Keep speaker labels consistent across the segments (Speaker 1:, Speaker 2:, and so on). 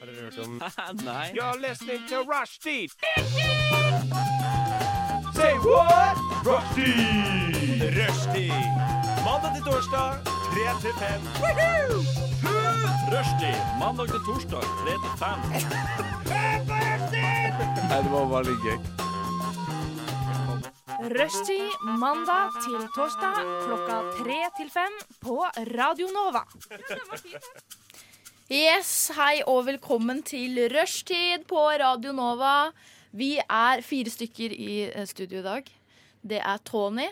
Speaker 1: Har dere hørt om
Speaker 2: Nei.
Speaker 1: You're listening to Rushdie! Say what? Rushdie! Rushdie! Mandag til torsdag, 3 til 5. Rushdie, mandag til torsdag, 3 til 5.
Speaker 2: det var bare litt gøy.
Speaker 3: Rushtid mandag til torsdag klokka tre til fem på Radio Nova.
Speaker 4: Yes, hei og velkommen til Rushtid på Radio Nova. Vi er fire stykker i eh, studio i dag. Det er Tony.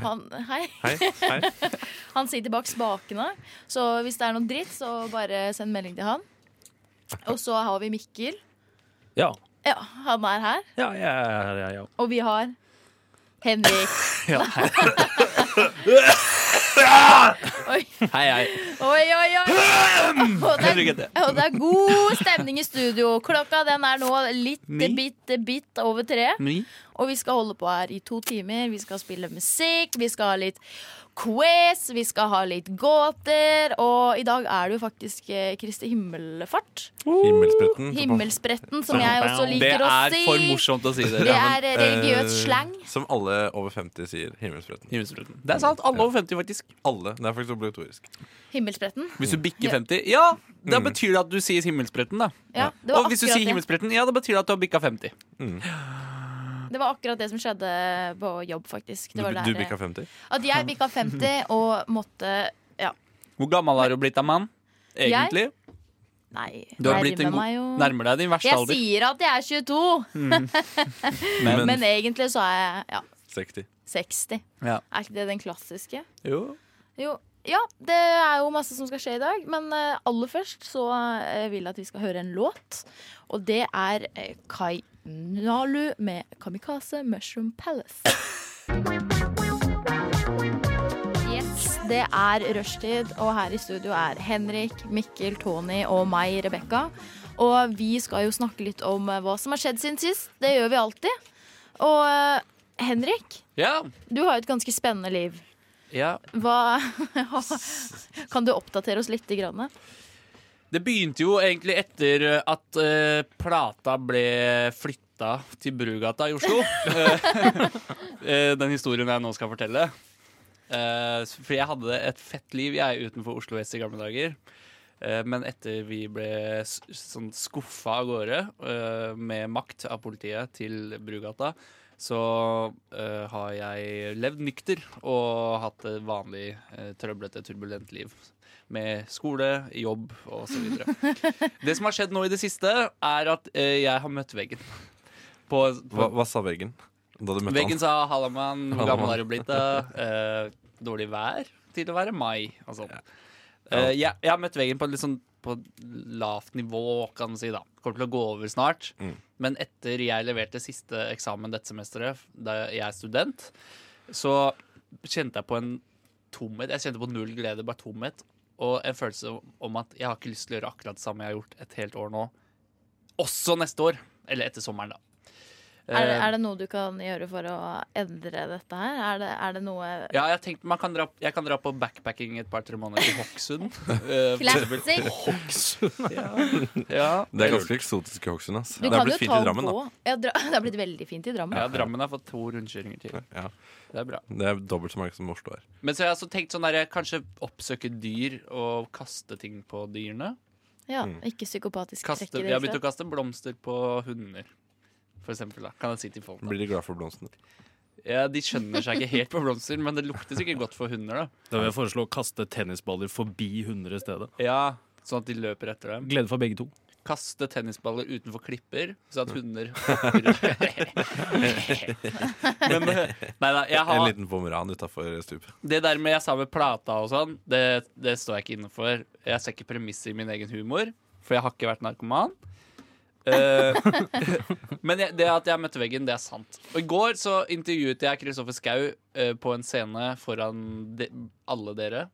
Speaker 4: Han, hei.
Speaker 1: Hei, hei.
Speaker 4: han sitter bak spakene, så hvis det er noe dritt, så bare send melding til han. Og så har vi Mikkel.
Speaker 2: Ja.
Speaker 4: Ja, han er her.
Speaker 2: Ja, ja, ja, ja, ja.
Speaker 4: Og vi har Henrik. Oi,
Speaker 2: Hei, hei.
Speaker 4: oi, oi. oi. Og det, er,
Speaker 2: Henrik heter jeg.
Speaker 4: og det er god stemning i studio. Klokka den er nå litt bitte bitt over tre.
Speaker 2: Ni.
Speaker 4: Og vi skal holde på her i to timer. Vi skal spille musikk, vi skal ha litt quiz, vi skal ha litt gåter. Og i dag er det jo faktisk eh, Kristi himmelfart.
Speaker 5: Himmelspretten.
Speaker 4: Himmelspretten, som jeg også Uh,
Speaker 2: Det
Speaker 4: liker å
Speaker 2: er
Speaker 4: si.
Speaker 2: for morsomt å si det.
Speaker 4: Det er eh, religiøs
Speaker 5: eh,
Speaker 4: slang.
Speaker 5: Som alle over 50 sier. Himmelspretten.
Speaker 2: Himmelspretten. Det er sant. Alle over 50, faktisk.
Speaker 5: Alle. Det er faktisk obligatorisk.
Speaker 4: Himmelspretten.
Speaker 2: Hvis du
Speaker 5: Mm.
Speaker 2: bikker 50, ja, da betyr det at du sier himmelspretten, da.
Speaker 4: Ja, det var
Speaker 2: Og hvis du
Speaker 4: akkurat
Speaker 2: sier
Speaker 4: det.
Speaker 2: himmelspretten, ja, da betyr det at du har bikka 50.
Speaker 4: Det var akkurat det som skjedde på jobb, faktisk.
Speaker 5: Du,
Speaker 4: Det var
Speaker 5: du
Speaker 4: der, eh,
Speaker 5: bikka 50?
Speaker 4: At jeg bikka 50 og måtte Ja,
Speaker 2: Hvor gammel har du blitt da, mann? Egentlig?
Speaker 4: nei.
Speaker 2: Du har
Speaker 4: nærmer
Speaker 2: blitt en
Speaker 4: meg jo
Speaker 2: god Nærmer deg din verste
Speaker 4: Jeg
Speaker 2: alder.
Speaker 4: sier at jeg er 22,
Speaker 2: Men,
Speaker 4: men egentlig så er jeg ja,
Speaker 5: 60.
Speaker 4: 60.
Speaker 2: Ja.
Speaker 4: Er ikke det den klassiske?
Speaker 2: jo.
Speaker 4: Jo. Ja, det er jo masse som skal skje i dag, men eh, aller først så eh, vil jeg at vi skal høre en låt. Og det er eh, Kai Nalu med 'Kamikaze Mushroom Palace'. Yes, det er rushtid, og her i studio er Henrik, Mikkel, Tony og meg, Rebekka. Og vi skal jo snakke litt om eh, hva som har skjedd siden sist. Det gjør vi alltid. Og eh, Henrik,
Speaker 2: Ja.
Speaker 4: du har jo et ganske spennende liv.
Speaker 2: ja.
Speaker 4: Hva Kan du oppdatere oss litt? Grann?
Speaker 2: Det begynte jo egentlig etter eh, at eh, plata ble flytta til Brugata i Oslo. Eh, Den historien jeg nå skal fortelle. Eh, s- For jeg hadde et fett liv jeg utenfor Oslo vest i gamle dager. Eh, Men etter vi ble s- sånn skuffa av gårde eh, med makt av politiet til Brugata, så eh, har jeg levd nykter og hatt et vanlig eh, trøblete, turbulent liv med skole, jobb og så videre. Det som har skjedd nå i det siste, er at eh, jeg har møtt veggen. På, på
Speaker 5: Hva, hva sa veggen da du møtte
Speaker 2: Veggen sa 'halla, mann, hvor
Speaker 5: Halla,
Speaker 2: gammel
Speaker 5: mann.»
Speaker 2: er du blitt?' da? Eh, dårlig vær til å være mai og sånn.
Speaker 5: Ja.
Speaker 2: Eh, jeg, jeg har møtt veggen på et litt sånn på et lavt nivå, kan man si. da Kommer til å gå over snart.
Speaker 5: Mm.
Speaker 2: Men etter jeg leverte siste eksamen dette semesteret, da jeg er student, så kjente jeg på en tomhet. Jeg kjente på null glede, bare tomhet. Og en følelse om at jeg har ikke lyst til å gjøre akkurat det samme jeg har gjort et helt år nå. Også neste år. Eller etter sommeren, da.
Speaker 4: Er, det-
Speaker 2: Eh,
Speaker 4: er det noe du kan gjøre for å endre dette her? Er det, er det noe
Speaker 2: Ja, jeg tenkte man kan dra, jeg kan dra på backpacking et par-tre måneder til Hokksund. Eh, for eksempel.
Speaker 4: Classic!
Speaker 2: ja.
Speaker 5: Det er ganske eksotisk i Hokksund. ass.
Speaker 4: Du
Speaker 5: Det er
Speaker 4: kan jo
Speaker 5: blitt fint i
Speaker 4: ta en
Speaker 5: Drammen, da.
Speaker 4: båt. Ja, dra, det har blitt veldig fint i Drammen.
Speaker 2: ja, Drammen har fått to rundkjøringer til.
Speaker 5: Ja,
Speaker 2: Det er bra.
Speaker 5: det er dobbelt så mange som Oslo er.
Speaker 2: Men så har jeg også tenkt sånn der, kanskje oppsøke dyr og kaste ting på dyrene.
Speaker 4: Ja,
Speaker 5: Mm.
Speaker 4: Ikke psykopatisk
Speaker 2: Kaste,
Speaker 4: trekk i
Speaker 2: jeg har
Speaker 4: det
Speaker 2: begynt
Speaker 4: hele
Speaker 2: å
Speaker 4: tatt.
Speaker 2: kaste blomster på hunder. For eksempel, da. Kan jeg si til folk. Da.
Speaker 5: Blir de glad for blomstene?
Speaker 2: Ja, de skjønner seg ikke helt på blomster, men det lukter sikkert godt for hunder. da
Speaker 6: Da vil jeg foreslå å kaste tennisballer forbi hunder i stedet.
Speaker 2: Ja, Sånn at de løper etter dem.
Speaker 6: Glede for begge to.
Speaker 2: Kaste tennisballer utenfor klipper, så at hunder Men eh, Nei da, jeg
Speaker 5: En
Speaker 2: har
Speaker 5: liten pomeran utafor stupet.
Speaker 2: Det der med jeg sa med plata og sånn, det, det står jeg ikke inne for. Jeg ser ikke premisset i min egen humor, for jeg har ikke vært narkoman. Eh, men jeg, det at jeg møtte veggen, det er sant. Og I går så intervjuet jeg Kristoffer Schau eh, på en scene foran de, alle dere.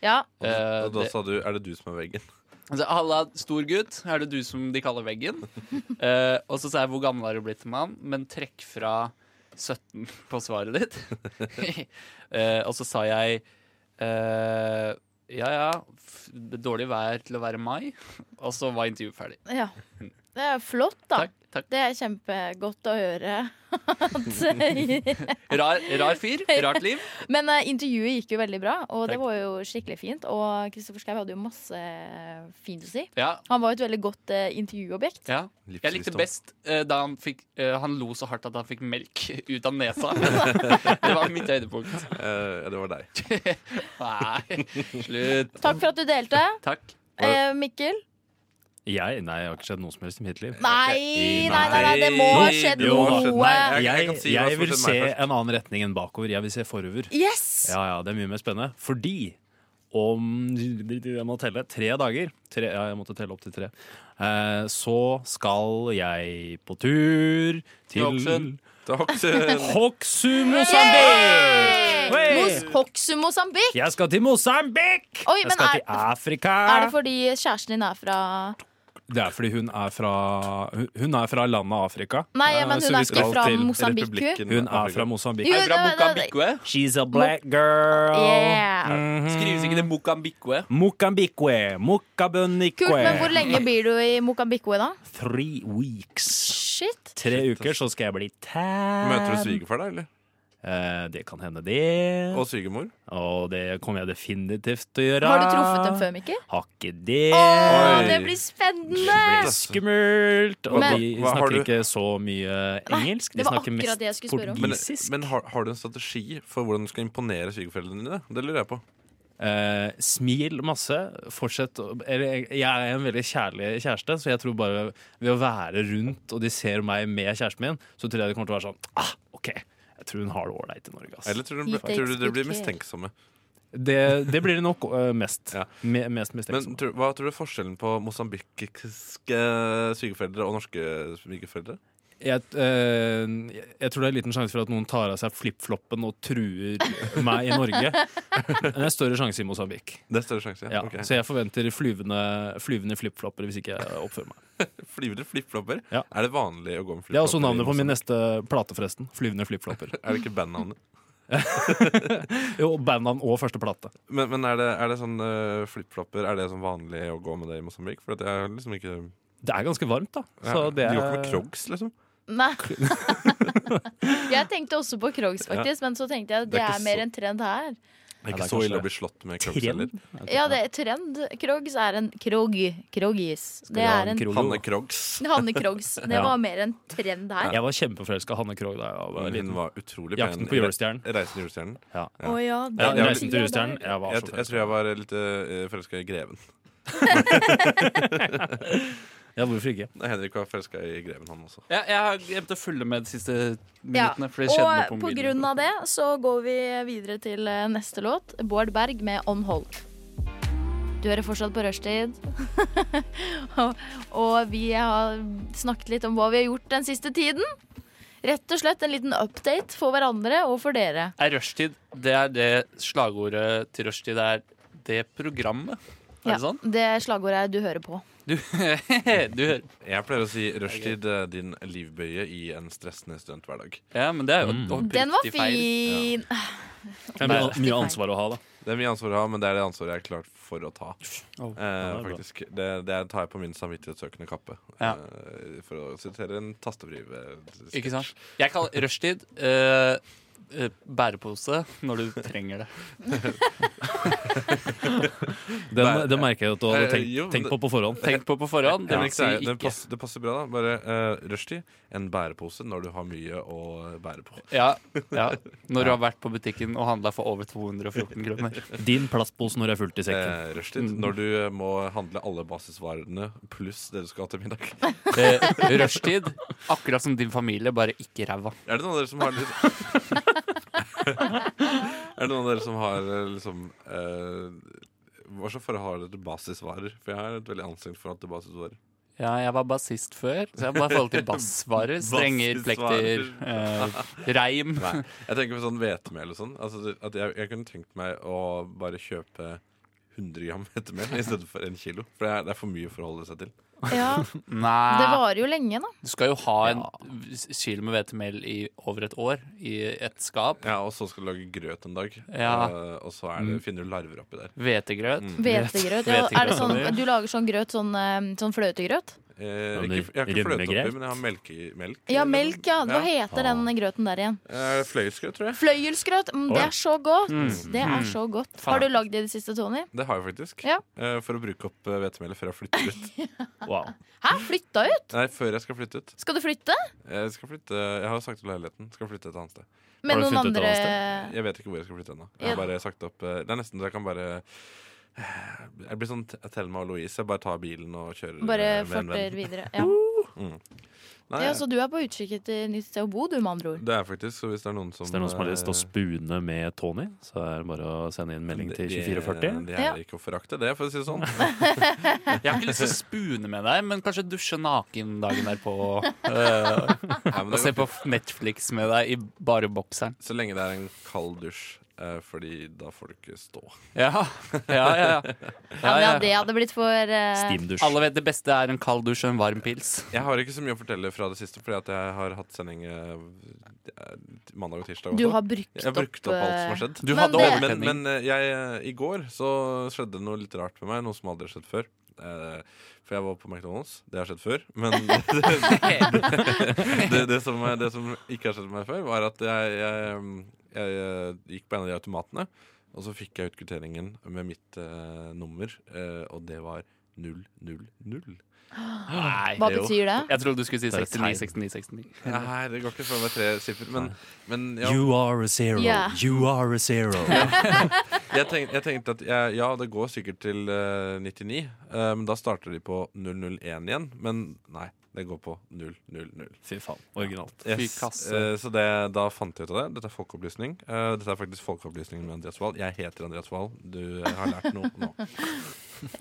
Speaker 4: Ja,
Speaker 2: Eh,
Speaker 5: Og da
Speaker 2: det-
Speaker 5: sa du 'er det du som er veggen'?
Speaker 2: Altså, Halla, stor gutt. Er det du som de kaller veggen? Eh, og så sa jeg hvor gammel har du blitt, mann? Men trekk fra 17 på svaret ditt. Eh, og så sa jeg eh, Ja ja, f- dårlig vær til å være mai. Og så var intervjuet ferdig.
Speaker 4: Ja. Det er flott, da.
Speaker 2: Takk. takk
Speaker 4: Det er kjempegodt å høre. At,
Speaker 2: Rar, rar fyr. Rart liv.
Speaker 4: men eh, intervjuet gikk jo veldig bra, og det
Speaker 2: Takk.
Speaker 4: var jo skikkelig fint. Og Kristoffer Schau hadde jo masse eh, fint å si.
Speaker 2: Ja.
Speaker 4: Han var jo et veldig godt eh, intervjuobjekt.
Speaker 2: ja. Jeg likte best eh, da han fikk eh, Han lo så hardt at han fikk melk ut av nesa. Det var mitt høydepunkt.
Speaker 5: Eh, ja, det var deg.
Speaker 2: Nei, slutt.
Speaker 4: Takk for at du delte,
Speaker 2: Takk.
Speaker 4: eh, Mikkel.
Speaker 6: Jeg? Nei, jeg har ikke skjedd noe som helst i mitt liv.
Speaker 4: Nei, nei, nei, nei, det må ha skjedd
Speaker 6: Jo, det må ha
Speaker 5: skjedd.
Speaker 4: noe.
Speaker 5: Nei, jeg
Speaker 6: Jeg,
Speaker 5: kan si hva
Speaker 6: jeg
Speaker 5: som
Speaker 6: vil
Speaker 5: skjedde
Speaker 6: se
Speaker 5: meg først.
Speaker 6: en annen retning enn bakover. Jeg vil se forover.
Speaker 4: Yes!
Speaker 6: Ja, ja, det er mye mer spennende. Fordi om jeg må telle tre dager tre, Ja, jeg måtte telle opp til tre. Eh, så skal jeg på tur til
Speaker 2: Hokksund.
Speaker 5: Takk. Sven.
Speaker 6: Hokksund, Mosambik!
Speaker 4: Mos
Speaker 6: Hey!
Speaker 4: Hokksund, Mosambik.
Speaker 6: Jeg skal til Mosambik!
Speaker 4: Oi,
Speaker 6: jeg
Speaker 4: men
Speaker 6: skal
Speaker 4: er-
Speaker 6: til Afrika!
Speaker 4: Er det fordi kjæresten din er fra
Speaker 6: Det er fordi hun er fra, hun- hun er fra landet Afrika.
Speaker 4: Nei,
Speaker 5: Ah,
Speaker 6: Eh,
Speaker 4: men
Speaker 6: så
Speaker 4: hun
Speaker 6: vi
Speaker 4: er ikke
Speaker 6: skal
Speaker 4: fra
Speaker 6: til-
Speaker 4: Mosambik, hun.
Speaker 5: Republikken
Speaker 6: Hun er
Speaker 5: Afrika.
Speaker 6: fra Mosambik.
Speaker 4: Jo,
Speaker 2: Er det fra
Speaker 4: det- det-
Speaker 2: Mokambikwe?
Speaker 6: She's a black girl. Mhm.
Speaker 4: Yeah.
Speaker 2: Skrives ikke det Mokambikwe?
Speaker 6: Mokambikwe.
Speaker 4: Kult, men hvor
Speaker 6: Mokabunikwe.
Speaker 4: lenge blir du i Mokambikwe da?
Speaker 6: Three weeks.
Speaker 4: Shit.
Speaker 6: Tre uker, så skal jeg bli tan.
Speaker 5: Møter du svigerfar da, eller?
Speaker 6: Eh, det kan hende, det.
Speaker 5: Og svigermor?
Speaker 6: Og det kommer jeg definitivt til å gjøre.
Speaker 4: Har du truffet dem før, Mikkel?
Speaker 6: Har ikke det.
Speaker 4: Åh,
Speaker 5: Oi.
Speaker 4: det blir spennende!
Speaker 6: Det blir skummelt. Og
Speaker 4: Men-
Speaker 6: de
Speaker 5: Hva har
Speaker 6: snakker
Speaker 5: du-
Speaker 6: ikke så mye engelsk.
Speaker 4: det
Speaker 6: De
Speaker 4: var
Speaker 6: snakker
Speaker 4: akkurat
Speaker 6: mest
Speaker 4: det jeg skulle spørre om.
Speaker 5: Men,
Speaker 6: portugisisk.
Speaker 5: men har, har du en strategi for hvordan du skal imponere svigerforeldrene dine? Det lurer jeg på.
Speaker 6: Eh, smil masse. Fortsett å eller, Jeg er en veldig kjærlig kjæreste, så jeg tror bare ved å være rundt og de ser meg med kjæresten min, så tror jeg de kommer til å være sånn ah, OK, jeg tror hun har det ålreit i Norge. Ass.
Speaker 5: Eller tror du,
Speaker 4: Gitt deg
Speaker 5: tror du dere blir
Speaker 4: ekspert.
Speaker 5: mistenksomme?
Speaker 6: Det, det blir det nok eh, mest.
Speaker 5: Ja.
Speaker 6: Me, mest mistenksom.
Speaker 5: Men tror, hva tror du er forskjellen på mosambikiske svigerforeldre og norske svigerforeldre?
Speaker 6: Jeg, eh, jeg- jeg tror det er liten sjanse for at noen tar av seg flipfloppen og truer meg i Norge. Men det er større sjanse i Mosambik.
Speaker 5: Det er større sjanse,
Speaker 6: Ja.
Speaker 5: ja. Ok.
Speaker 6: Så jeg forventer flyvende, flyvende flipflopper hvis ikke jeg oppfører meg.
Speaker 5: Flyvende flipflopper?
Speaker 6: Ja.
Speaker 5: Er det vanlig å gå med flipflopper?
Speaker 6: Det er også
Speaker 5: i
Speaker 6: navnet på min
Speaker 5: Mosambik?
Speaker 6: neste plate, forresten. Flyvende flipflopper.
Speaker 5: Er det ikke bandnavnet?
Speaker 6: Jo, bandnavn og første plate.
Speaker 5: Men, men er, det, er det sånn eh, flipflopper Er det sånn vanlig å gå med det i Mosambik? For at jeg har liksom ikke
Speaker 6: Det er ganske varmt, da.
Speaker 5: Ja,
Speaker 6: Så det
Speaker 5: Du går ikke med
Speaker 6: er
Speaker 5: Crocs, liksom?
Speaker 4: Nei. Jeg tenkte også på Krogs, faktisk, men så tenkte jeg at
Speaker 5: Det
Speaker 4: det
Speaker 5: er ikke
Speaker 4: er mer
Speaker 5: så-
Speaker 4: en trend her.
Speaker 5: Det er ikke
Speaker 6: det er
Speaker 5: så
Speaker 6: kanskje
Speaker 5: ille
Speaker 6: det.
Speaker 5: å bli slått med Crocs heller.
Speaker 6: trend.
Speaker 4: Ja, det er trend. Krogs er en krog. Krogis. Det
Speaker 6: vi ha
Speaker 4: er
Speaker 6: en
Speaker 4: en
Speaker 6: krog?
Speaker 5: Hanne Crocs.
Speaker 4: Hanne Krogs. Det
Speaker 6: Ja.
Speaker 4: var mer en trend her.
Speaker 6: Jeg var kjempeforelska i Hanne Krogh da jeg var
Speaker 5: Hun
Speaker 6: liten.
Speaker 5: var utrolig pen.
Speaker 6: Jakten på julestjernen.
Speaker 5: Reisen til julestjernen.
Speaker 4: Å ja, det
Speaker 6: Ja,
Speaker 5: jeg var
Speaker 6: Reisen
Speaker 4: sier
Speaker 6: til
Speaker 4: jeg
Speaker 6: julestjernen.
Speaker 4: der.
Speaker 6: Jeg var
Speaker 5: Jeg,
Speaker 6: så
Speaker 5: jeg
Speaker 6: forelska.
Speaker 5: tror jeg var litt uh, forelska i Greven.
Speaker 6: Ja, hvorfor ikke?
Speaker 5: Nei, Henrik var forelska i Greven, han også.
Speaker 2: Ja, jeg har glemt å følge med de siste
Speaker 4: Ja.
Speaker 2: minuttene. For det skjedde noe
Speaker 4: Og
Speaker 2: på
Speaker 4: på
Speaker 2: mobilen.
Speaker 4: grunn av det så går vi videre til eh, neste låt. Bård Berg med On Hold. Du hører fortsatt på rushtid. og, og vi har snakket litt om hva vi har gjort den siste tiden. Rett og slett en liten update for hverandre og for dere.
Speaker 2: Er rushtid Det er det slagordet til rushtid er det programmet? Er det sånn?
Speaker 4: det slagordet er du hører på.
Speaker 2: Du, du hører
Speaker 5: Jeg pleier å si rushtid, eh, din livbøye i en stressende studenthverdag.
Speaker 2: Ja, men det er jo oppriktig
Speaker 4: Mm. Den var
Speaker 2: feil.
Speaker 4: fin! Ah,
Speaker 6: Det er mye,
Speaker 4: Nei.
Speaker 6: mye ansvar å ha, da.
Speaker 5: Det er mye ansvar å ha, men det er det ansvaret jeg er klart for å ta.
Speaker 2: Oh,
Speaker 5: Eh,
Speaker 6: det er bra.
Speaker 5: faktisk. Det, det tar jeg på min samvittighetssøkende kappe.
Speaker 2: Ja.
Speaker 5: Eh, for å sitere en tastefriv eh,
Speaker 2: Ikke sant? Jeg kaller rushtid eh, eh, bærepose når du trenger det.
Speaker 6: Den, det merker jeg at du hadde
Speaker 5: Eh,
Speaker 6: tenkt,
Speaker 5: jo, men
Speaker 6: tenkt på på forhånd.
Speaker 2: Tenk på på forhånd. Det
Speaker 5: Ja,
Speaker 2: vil
Speaker 5: det,
Speaker 2: si
Speaker 5: er- det,
Speaker 2: ikke.
Speaker 5: passer, det passer bra, da. Bare uh, rushtid. En bærepose når du har mye å bære på.
Speaker 2: Ja, ja. Når du har vært på butikken og handla for over 214 kroner.
Speaker 6: Din plastpose når jeg er fullt i sekken.
Speaker 5: Eh, rushtid når du eh, må handle alle basisvarene pluss det du skal ha til middag.
Speaker 2: Eh, rushtid, akkurat som din familie, bare ikke ræva.
Speaker 5: Er det noen av dere som har litt Er det noen av dere som har eh, liksom eh, Hva slags forhold har dere til basisvarer? For jeg har et veldig anstrengt forhold til basisvarer.
Speaker 2: Ja, jeg var bassist før, så jeg bare forhold til bassvarer. Strenger, plekter, eh, reim.
Speaker 5: Nei, jeg tenker på sånn hvetemel og sånn. Altså, at jeg, jeg kunne tenkt meg å bare kjøpe 100 gram ettermel i stedet for 1 kilo. For det er, det er for mye å forholde seg til.
Speaker 4: Ja, det
Speaker 2: Nei.
Speaker 4: varer jo lenge, da.
Speaker 2: Du skal jo ha en s- kilo med hvetemel i over et år i et skap.
Speaker 5: Ja, Og så skal du lage grøt en dag,
Speaker 2: Ja.
Speaker 5: eh, og så er det, finner du larver oppi der.
Speaker 2: Hvetegrøt.
Speaker 4: Mm. Hvetegrøt. Ja, er det sånn,
Speaker 2: Hvetegrøt.
Speaker 4: du lager sånn grøt, sånn, eh, sånn fløtegrøt?
Speaker 5: Eh,
Speaker 6: men
Speaker 5: ikke, jeg har ikke
Speaker 6: rømme
Speaker 5: fløte
Speaker 6: grøt?
Speaker 5: oppi, men jeg har melke, melk.
Speaker 4: Ja, melk, ja. Hva heter den grøten der igjen?
Speaker 5: Eh, Fløyelsgrøt, tror jeg.
Speaker 4: Fløyelsgrøt! Mm, det
Speaker 6: Oi.
Speaker 4: er så godt!
Speaker 5: Mm.
Speaker 4: Det er så godt. Har
Speaker 2: Faen.
Speaker 4: du lagd det i det siste, Tony?
Speaker 5: Det har jeg faktisk.
Speaker 4: Ja.
Speaker 5: Eh, for å bruke opp eh, hvetemelet før jeg flytter ut. Eh,
Speaker 6: Wow.
Speaker 4: Hæ? Flytta ut?
Speaker 5: Nei, før jeg skal flytte ut.
Speaker 4: Skal du flytte?
Speaker 5: Jeg, skal flytte, jeg har sagt til leiligheten. Skal flytte et annet sted.
Speaker 4: Med
Speaker 6: Har du
Speaker 4: noen
Speaker 6: flyttet et
Speaker 4: andre
Speaker 6: annet
Speaker 5: Jeg vet ikke hvor jeg skal flytte ennå.
Speaker 4: Ja.
Speaker 5: Jeg har bare sagt opp eh, Det er nesten så jeg kan bare Jeg blir sånn T- Thelma og Louise. Jeg bare tar bilen og kjører.
Speaker 4: Bare
Speaker 5: eh, med en venn.
Speaker 4: farter videre. Ja.
Speaker 5: Nei,
Speaker 4: ja, Så du er på utkikk etter nytt sted å bo, du, med andre ord?
Speaker 5: Det er faktisk, så hvis det er noen som
Speaker 6: Hvis det er noen som har lyst til å
Speaker 5: eh,
Speaker 6: spune med Tony, så er det bare å sende inn melding til
Speaker 5: det-
Speaker 6: 2440.
Speaker 5: Det
Speaker 4: Ja.
Speaker 5: er ikke å forakte, det, for å si det sånn.
Speaker 2: Jeg har ikke lyst til å spune med deg, men kanskje dusje naken dagen derpå. eh,
Speaker 5: Nei, men
Speaker 2: Og
Speaker 5: det
Speaker 2: se
Speaker 5: går
Speaker 2: på
Speaker 5: fint.
Speaker 2: Netflix med deg i bare bokseren.
Speaker 5: Så lenge det er en kald dusj, eh, fordi da får du ikke stå.
Speaker 2: Ja, ja, ja. ja.
Speaker 4: Ja, men
Speaker 2: ja,
Speaker 4: ja,
Speaker 2: ja.
Speaker 4: det hadde blitt for eh,
Speaker 6: Steamdusj.
Speaker 2: Alle vet det beste er en kald dusj og en varm pils.
Speaker 5: Jeg har ikke så mye å fortelle fra det siste, fordi at jeg har hatt sending eh, mandag og tirsdag.
Speaker 4: Du
Speaker 5: også.
Speaker 4: har brukt eh,
Speaker 5: Jeg har brukt opp alt som har skjedd.
Speaker 2: Du
Speaker 4: Men
Speaker 2: hadde
Speaker 4: det-
Speaker 5: Men,
Speaker 2: overtenning.
Speaker 5: men eh, jeg, eh, i går så skjedde noe litt rart med meg, noe som aldri har skjedd før. Eh, for jeg var på McDonald's. Det har skjedd før. Men det, det, det, som, eh, det som ikke har skjedd med meg før, var at jeg, jeg, mm, jeg, eh, gikk på en av de automatene, og så fikk jeg ut kvitteringen med mitt eh, nummer, eh, og det var 000.
Speaker 2: Nei,
Speaker 4: Hva
Speaker 2: jo.
Speaker 4: betyr det?
Speaker 2: Jeg trodde du skulle si
Speaker 6: Det er et
Speaker 2: 69, 69, 69.
Speaker 5: Nei, det går ikke for meg tre siffer. Men, men ja,
Speaker 6: You are a zero.
Speaker 4: Ja.
Speaker 6: You are a zero.
Speaker 5: jeg, tenk, jeg tenkte at jeg, ja, det går sikkert til eh, 99, eh, men da starter de på 001 igjen. Men nei, det går på 000.
Speaker 6: Fy faen. Originalt.
Speaker 5: Yes.
Speaker 2: Fy kasse.
Speaker 5: Eh, så det, da fant jeg ut av det. Dette er folkeopplysning. Eh, dette er faktisk folkeopplysningen med Andreas Wahl. Jeg heter Andreas Wahl. Du eh, har lært noe nå.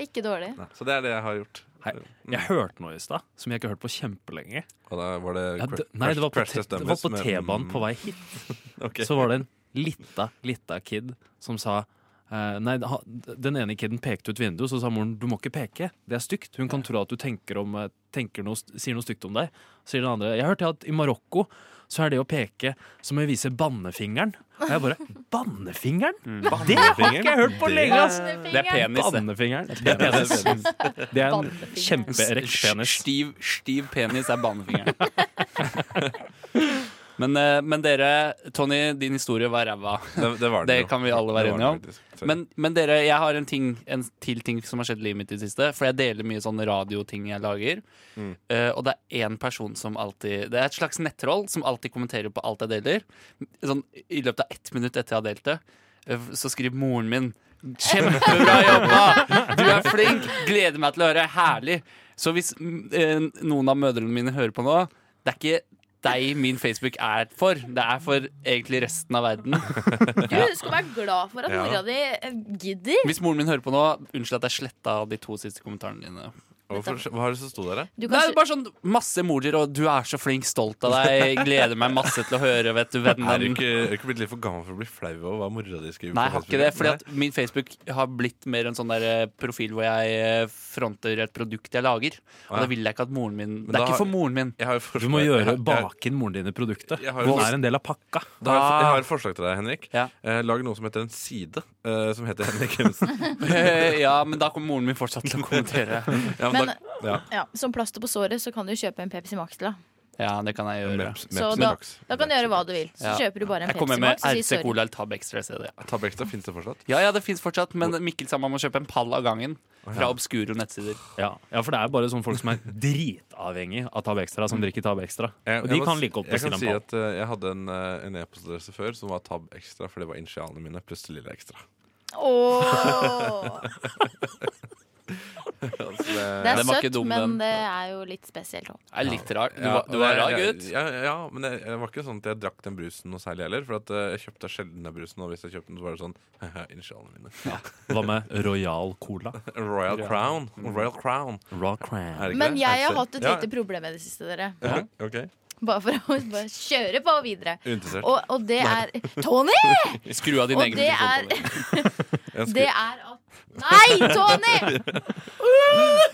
Speaker 4: Ikke dårlig.
Speaker 5: Nei. Så det er det jeg har gjort.
Speaker 6: Hei. Jeg hørte noe i stad som jeg ikke har hørt på kjempelenge.
Speaker 5: Og da var det
Speaker 6: Ja,
Speaker 5: cra-
Speaker 6: det, nei, det var på,
Speaker 5: Crash
Speaker 6: te,
Speaker 5: Test
Speaker 6: det var
Speaker 5: Dummies
Speaker 6: på
Speaker 5: med-
Speaker 6: T-banen
Speaker 5: mm,
Speaker 6: på vei hit.
Speaker 5: ok.
Speaker 6: Så var det en lita, lita kid som sa eh, Nei, ha- den ene kiden pekte ut vinduet, så sa moren du må ikke peke. Det er stygt. Hun kan tro at du tenker om, eh, tenker noe, st- sier noe stygt om deg. Så sier den andre jeg hørte at i Marokko så er det å peke som å vise bannefingeren. Og jeg bare Bannefingeren? Det har ikke jeg hørt på lenge! ass
Speaker 2: Det er penis, det.
Speaker 6: Bannefingeren. Det er, penis. Det er en
Speaker 4: Bannefingeren.
Speaker 6: kjempeerekt penis.
Speaker 2: Stiv, stiv penis er banefingeren. Men, eh, men dere, Tony, din historie var ræva.
Speaker 5: Det, det var det.
Speaker 2: Det
Speaker 5: jo.
Speaker 2: kan vi alle være
Speaker 5: Det var
Speaker 2: enige om.
Speaker 5: det faktisk. Sorry.
Speaker 2: Men, men dere, jeg har en, ting, en til ting som har skjedd i livet mitt i det siste. For jeg deler mye sånne radioting jeg lager. Eh, og det er én person som alltid Det er et slags nettroll som alltid kommenterer på alt jeg deler. Sånn, I løpet av ett minutt etter jeg har delt det, eh, så skriver moren min Kjempebra jobba! Du er flink! Gleder meg til å høre. Herlig! Så hvis mm, eh, noen av mødrene mine hører på nå, det er ikke deg min Facebook er for. Det er for egentlig resten av verden.
Speaker 4: Du skal være glad for at
Speaker 5: Ja.
Speaker 4: mora di eh, gidder.
Speaker 2: Hvis moren min hører på nå, unnskyld at jeg sletta de to siste kommentarene dine.
Speaker 5: Hvorfor, hva har det som sto der, da?
Speaker 4: Du
Speaker 2: Det
Speaker 4: kan
Speaker 2: er bare sånn masse emojier og 'du er så flink, stolt av deg', 'gleder meg masse til å høre', vet du,
Speaker 5: Er du
Speaker 2: vennen.
Speaker 5: ikke, er du ikke blitt litt for gammel for å bli flau over hva mora di skriver?
Speaker 2: Nei, jeg
Speaker 5: på
Speaker 2: har ikke det.
Speaker 5: Facebook?
Speaker 2: Fordi at min Facebook har blitt mer en sånn der eh, profil hvor jeg eh, fronter et produkt jeg lager. Og
Speaker 5: Ja.
Speaker 2: det vil jeg ikke at moren min Det
Speaker 5: da
Speaker 2: er
Speaker 5: har-
Speaker 2: ikke for moren min.
Speaker 5: Nei, jeg har jo forslag-
Speaker 6: Du må gjøre
Speaker 5: jeg- jeg-
Speaker 6: bake inn moren din i produktet.
Speaker 5: Jeg har
Speaker 6: Hun
Speaker 5: jo-
Speaker 6: er en del av pakka.
Speaker 5: Da har jeg, jeg har et forslag til deg, Henrik.
Speaker 2: Ja.
Speaker 5: Eh, lag noe som heter en side, eh, som heter Henrik Jensen.
Speaker 2: ja, men da kommer moren min fortsatt til å kommentere.
Speaker 5: Ja,
Speaker 4: Men
Speaker 5: da- ja.
Speaker 4: ja, som plaster på såret så kan du kjøpe en Pepsi Max til. da.
Speaker 2: Ja, det kan jeg gjøre.
Speaker 5: Meps,
Speaker 4: Så
Speaker 5: meps,
Speaker 4: da,
Speaker 5: meps.
Speaker 4: da kan du gjøre hva du vil. Så
Speaker 2: Ja.
Speaker 4: kjøper du bare en
Speaker 2: Jeg kommer
Speaker 4: Pepsi
Speaker 2: med
Speaker 4: Max og sier
Speaker 2: RC
Speaker 4: sorry.
Speaker 2: Cola eller Tab Extra. Jeg ser det.
Speaker 5: Tabextra fins det fortsatt?
Speaker 2: Ja, ja, det fins fortsatt, men Mikkel sa man må kjøpe en pall av gangen. Fra obskure nettsider.
Speaker 6: Ja. ja, for det er bare sånne folk som er dritavhengig av Tab Extra, som drikker Tab Extra.
Speaker 5: Jeg-
Speaker 6: Og
Speaker 5: jeg
Speaker 6: de
Speaker 5: må
Speaker 6: kan
Speaker 5: s-
Speaker 6: like godt
Speaker 5: Jeg kan
Speaker 6: bestille en
Speaker 5: si
Speaker 6: pall.
Speaker 5: at eh, jeg hadde en, eh, en e-postadresse før som var Tab Extra, for det var initialene mine pluss det lille ekstra.
Speaker 4: Åh.
Speaker 5: Altså, det-
Speaker 4: Det er
Speaker 2: Den var ikke
Speaker 4: søtt,
Speaker 2: dum,
Speaker 4: men
Speaker 2: den.
Speaker 4: det er jo litt spesielt òg.
Speaker 2: Det er litt rart. Du,
Speaker 5: Ja,
Speaker 2: var- du var
Speaker 5: og
Speaker 2: rar
Speaker 5: jeg-
Speaker 2: gutt.
Speaker 5: Ja, ja, ja, men det det var ikke sånn at jeg drakk den brusen noe særlig heller. For at eh, jeg kjøpte sjelden den brusen, og hvis jeg kjøpte den, så var det sånn Initialene mine.
Speaker 6: Hva med Royal Cola?
Speaker 5: Royal Crown. Royal Crown.
Speaker 6: Raw Cram.
Speaker 5: Er det ikke
Speaker 4: Men
Speaker 5: det?
Speaker 4: jeg har
Speaker 5: Headset.
Speaker 4: hatt et lite problem med det siste, dere.
Speaker 5: ja. Ok,
Speaker 4: Bare for å bare kjøre på videre.
Speaker 5: Uinteressert.
Speaker 4: Og, og det er Tony!
Speaker 2: Skru av din
Speaker 4: Og
Speaker 2: egen
Speaker 4: det
Speaker 2: mikrofon.
Speaker 4: er
Speaker 2: Tony.
Speaker 5: Jeg skulle-
Speaker 4: Det er at Nei, Tony!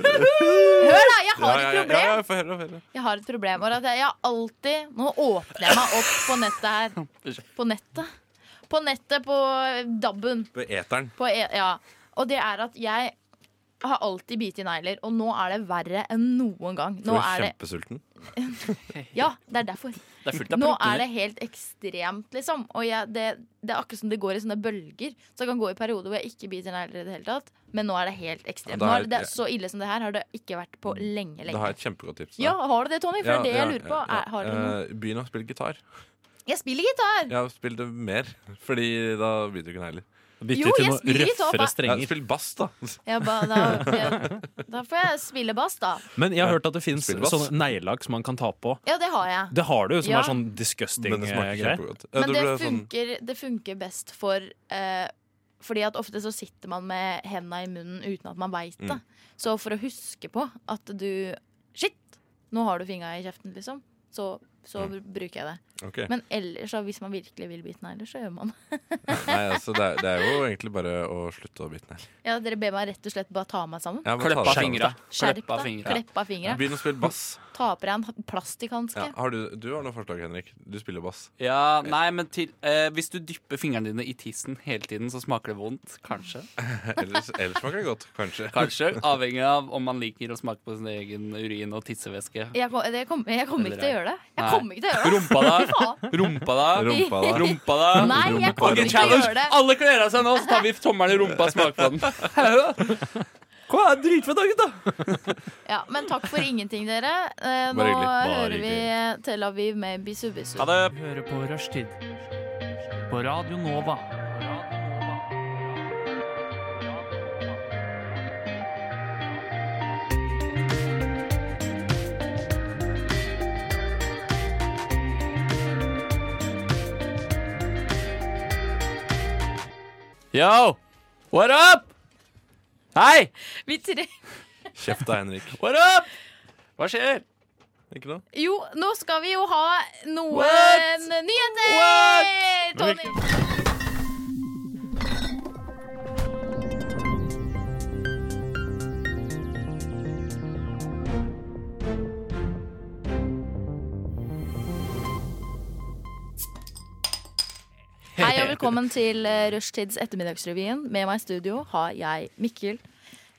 Speaker 4: Hør, da! Jeg
Speaker 5: Ja,
Speaker 4: har
Speaker 5: ja, ja,
Speaker 4: et
Speaker 5: ja,
Speaker 4: problem.
Speaker 5: ja, få høre, få høre.
Speaker 4: Jeg har et problem og at jeg, jeg har alltid Nå åpner jeg meg opp på nettet her. På nettet. På nettet på DAB-en.
Speaker 5: På eteren.
Speaker 4: På e ja. Og det er at jeg har alltid bitt i negler, og nå er det verre enn noen gang.
Speaker 5: Du
Speaker 4: Nå
Speaker 5: er
Speaker 4: er det,
Speaker 5: kjempesulten.
Speaker 4: ja, det er derfor.
Speaker 2: Det er fullt av
Speaker 4: Nå er
Speaker 2: proteiner.
Speaker 4: det helt ekstremt, liksom. Og jeg, det, det er akkurat som det går i sånne bølger. Så det kan gå i perioder hvor jeg ikke biter negler i det hele tatt. Men nå er det helt
Speaker 5: Ja,
Speaker 4: ekstremt.
Speaker 5: da
Speaker 4: Nå
Speaker 5: er-
Speaker 4: er det, det er så ille som det her har det ikke vært på lenge,
Speaker 5: Da har
Speaker 4: lenge.
Speaker 5: jeg et kjempegodt tips. til
Speaker 4: Ja,
Speaker 5: deg.
Speaker 4: har du det, Tony? For det
Speaker 5: Ja,
Speaker 4: er det
Speaker 5: ja,
Speaker 4: jeg lurer på.
Speaker 5: ja,
Speaker 4: Er, har du noe?
Speaker 5: ja. Eh, Begynn å spille gitar.
Speaker 4: Jeg spiller gitar!
Speaker 5: Ja, spill det mer, Fordi da biter du ikke negler.
Speaker 4: Jo,
Speaker 6: Bytte til
Speaker 4: jeg
Speaker 6: noe
Speaker 4: spiller gitar,
Speaker 6: røffere
Speaker 4: hva-
Speaker 5: Ja,
Speaker 6: strenger.
Speaker 5: spill bass, da.
Speaker 4: Ja, ba, da, jeg, da får jeg spille bass, da.
Speaker 6: Men jeg har hørt at det fins
Speaker 5: Spill bass.
Speaker 6: sånne neglelakk som man kan ta på.
Speaker 4: Ja, det har jeg.
Speaker 6: Det har du, som
Speaker 4: Ja.
Speaker 6: er sånn
Speaker 5: Men det smaker
Speaker 6: disgusting-greier.
Speaker 5: kjempegodt. Ja,
Speaker 4: Men
Speaker 5: du
Speaker 4: det
Speaker 5: ble sånn-
Speaker 4: funker, det funker best for eh, Fordi at ofte så sitter man med henda i munnen uten at man veit det.
Speaker 5: Mm.
Speaker 4: Så for å huske på at du Shit! Nå har du fingra i kjeften, liksom. Så, så
Speaker 5: Mm.
Speaker 4: br- bruker jeg det.
Speaker 5: sånn, ok.
Speaker 4: Men ellers, så hvis man virkelig vil bite negler, så gjør man det.
Speaker 5: Nei, altså, det, er, det er jo egentlig bare å slutte å bite negler.
Speaker 4: Ja, dere ber meg rett og slett bare ta meg sammen.
Speaker 5: Ja, men ta
Speaker 2: Klepp
Speaker 5: det
Speaker 2: av
Speaker 5: sammen.
Speaker 2: fingra.
Speaker 4: Skjerp
Speaker 2: Klepp av
Speaker 4: deg.
Speaker 2: fingra.
Speaker 4: Klepp av fingra.
Speaker 5: Begynn å spille bass.
Speaker 4: Ta på deg en plastikkhanske.
Speaker 5: Ja, har du, du har noen forslag, Henrik. Du spiller bass.
Speaker 2: Ja, nei, men til, eh, hvis du dypper fingrene dine i tissen hele tiden, så smaker det vondt. Kanskje.
Speaker 5: Ellers, ellers smaker det godt, kanskje.
Speaker 2: Kanskje, Avhengig av om man liker å smake på sin egen urin og tissevæske.
Speaker 4: Jeg, kom, det kom, jeg kommer ikke til å gjøre det. Jeg
Speaker 2: Nei.
Speaker 4: kommer ikke til å gjøre det.
Speaker 2: Rumpa da.
Speaker 4: Faen.
Speaker 2: Rumpa da.
Speaker 5: Rumpa da.
Speaker 2: Rumpa da.
Speaker 4: Nei, jeg kommer
Speaker 2: Ok,
Speaker 4: ikke til å
Speaker 2: challenge.
Speaker 4: gjøre det.
Speaker 2: Alle kler av seg nå, så tar vi tommelen i rumpa og smaker på den. Hva er dritfett da, gutta?
Speaker 4: Ja, men takk for ingenting, dere. Eh, nå
Speaker 5: Bare hyggelig. Bare
Speaker 4: hører vi Tel Aviv med Bisubisu.
Speaker 2: Ha det.
Speaker 7: Høre på Rushtid på Radio Nova.
Speaker 2: Yo! What up? Hei!
Speaker 4: Vi tre...
Speaker 5: Kjeft da, Henrik.
Speaker 2: What up? Hva skjer?
Speaker 5: Ikke noe?
Speaker 4: Jo, nå skal vi jo ha noen
Speaker 2: What?
Speaker 4: nyheter!
Speaker 2: What?
Speaker 4: Tony. Hei og velkommen til eh, Rushtids Ettermiddagsrevyen. Med meg i studio har jeg Mikkel,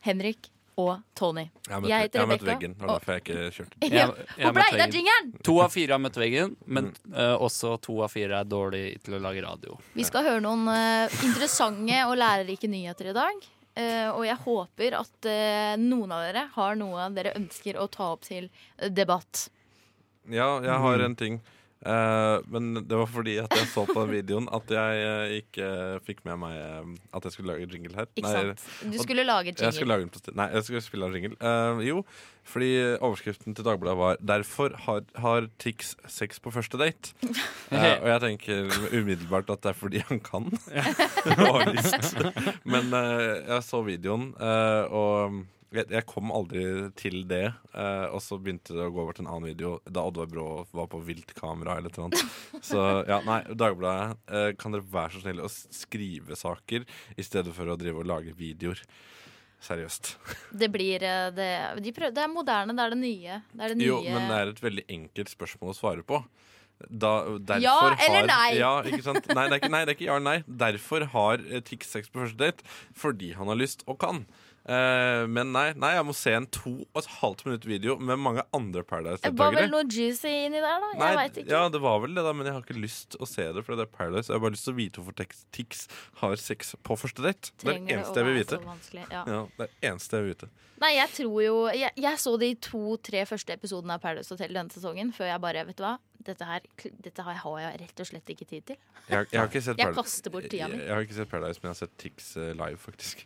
Speaker 4: Henrik og Tony.
Speaker 5: Jeg har møtt-
Speaker 4: Jeg heter
Speaker 5: jeg har møtt
Speaker 4: Rebecca,
Speaker 5: veggen. Det
Speaker 4: og-
Speaker 5: var derfor jeg ikke kjørte.
Speaker 2: Jeg-
Speaker 4: Ja,
Speaker 2: jeg
Speaker 4: Hvor
Speaker 2: møtte
Speaker 4: blei det av
Speaker 2: veggen.
Speaker 4: jingeren?
Speaker 2: To av fire har møtt veggen, men eh, også to av fire er dårlig til å lage radio.
Speaker 4: Vi skal høre noen eh, interessante og lærerike nyheter i dag. Eh, og jeg håper at eh, noen av dere har noe dere ønsker å ta opp til debatt.
Speaker 5: Ja, jeg har en ting. Eh, men det var fordi at jeg så på den videoen at jeg eh, ikke eh, fikk med meg eh, at jeg skulle lage jingle her.
Speaker 4: Ikke
Speaker 5: Nei,
Speaker 4: sant? Du skulle lage
Speaker 5: Jeg skulle
Speaker 4: jingle.
Speaker 5: lage den på sti- Nei, jeg skulle spille en jingle. Eh, jo, fordi overskriften til Dagbladet var 'Derfor har, har Tix sex på første date'. Eh, og jeg tenker umiddelbart at det er fordi han kan. og har lyst. Men eh, jeg så videoen, eh, og jeg, jeg kom aldri til det. eh, og så begynte det å gå over til en annen video da Oddvar Brå var på viltkamera eller et eller annet. Så ja, nei, Dagbladet, eh, kan dere være så snille å s- skrive saker i stedet for å drive og lage videoer? Seriøst.
Speaker 4: Det blir eh, det, de prøv, det er moderne, det er det nye. Det er det nye.
Speaker 5: Jo, men eh, det er et veldig enkelt spørsmål å svare på. Da, derfor
Speaker 4: Ja eller
Speaker 5: har,
Speaker 4: nei?
Speaker 5: Ja, ikke sant? Nei, det er ikke, nei, det er ikke ja eller nei. Derfor har eh, Tix sex på første date. Fordi han har lyst og kan. Eh, men nei, nei, jeg må se en to og et halvt minutt video med mange andre
Speaker 4: Det var vel
Speaker 5: Paradise-deltakere.
Speaker 4: Eh, noe juicy inni der, da?
Speaker 5: Nei,
Speaker 4: Jeg veit ikke.
Speaker 5: ja, det var vel det, da, men jeg har ikke lyst å se det, for det er Paradise. Jeg har bare lyst til å vite hvorfor Tix- Tix har sex på første date. Det er
Speaker 4: Trenger
Speaker 5: det
Speaker 4: å
Speaker 5: eneste jeg vil
Speaker 4: være
Speaker 5: vite.
Speaker 4: så vanskelig, Ja.
Speaker 5: Ja, det er det eneste jeg vil vite.
Speaker 4: Nei, jeg tror jo Jeg, jeg så de to-tre første episodene av Paradise Hotel denne sesongen før jeg bare Vet du hva? Dette her, dette her har jeg rett og slett ikke tid til.
Speaker 5: Jeg, jeg har ikke sett
Speaker 4: Jeg
Speaker 5: Paradise.
Speaker 4: kaster bort tida
Speaker 5: Jeg,
Speaker 4: mi.
Speaker 5: jeg har ikke sett Paradise, men jeg har sett Tix eh, live, faktisk.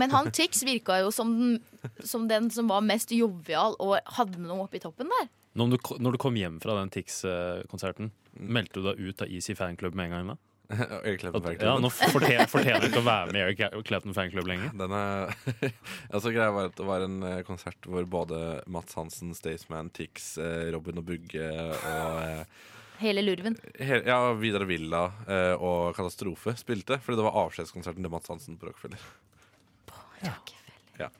Speaker 4: Men han Tix virka jo som den, som den som var mest jovial og hadde noe oppi toppen der.
Speaker 6: Når du, ko- når du kom hjem fra den Tix-konserten, meldte du deg ut av Easy fanklubb med en gang? da?
Speaker 5: Erik Kleppen
Speaker 6: At,
Speaker 5: Franklin.
Speaker 6: ja, nå fortjener, fortjener du ikke å være med i Eric Clapton fanklubb lenger.
Speaker 5: Den er altså, greia var at Det var en eh, konsert hvor både Mats Hansen, Staysman, Tix, eh, Robin og Bugge og eh,
Speaker 4: Hele lurven.
Speaker 5: Hele, ja, Vidar Villa eh, og Katastrofe spilte, fordi det var avskjedskonserten til Mads Hansen på Rockefeller. Ja.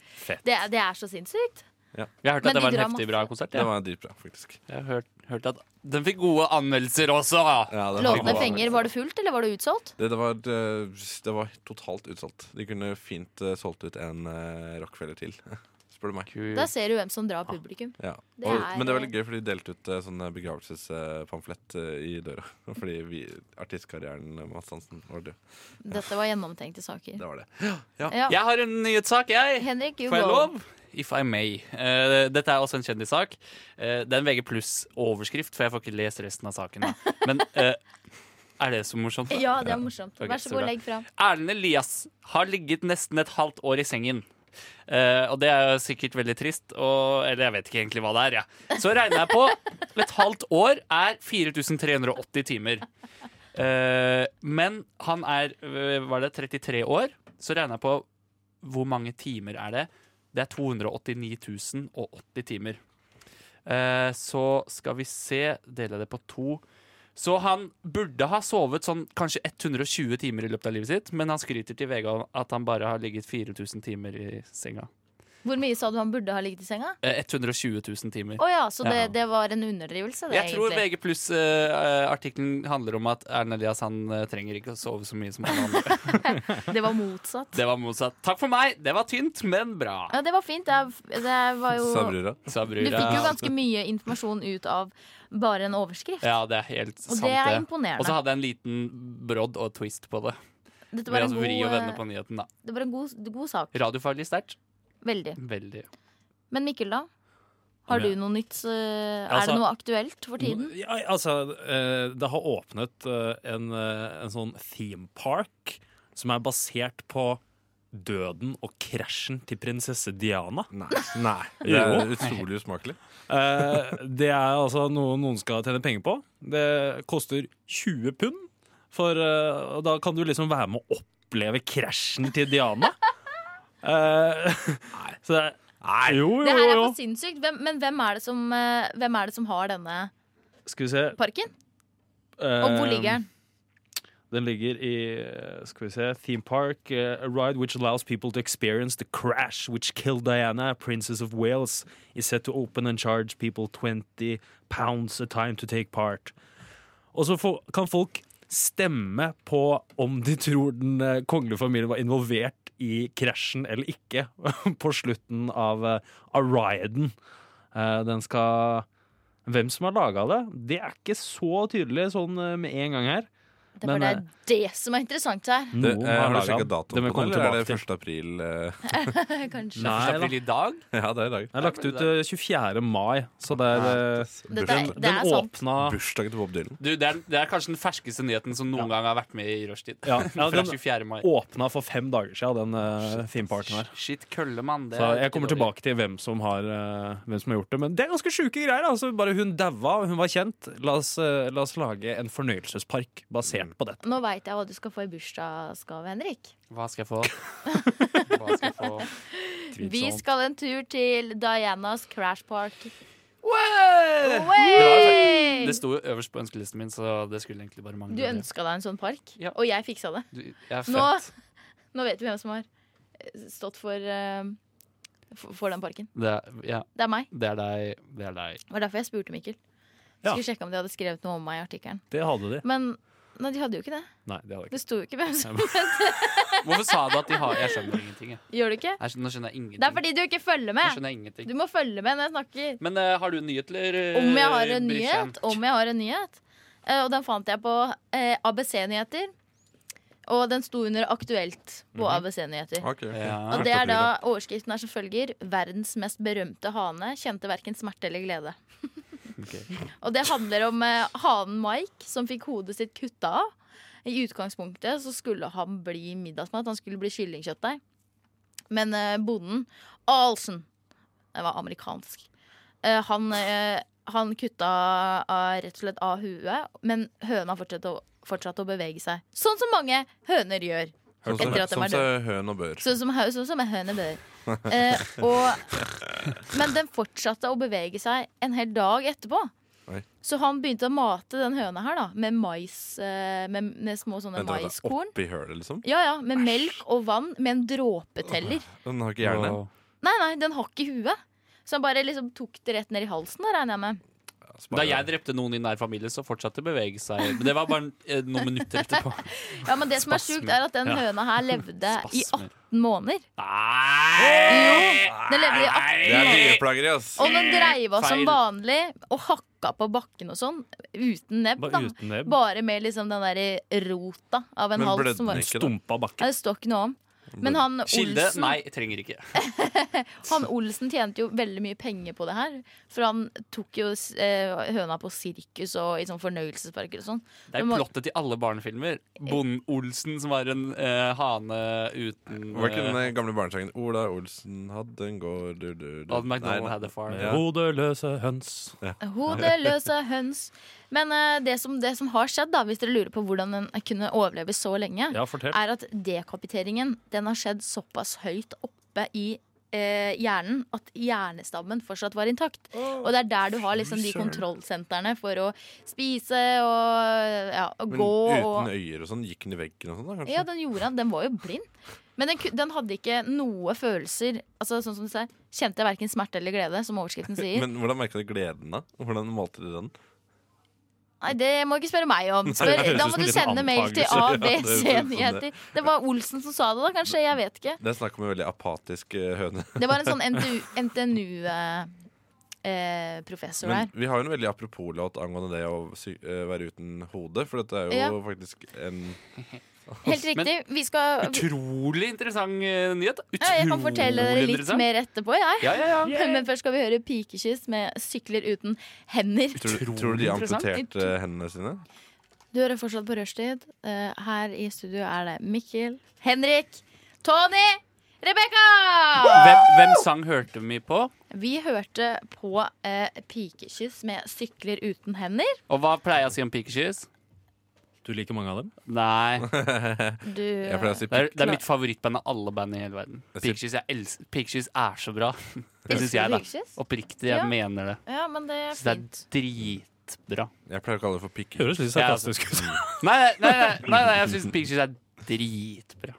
Speaker 4: Det, er- det er så sinnssykt.
Speaker 2: Jeg hørte
Speaker 4: Men
Speaker 2: at det
Speaker 4: de
Speaker 2: var en
Speaker 4: drar
Speaker 2: heftig
Speaker 4: masse.
Speaker 2: bra konsert.
Speaker 5: Det
Speaker 2: Ja.
Speaker 5: var dritbra, faktisk.
Speaker 2: Jeg hørte, hørte at Den fikk gode anmeldelser også!
Speaker 5: Ja, det var-
Speaker 4: Låtene fenger. Var det fullt, eller var det utsolgt?
Speaker 5: Det, det, var, eh, det var totalt utsolgt. De kunne fint eh, solgt ut en eh, Rockefeller til, spør du meg.
Speaker 2: Kul.
Speaker 4: Da ser du hvem som drar publikum.
Speaker 5: Ja.
Speaker 4: Det
Speaker 5: og,
Speaker 4: er-
Speaker 5: men det var litt gøy, for de delte ut eh, sånne begravelsespamflett eh, i døra. Fordi vi, artistkarrieren eh, Mads Hansen var død.
Speaker 4: Dette var gjennomtenkte saker.
Speaker 5: Det var det.
Speaker 4: Ja.
Speaker 2: Jeg har en nyhetssak, jeg.
Speaker 4: Henrik, you
Speaker 2: Får jeg
Speaker 4: go.
Speaker 2: lov? If I may. Eh, dette er også en kjendissak. Eh, det er en VG pluss-overskrift, for jeg får ikke lest resten av saken. Da. Men eh, er det så morsomt?
Speaker 4: Ja, det er morsomt.
Speaker 2: Ok,
Speaker 4: Vær så
Speaker 2: så
Speaker 4: god,
Speaker 2: bra.
Speaker 4: legg fram.
Speaker 2: Erlend Elias har ligget nesten et halvt år i sengen. Eh, og det er jo sikkert veldig trist, og, eller jeg vet ikke egentlig hva det er. Ja. Så regner jeg på et halvt år er 4380 timer. Eh, men han er eh, var det 33 år. Så regner jeg på hvor mange timer er det. Det er 289 080 timer. Eh, så skal vi se Deler jeg det på to. Så han burde ha sovet sånn kanskje 120 timer i løpet av livet sitt, men han skryter til VG om at han bare har ligget 4000 timer i senga.
Speaker 4: Hvor mye sa du han burde ha ligget i senga?
Speaker 2: Eh, 120 000 timer.
Speaker 4: Å ja, så det,
Speaker 2: Ja.
Speaker 4: det var en underdrivelse, det,
Speaker 2: Jeg tror
Speaker 4: egentlig.
Speaker 2: VG pluss-artikkelen handler om at Erlend Elias han eh, trenger ikke å sove så mye som alle andre.
Speaker 4: Det var motsatt.
Speaker 2: Det var motsatt. Takk for meg! Det var tynt, men bra.
Speaker 4: Ja, det var fint. Det, er- det var jo
Speaker 5: Sa brura.
Speaker 2: Sa
Speaker 4: Du
Speaker 2: brura.
Speaker 4: fikk jo ganske mye informasjon ut av bare en overskrift.
Speaker 2: Ja, det er helt
Speaker 4: Og
Speaker 2: sant,
Speaker 4: det er
Speaker 2: Og så
Speaker 4: imponerende.
Speaker 2: hadde jeg en liten brodd og twist på det.
Speaker 4: Dette
Speaker 2: Ved
Speaker 4: var
Speaker 2: å
Speaker 4: en god,
Speaker 2: vri og vende
Speaker 4: eh,
Speaker 2: på nyheten, da.
Speaker 4: det var en god, god sak.
Speaker 2: Radiofaglig sterkt.
Speaker 4: Veldig.
Speaker 2: Veldig.
Speaker 4: Men Mikkel, da? Har du noe nytt? eh, Er
Speaker 6: Altså-
Speaker 4: det noe aktuelt for tiden?
Speaker 6: Ja, altså, eh, det har åpnet eh, en, eh, en sånn theme park som er basert på døden og krasjen til prinsesse Diana.
Speaker 5: Nei. Nei. Det
Speaker 6: Jo.
Speaker 5: er utrolig usmakelig.
Speaker 6: Eh, det er altså noe noen skal tjene penger på. Det koster 20 pund. For eh, og da kan du liksom være med å oppleve krasjen til Diana. Eh, så det er Nei, jo, jo,
Speaker 4: Det her er
Speaker 6: jo.
Speaker 4: for sinnssykt. Hvem, men hvem er, det som, eh, hvem er det som har denne
Speaker 6: Skal vi se.
Speaker 4: parken?
Speaker 6: eh,
Speaker 4: Og hvor ligger den?
Speaker 6: Den ligger i eh, skal vi se, Theme Park. eh, a ride which allows people to experience the crash which killed Diana, Princess of Wales, is set to open and charge people 20 pounds a time to take part. Og så få- kan folk stemme på om de tror den eh, kongelige familien var involvert i krasjen eller ikke på slutten av, eh, av riden. Eh, Den skal Hvem som har laga det, det er ikke så tydelig sånn eh, med en gang her.
Speaker 4: Det, var
Speaker 6: men,
Speaker 4: det er det som er interessant her.
Speaker 5: Det,
Speaker 6: Noen
Speaker 5: eh, har du
Speaker 6: laget
Speaker 5: sjekket
Speaker 6: den. Det
Speaker 5: datoen
Speaker 6: må
Speaker 5: på
Speaker 6: jeg
Speaker 5: den, eller
Speaker 6: komme
Speaker 5: er det
Speaker 6: tilbake
Speaker 5: 1. april? eh?
Speaker 4: Kanskje.
Speaker 2: Første
Speaker 6: Nei, da.
Speaker 2: april i dag.
Speaker 5: Ja, det er i dag.
Speaker 6: Den er lagt ut eh, 24. mai, så det er eh,
Speaker 4: Dette
Speaker 5: Bursdagen-
Speaker 4: er, det
Speaker 6: Den
Speaker 4: er sånn. sant.
Speaker 6: åpna
Speaker 5: Bursdagen til Bob Dylan.
Speaker 2: Du, det, er, det er kanskje den ferskeste nyheten som noen gang har vært med i rushtid.
Speaker 6: ja, ja,
Speaker 2: Fra
Speaker 6: den
Speaker 2: 24. mai.
Speaker 6: åpna for fem dager siden, den uh, themeparken her.
Speaker 2: Shit, køllemann. det
Speaker 6: Så
Speaker 2: er
Speaker 6: jeg
Speaker 2: ikke
Speaker 6: kommer
Speaker 2: dårlig.
Speaker 6: tilbake til hvem som har, eh, hvem som har gjort det. Men det er ganske sjuke greier. Altså, bare hun daua, hun var kjent. La oss, eh, la oss lage en fornøyelsespark basert på dette.
Speaker 4: Nå veit jeg hva du skal få i bursdagsgave, Henrik.
Speaker 2: Hva skal jeg få? Hva skal jeg få?
Speaker 4: Vi skal en tur til Dianas Crash Park.
Speaker 2: Wow!
Speaker 4: Way!
Speaker 2: Det sto jo øverst på ønskelisten min, så det skulle egentlig bare mangle.
Speaker 4: Du ønska deg en sånn park,
Speaker 2: Ja.
Speaker 4: og jeg fiksa det.
Speaker 2: Du- Jeg er født.
Speaker 4: Nå, nå vet vi hvem som har stått for, eh, for, for den parken.
Speaker 2: Det er, ja,
Speaker 4: Det er meg.
Speaker 2: det er deg. Det er deg.
Speaker 4: Det var derfor jeg spurte Mikkel.
Speaker 6: Ja.
Speaker 4: Skulle sjekke om de hadde skrevet noe om meg i artikkelen.
Speaker 6: Det hadde de.
Speaker 4: Men nei, de hadde jo ikke det.
Speaker 6: Nei, det hadde de ikke.
Speaker 4: Det sto jo ikke hvem som
Speaker 2: Hvorfor sa du at de har Jeg skjønner ingenting. Jeg.
Speaker 4: Gjør du ikke?
Speaker 2: Jeg skjønner, nå skjønner jeg ingenting.
Speaker 4: Det er fordi du ikke følger
Speaker 2: Nå
Speaker 4: med.
Speaker 2: skjønner jeg ingenting.
Speaker 4: Du må følge med når jeg snakker.
Speaker 2: Men eh, har du en nyhet, eller? eh,
Speaker 4: Om jeg har en
Speaker 2: Brisjan?
Speaker 4: nyhet. Om jeg har en nyhet. Eh, og den fant jeg på eh, ABC-nyheter. Og den sto under Aktuelt på
Speaker 2: Mhm.
Speaker 4: ABC-nyheter.
Speaker 5: Ok, ok.
Speaker 2: Ja.
Speaker 4: Og det er
Speaker 5: Aktuelt,
Speaker 4: da
Speaker 5: ja.
Speaker 4: overskriften er som følger Verdens mest berømte hane kjente hverken smerte eller glede. Og det handler om eh, hanen Mike som fikk hodet sitt kutta av. I utgangspunktet så skulle han bli middagsmat, han skulle bli kyllingkjøttdeig. Men eh, bonden, Alsen, det var amerikansk, eh, han, eh, han kutta av, rett og slett av huet, men høna fortsatte å, fortsatte å bevege seg. Sånn som mange høner gjør.
Speaker 5: Sånn som-
Speaker 4: Etter at de
Speaker 5: Sånn
Speaker 4: er
Speaker 5: som høn og bør.
Speaker 4: Sånn som, hø- sånn som en høne bør. Eh, og, men den fortsatte å bevege seg en hel dag etterpå.
Speaker 5: Oi.
Speaker 4: Så han begynte å mate den høna her da med mais, eh, med, med små sånne
Speaker 5: Vent, vent, da.
Speaker 4: maiskorn.
Speaker 5: Oppi hølet, liksom?
Speaker 4: Ja, ja, Med melk og vann med en dråpeteller.
Speaker 5: Den har ikke hjerne.
Speaker 4: Nei, nei, den har ikke huet. Så han bare liksom tok det rett ned i halsen, da, regner jeg med.
Speaker 5: Spar
Speaker 2: Da
Speaker 5: det.
Speaker 2: jeg drepte noen i nær familie, så fortsatte å bevege seg. Men det var bare eh, noen minutter etterpå.
Speaker 4: Ja, Men det som er sjukt, er at den
Speaker 2: Ja.
Speaker 4: høna her levde i
Speaker 2: Spasmer.
Speaker 4: 18 måneder.
Speaker 2: Nei!
Speaker 4: Den levde i 18
Speaker 5: Det er dyreplageri, ass.
Speaker 4: Og den dreiva som
Speaker 2: Feil.
Speaker 4: vanlig og hakka på bakken og sånn, uten nebb.
Speaker 6: Bare
Speaker 4: da
Speaker 6: uten nebb.
Speaker 4: Bare med liksom den der rota av en
Speaker 5: Men
Speaker 4: hals.
Speaker 5: blødde
Speaker 4: Som var,
Speaker 5: den ikke, da?
Speaker 6: Stumpa bakken.
Speaker 4: Nei, det står ikke noe om. Men han
Speaker 2: Kilde?
Speaker 4: Olsen,
Speaker 2: Nei, trenger ikke.
Speaker 4: han Olsen tjente jo veldig mye penger på det her. For han tok jo eh, høna på sirkus og i sånn fornøyelsesparker og sånn.
Speaker 2: Det er
Speaker 4: Men må- Eh.
Speaker 2: plottet til alle barnefilmer. Bonden Olsen som var en eh, hane uten
Speaker 5: Var ikke den
Speaker 2: eh,
Speaker 5: eh, gamle barnesangen Ola Olsen hadde en gård du, du, du.
Speaker 2: Odd
Speaker 5: Nei,
Speaker 2: MacDonald
Speaker 5: nei.
Speaker 2: had a farm.
Speaker 5: Ja.
Speaker 6: Hodeløse høns.
Speaker 4: Hodeløse høns. Men eh, det, som, det som har skjedd, da, hvis dere lurer på hvordan den kunne overleve så lenge,
Speaker 6: Ja, fortell.
Speaker 4: er at dekapiteringen den har skjedd såpass høyt oppe i eh, hjernen at hjernestammen fortsatt var intakt. Og det er der du har liksom de
Speaker 5: fy søren.
Speaker 4: kontrollsentrene for å spise og, ja, og
Speaker 5: Men
Speaker 4: gå
Speaker 5: uten
Speaker 4: og
Speaker 5: øyer og sånn, gikk den i veggen og sånn da, kanskje?
Speaker 4: ja, den gjorde han. Den var jo blind. Men den, ku- den hadde ikke noe følelser. Altså, sånn som du sier, Kjente jeg verken smerte eller glede, som overskriften sier.
Speaker 5: Men hvordan merka du gleden, da? Hvordan malte du den?
Speaker 4: Nei, det må du ikke spørre meg om. Spør,
Speaker 6: høres
Speaker 4: da
Speaker 6: ut
Speaker 4: må
Speaker 6: som
Speaker 4: du
Speaker 6: en
Speaker 4: sende mail til
Speaker 5: antagelse. Ja, det høres ut som det.
Speaker 4: ABC-nyheter. Det var Olsen som sa det, da, kanskje. Jeg vet ikke.
Speaker 5: Det er snakk om en veldig apatisk eh, høne.
Speaker 4: Det var en sånn NTNU-professor
Speaker 5: Men
Speaker 4: eh, her.
Speaker 5: vi har jo en veldig apropos-låt angående det å sy eh, være uten hode, for dette er jo
Speaker 4: Ja.
Speaker 5: faktisk en
Speaker 4: Helt riktig. Vi skal
Speaker 2: Utrolig interessant eh, nyhet.
Speaker 4: ja,
Speaker 2: Utrolig
Speaker 4: Jeg kan fortelle dere litt
Speaker 2: interessant.
Speaker 4: mer etterpå, jeg.
Speaker 2: Ja, ja, ja.
Speaker 4: Men først skal vi høre 'Pikekyss' med 'Sykler uten hender'.
Speaker 5: Tror, du- tror du de amputerte eh, hendene sine?
Speaker 4: Du hører fortsatt på Rushtid. Eh, her i studio er det Mikkel, Henrik, Tony, Rebekka!
Speaker 2: Hvem, hvem sang hørte vi på?
Speaker 4: Vi hørte på eh, 'Pikekyss' med 'Sykler uten hender'.
Speaker 2: Og hva pleier jeg å si om pikekyss?
Speaker 6: Du liker mange av dem?
Speaker 2: Nei.
Speaker 4: Du, eh,
Speaker 5: Jeg pleier å si
Speaker 2: Det er, det er
Speaker 4: Klar.
Speaker 2: mitt favorittband av alle band i hele verden.
Speaker 5: Jeg sier-
Speaker 2: Pikekyss jeg elsker- Pikekyss er så bra. Det
Speaker 4: Elsker
Speaker 2: syns jeg, da.
Speaker 4: Pikekyss?
Speaker 2: Oppriktig. Jeg
Speaker 4: Ja.
Speaker 2: mener det.
Speaker 4: Ja, men det er
Speaker 2: Så det
Speaker 4: fint.
Speaker 2: er dritbra.
Speaker 5: Jeg pleier å kalle det for pikk.
Speaker 6: Høres litt
Speaker 2: Ja,
Speaker 4: altså.
Speaker 6: sarkastisk ut.
Speaker 2: Nei, nei, nei, nei, nei jeg syns Pikekyss er dritbra.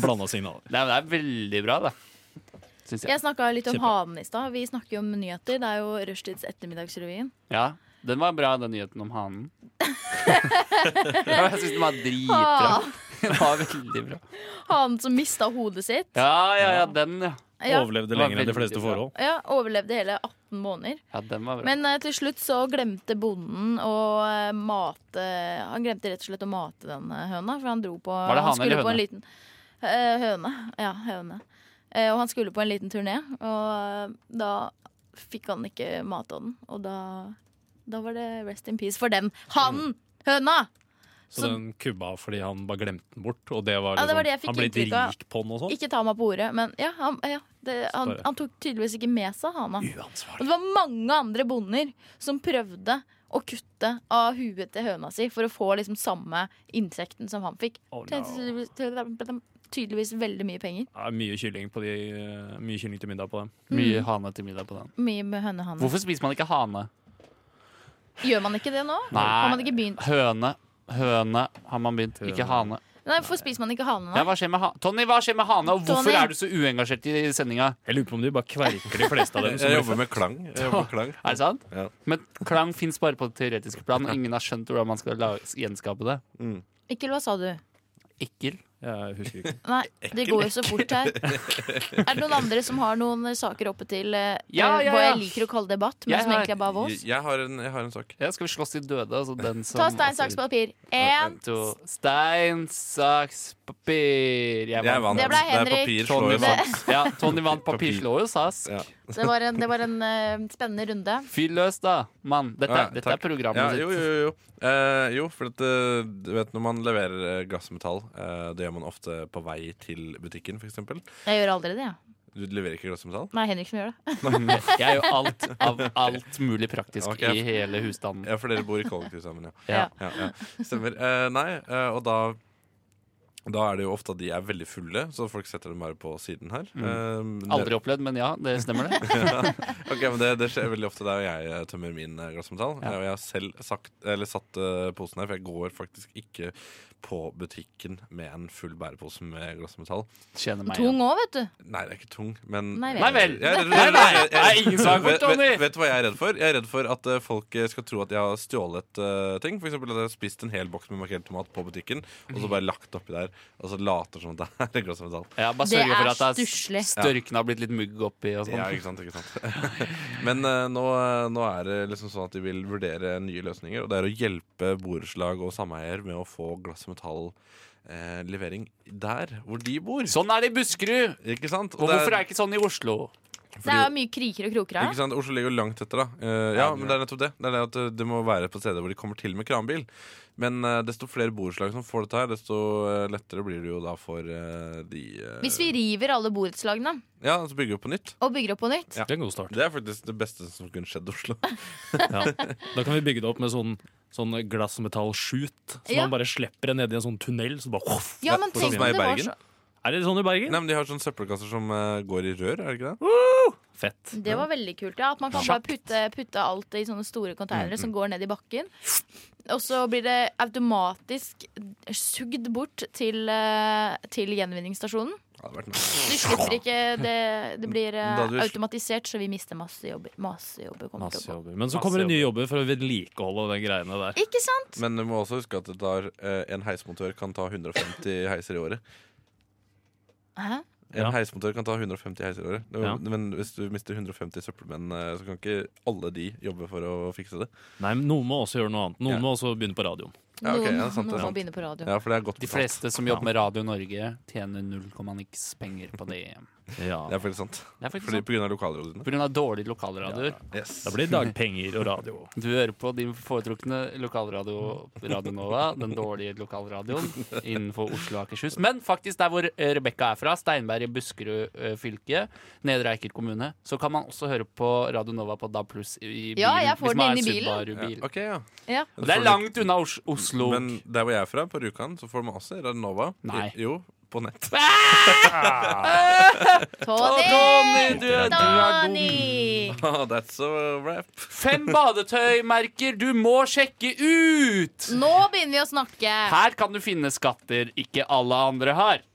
Speaker 6: Blanda signaler.
Speaker 2: Nei, men det er veldig bra, da. Syns jeg.
Speaker 4: Jeg snakka litt om
Speaker 6: Kjempe.
Speaker 4: hanen i stad. Vi snakker jo om nyheter. Det er jo Rushtids Ettermiddagsrevyen.
Speaker 2: Ja, den var bra, den nyheten om hanen. jeg syns den var dritbra.
Speaker 4: Ah,
Speaker 2: Den var veldig bra.
Speaker 4: hanen som mista hodet sitt.
Speaker 2: Ja, ja, ja, den, ja.
Speaker 4: Ja,
Speaker 6: Overlevde
Speaker 2: Det var
Speaker 6: lenger enn de
Speaker 2: veldig
Speaker 6: fleste
Speaker 2: bra.
Speaker 6: forhold.
Speaker 4: ja, overlevde hele 18 måneder.
Speaker 2: ja den var bra.
Speaker 4: Men eh, til slutt så glemte bonden å eh, mate Han glemte rett og slett å mate den eh, høna, for han dro på
Speaker 2: det hane
Speaker 4: han skulle
Speaker 2: eller
Speaker 4: på en liten eh, Høne. Ja, høne. Eh, og han skulle på en liten turné, og eh, da fikk han ikke mata den. Og da, da var det rest in peace for den. Han! Høna!
Speaker 6: Så
Speaker 4: Så-
Speaker 6: den kubba fordi han bare glemte den bort. Og det var
Speaker 4: Ja,
Speaker 6: liksom,
Speaker 4: det var det jeg fikk
Speaker 6: han ble
Speaker 4: inntrykk av.
Speaker 6: rik på den og sånn.
Speaker 4: Ikke ta meg på ordet, men ja, han, ja, det, han,
Speaker 6: Bare-
Speaker 4: han tok tydeligvis ikke med seg hana. Og
Speaker 6: Uansvarlig.
Speaker 4: det var mange andre bonder som prøvde å kutte av huet til høna si for å få liksom samme insekten som han fikk.
Speaker 6: Oh, no.
Speaker 4: Tjente tydeligvis, tydeligvis veldig mye penger.
Speaker 6: Ja, mye, kylling på de, mye kylling til middag på dem.
Speaker 2: Mye hane til middag på den.
Speaker 4: Mye med hønehanne.
Speaker 2: Hvorfor spiser man ikke hane?
Speaker 4: Gjør man ikke det nå?
Speaker 2: Nei.
Speaker 4: Har man ikke begynt?
Speaker 2: Høne. Høne har man begynt, ikke hane.
Speaker 4: Nei, Hvorfor spiser man ikke hane
Speaker 2: Ja,
Speaker 4: nå?
Speaker 2: hva skjer med ha Tony, hva skjer med hane? Og hvorfor
Speaker 4: Tony.
Speaker 2: er du så uengasjert i sendinga?
Speaker 6: Jeg lurer på om de bare kverker de fleste av dem. som liksom-
Speaker 5: Jeg
Speaker 6: blir
Speaker 5: jobber med klang. Jeg jobber med klang.
Speaker 2: Er det sant?
Speaker 5: Ja.
Speaker 2: Men klang fins bare på det teoretiske plan, og ingen har skjønt hvordan man skal la- gjenskape det.
Speaker 4: Ikke hva sa du?
Speaker 2: Ekkel.
Speaker 6: født. Jeg husker ikke.
Speaker 4: Nei, det går jo så fort her. Er det noen andre som har noen eh, saker oppe til eh,
Speaker 2: Ja,
Speaker 4: eh,
Speaker 2: ja,
Speaker 4: hva
Speaker 2: ja.
Speaker 4: jeg liker å kalle debatt, men
Speaker 2: Jeg
Speaker 4: som
Speaker 2: har-
Speaker 4: egentlig er bare
Speaker 5: Jeg,
Speaker 4: vås?
Speaker 5: jeg, har en, jeg har en sak.
Speaker 2: Ja, skal vi slåss til døde? Altså den som Altså,
Speaker 4: Ta stein, saks, papir. Én.
Speaker 2: To. Stein, saks, papir. Jeg
Speaker 5: Jeg
Speaker 2: vant.
Speaker 5: vant.
Speaker 4: Det ble
Speaker 5: Det er
Speaker 4: Henrik.
Speaker 5: papir, slår sånn.
Speaker 2: Tony
Speaker 5: jo sant.
Speaker 2: vant. Ja, Tony vant. Papir slår jo sask.
Speaker 5: Ja.
Speaker 4: Det var en, det var en eh, spennende runde.
Speaker 2: Fyr løs, da, mann. Dette,
Speaker 5: Ja,
Speaker 2: dette
Speaker 5: takk.
Speaker 2: er programmet
Speaker 5: Ja,
Speaker 2: sitt.
Speaker 5: jo, jo, jo. Eh, jo, for at, eh, du vet når man leverer eh, glassmetall, eh, det gjør man ofte på vei til butikken, f.eks.
Speaker 4: Jeg gjør aldri det, jeg. Ja.
Speaker 5: Du leverer ikke glassmetall?
Speaker 4: Nei, Henrik som gjør det.
Speaker 2: Jeg gjør alt av alt mulig praktisk
Speaker 5: Ok.
Speaker 2: i hele husstanden.
Speaker 5: Ja, for dere bor i kollektiv sammen, ja.
Speaker 2: Ja.
Speaker 5: ja, ja. Stemmer. Eh, nei, eh, og da Da er det jo ofte at de er veldig fulle, så folk setter dem bare på siden her. Eh,
Speaker 2: Mm. Aldri opplevd, men ja, det stemmer det.
Speaker 5: Ok, men det, det skjer veldig ofte der jeg eh, tømmer min eh, glassmetall.
Speaker 2: Ja.
Speaker 5: Eh, Og jeg har selv sagt, eller satt eh, posen her, for jeg går faktisk ikke på butikken med en full bærepose med glassmetall.
Speaker 2: Kjenner meg
Speaker 4: Tung
Speaker 2: igjen.
Speaker 4: òg, vet du.
Speaker 5: Nei, det er ikke tung, men
Speaker 4: Nei vel.
Speaker 2: Nei vel.
Speaker 5: Jeg er redd-
Speaker 2: Nei, nei, det er ingen sak for
Speaker 5: Vet- vet-
Speaker 2: Tony.
Speaker 5: Vet du hva jeg er redd for? Jeg er redd for at eh, folk eh, skal tro at jeg har stjålet eh, ting. For eksempel at jeg har spist en hel boks med markert tomat på butikken, og så bare lagt oppi der, og så later som at det er glassmetall.
Speaker 2: Ja, bare
Speaker 4: Det
Speaker 2: sørge for
Speaker 4: er
Speaker 2: at det
Speaker 4: stusslig.
Speaker 2: er størken har blitt litt mugg oppi
Speaker 5: Ja,
Speaker 2: og sånn.
Speaker 5: ikke sant, ikke sant. Men eh, nå, eh, nå er det liksom sånn at de vil vurdere nye løsninger, og det er å hjelpe borettslag og sameier med å få glass- og metall-levering der hvor de bor.
Speaker 2: Sånn er det i Buskerud!
Speaker 5: Ikke sant?
Speaker 2: Og hvorfor er det ikke sånn i Oslo?
Speaker 4: Det er jo mye kriker og kroker
Speaker 5: ikke
Speaker 4: her.
Speaker 5: sant? Oslo ligger jo langt etter, da. Eh, ja, men det er nettopp det. Det er det at eh, det må være på steder hvor de kommer til med kranbil. Men eh, desto flere borettslag som får dette her, desto eh, lettere blir det jo da for eh, de eh,
Speaker 4: Hvis vi river alle borettslagene
Speaker 5: Ja, så bygger vi på nytt.
Speaker 4: og bygger opp på nytt
Speaker 6: Det er en god start.
Speaker 5: Det er faktisk det beste som kunne skjedd Oslo.
Speaker 6: Ja. Da kan vi bygge det opp med sånn, sånn glassmetall-shoot. Så
Speaker 4: Ja.
Speaker 6: man bare slipper det ned i en sånn tunnel. Så bare,
Speaker 4: Ja, men
Speaker 5: Sånn
Speaker 4: tenk
Speaker 5: som
Speaker 4: om
Speaker 5: er i
Speaker 4: det var
Speaker 5: Bergen.
Speaker 4: så
Speaker 6: Er det sånn i Bergen?
Speaker 5: Nei, men De har sånne søppelkasser som eh, går i rør, er det ikke det?
Speaker 6: Fett.
Speaker 4: Det var veldig kult, ja. At man kan bare putte, putte alt i sånne store
Speaker 5: Mm,
Speaker 4: konteinere som går ned i bakken. Og så blir det automatisk sugd bort til, eh, til gjenvinningsstasjonen.
Speaker 5: Ja, det hadde vært nice.
Speaker 4: Du slipper ikke Det, det blir eh,
Speaker 5: Da du sl-
Speaker 4: automatisert, så vi mister masse jobber. Masse jobber kommer til å gå.
Speaker 6: Men så kommer det nye jobber for å vedlikeholde de greiene der.
Speaker 4: Ikke sant?
Speaker 5: Men du må også huske at det tar, eh, en heismontør kan ta 150 heiser i året.
Speaker 4: Hæ?
Speaker 5: En
Speaker 6: Ja.
Speaker 5: heismontør kan ta 150 heiser i året. Det var-
Speaker 6: Ja.
Speaker 5: Men hvis du mister 150 søppelmenn, eh, så kan ikke alle de jobbe for å fikse det.
Speaker 6: Nei, men Noen må også gjøre noe annet. Noen
Speaker 5: Ja.
Speaker 6: må også begynne på radioen.
Speaker 5: Ja, ok, ja, sant, det er
Speaker 4: Noen må
Speaker 5: sant.
Speaker 4: begynne på radio.
Speaker 5: Ja, for det er godt
Speaker 2: De
Speaker 5: betalt.
Speaker 2: fleste som jobber med Radio Norge, tjener null komma niks penger på det.
Speaker 6: Ja.
Speaker 5: Det er faktisk sant.
Speaker 2: Det er faktisk
Speaker 5: Fordi
Speaker 2: sånn.
Speaker 5: på grunn av lokalrådene.
Speaker 2: På grunn av dårlige lokalradioer.
Speaker 5: Yes.
Speaker 6: Da blir det dagpenger og radio.
Speaker 2: Du hører på din foretrukne lokalradio Radio Nova, den dårlige lokalradioen innenfor Oslo og Akershus. Men faktisk der hvor eh, Rebekka er fra, Steinberg i Buskerud eh, fylke, Nedre Eiker kommune, så kan man også høre på Radio Nova på DAB pluss i bilen.
Speaker 4: Ja, jeg får
Speaker 2: hvis
Speaker 4: den
Speaker 2: man har
Speaker 4: inn i
Speaker 2: en
Speaker 4: bilen.
Speaker 2: Subaru-bil.
Speaker 5: Ja, ok, ja.
Speaker 4: Ja.
Speaker 5: Men
Speaker 2: Det
Speaker 5: får
Speaker 2: er
Speaker 5: du-
Speaker 2: langt unna Os Oslo.
Speaker 5: Men der hvor jeg er fra, på Rjukan, så får man også Radnova.
Speaker 2: Nei.
Speaker 5: I, jo, på nett.
Speaker 2: Å, Ronny,
Speaker 4: Tony!
Speaker 2: du, er- du er dum.
Speaker 4: Tony!
Speaker 5: Ah, That's a wrap.
Speaker 2: Fem badetøymerker du må sjekke ut!
Speaker 4: Nå begynner vi å snakke.
Speaker 2: Her kan du finne skatter ikke alle andre har.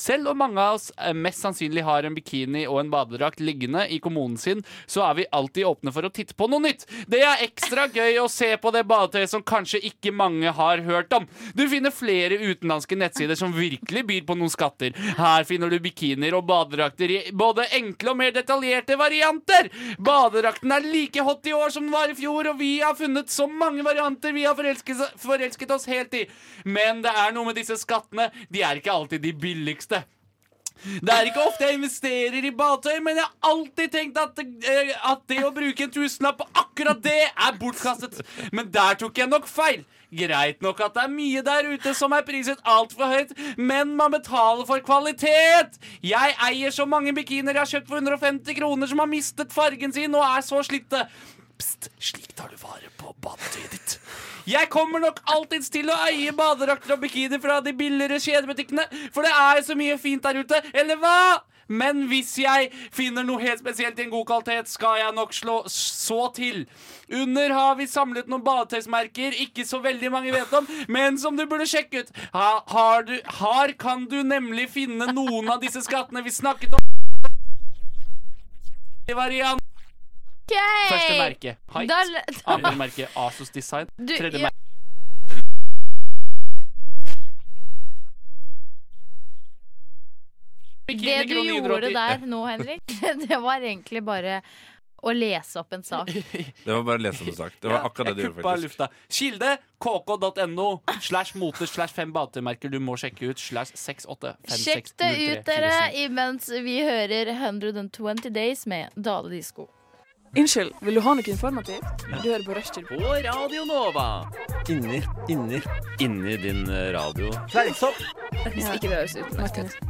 Speaker 2: Selv om mange av oss eh, mest sannsynlig har en bikini og en badedrakt liggende i kommunen sin, så er vi alltid åpne for å titte på noe nytt. Det er ekstra gøy å se på det badetøyet som kanskje ikke mange har hørt om. Du finner flere utenlandske nettsider som virkelig byr på noen skatter. Her finner du bikinier og badedrakter i både enkle og mer detaljerte varianter. Badedrakten er like hot i år som den var i fjor, og vi har funnet så mange varianter vi har forelsket, forelsket oss helt i. Men det er noe med disse skattene. De er ikke alltid de billigste. Det er ikke ofte jeg investerer i badetøy, men jeg har alltid tenkt at, eh, at det å bruke en tusenlapp på akkurat det er bortkastet. Men der tok jeg nok feil. Greit nok at det er mye der ute som er priset altfor høyt, men man betaler for kvalitet. Jeg eier så mange bikinier jeg har kjøpt for 150 kroner som har mistet fargen sin og er så slitte. Pst, slik tar du vare på badetøyet ditt. Jeg kommer nok alltids til å eie badedrakter og bikini fra de billigere kjedebutikkene, for det er så mye fint der ute, eller hva? Men hvis jeg finner noe helt spesielt i en god kvalitet, skal jeg nok slå så til. Under har vi samlet noen badetøysmerker ikke så veldig mange vet om, men som du burde sjekke ut. Ha, har du, her kan du nemlig finne noen av disse skattene vi snakket om. Variant.
Speaker 4: OK!
Speaker 2: Første merke. Height.
Speaker 4: Da l-
Speaker 2: Andre merke Asos Design.
Speaker 4: Du,
Speaker 2: Tredje
Speaker 4: ja.
Speaker 2: merke
Speaker 4: Det du
Speaker 2: Kronikk
Speaker 4: gjorde
Speaker 2: 180.
Speaker 4: der nå, Henrik, det var egentlig bare å lese opp en sak.
Speaker 5: Det var bare å lese om det sagt. Det var
Speaker 2: Ja,
Speaker 5: akkurat det
Speaker 2: jeg
Speaker 5: du gjorde,
Speaker 2: kuppa
Speaker 5: faktisk.
Speaker 2: lufta. Kilde kk.no slash mote slash fem batemerker du må sjekke ut slash 685
Speaker 4: Sjekk det ut, dere, imens vi hører 120 Days med Dale Disko.
Speaker 8: Unnskyld, vil du ha noe informativt? Du hører på Rushtid.
Speaker 7: På Radio Nova.
Speaker 9: Inni, inni, inni din eh, radio.
Speaker 8: Hvis ikke det høres utenlandsk ut.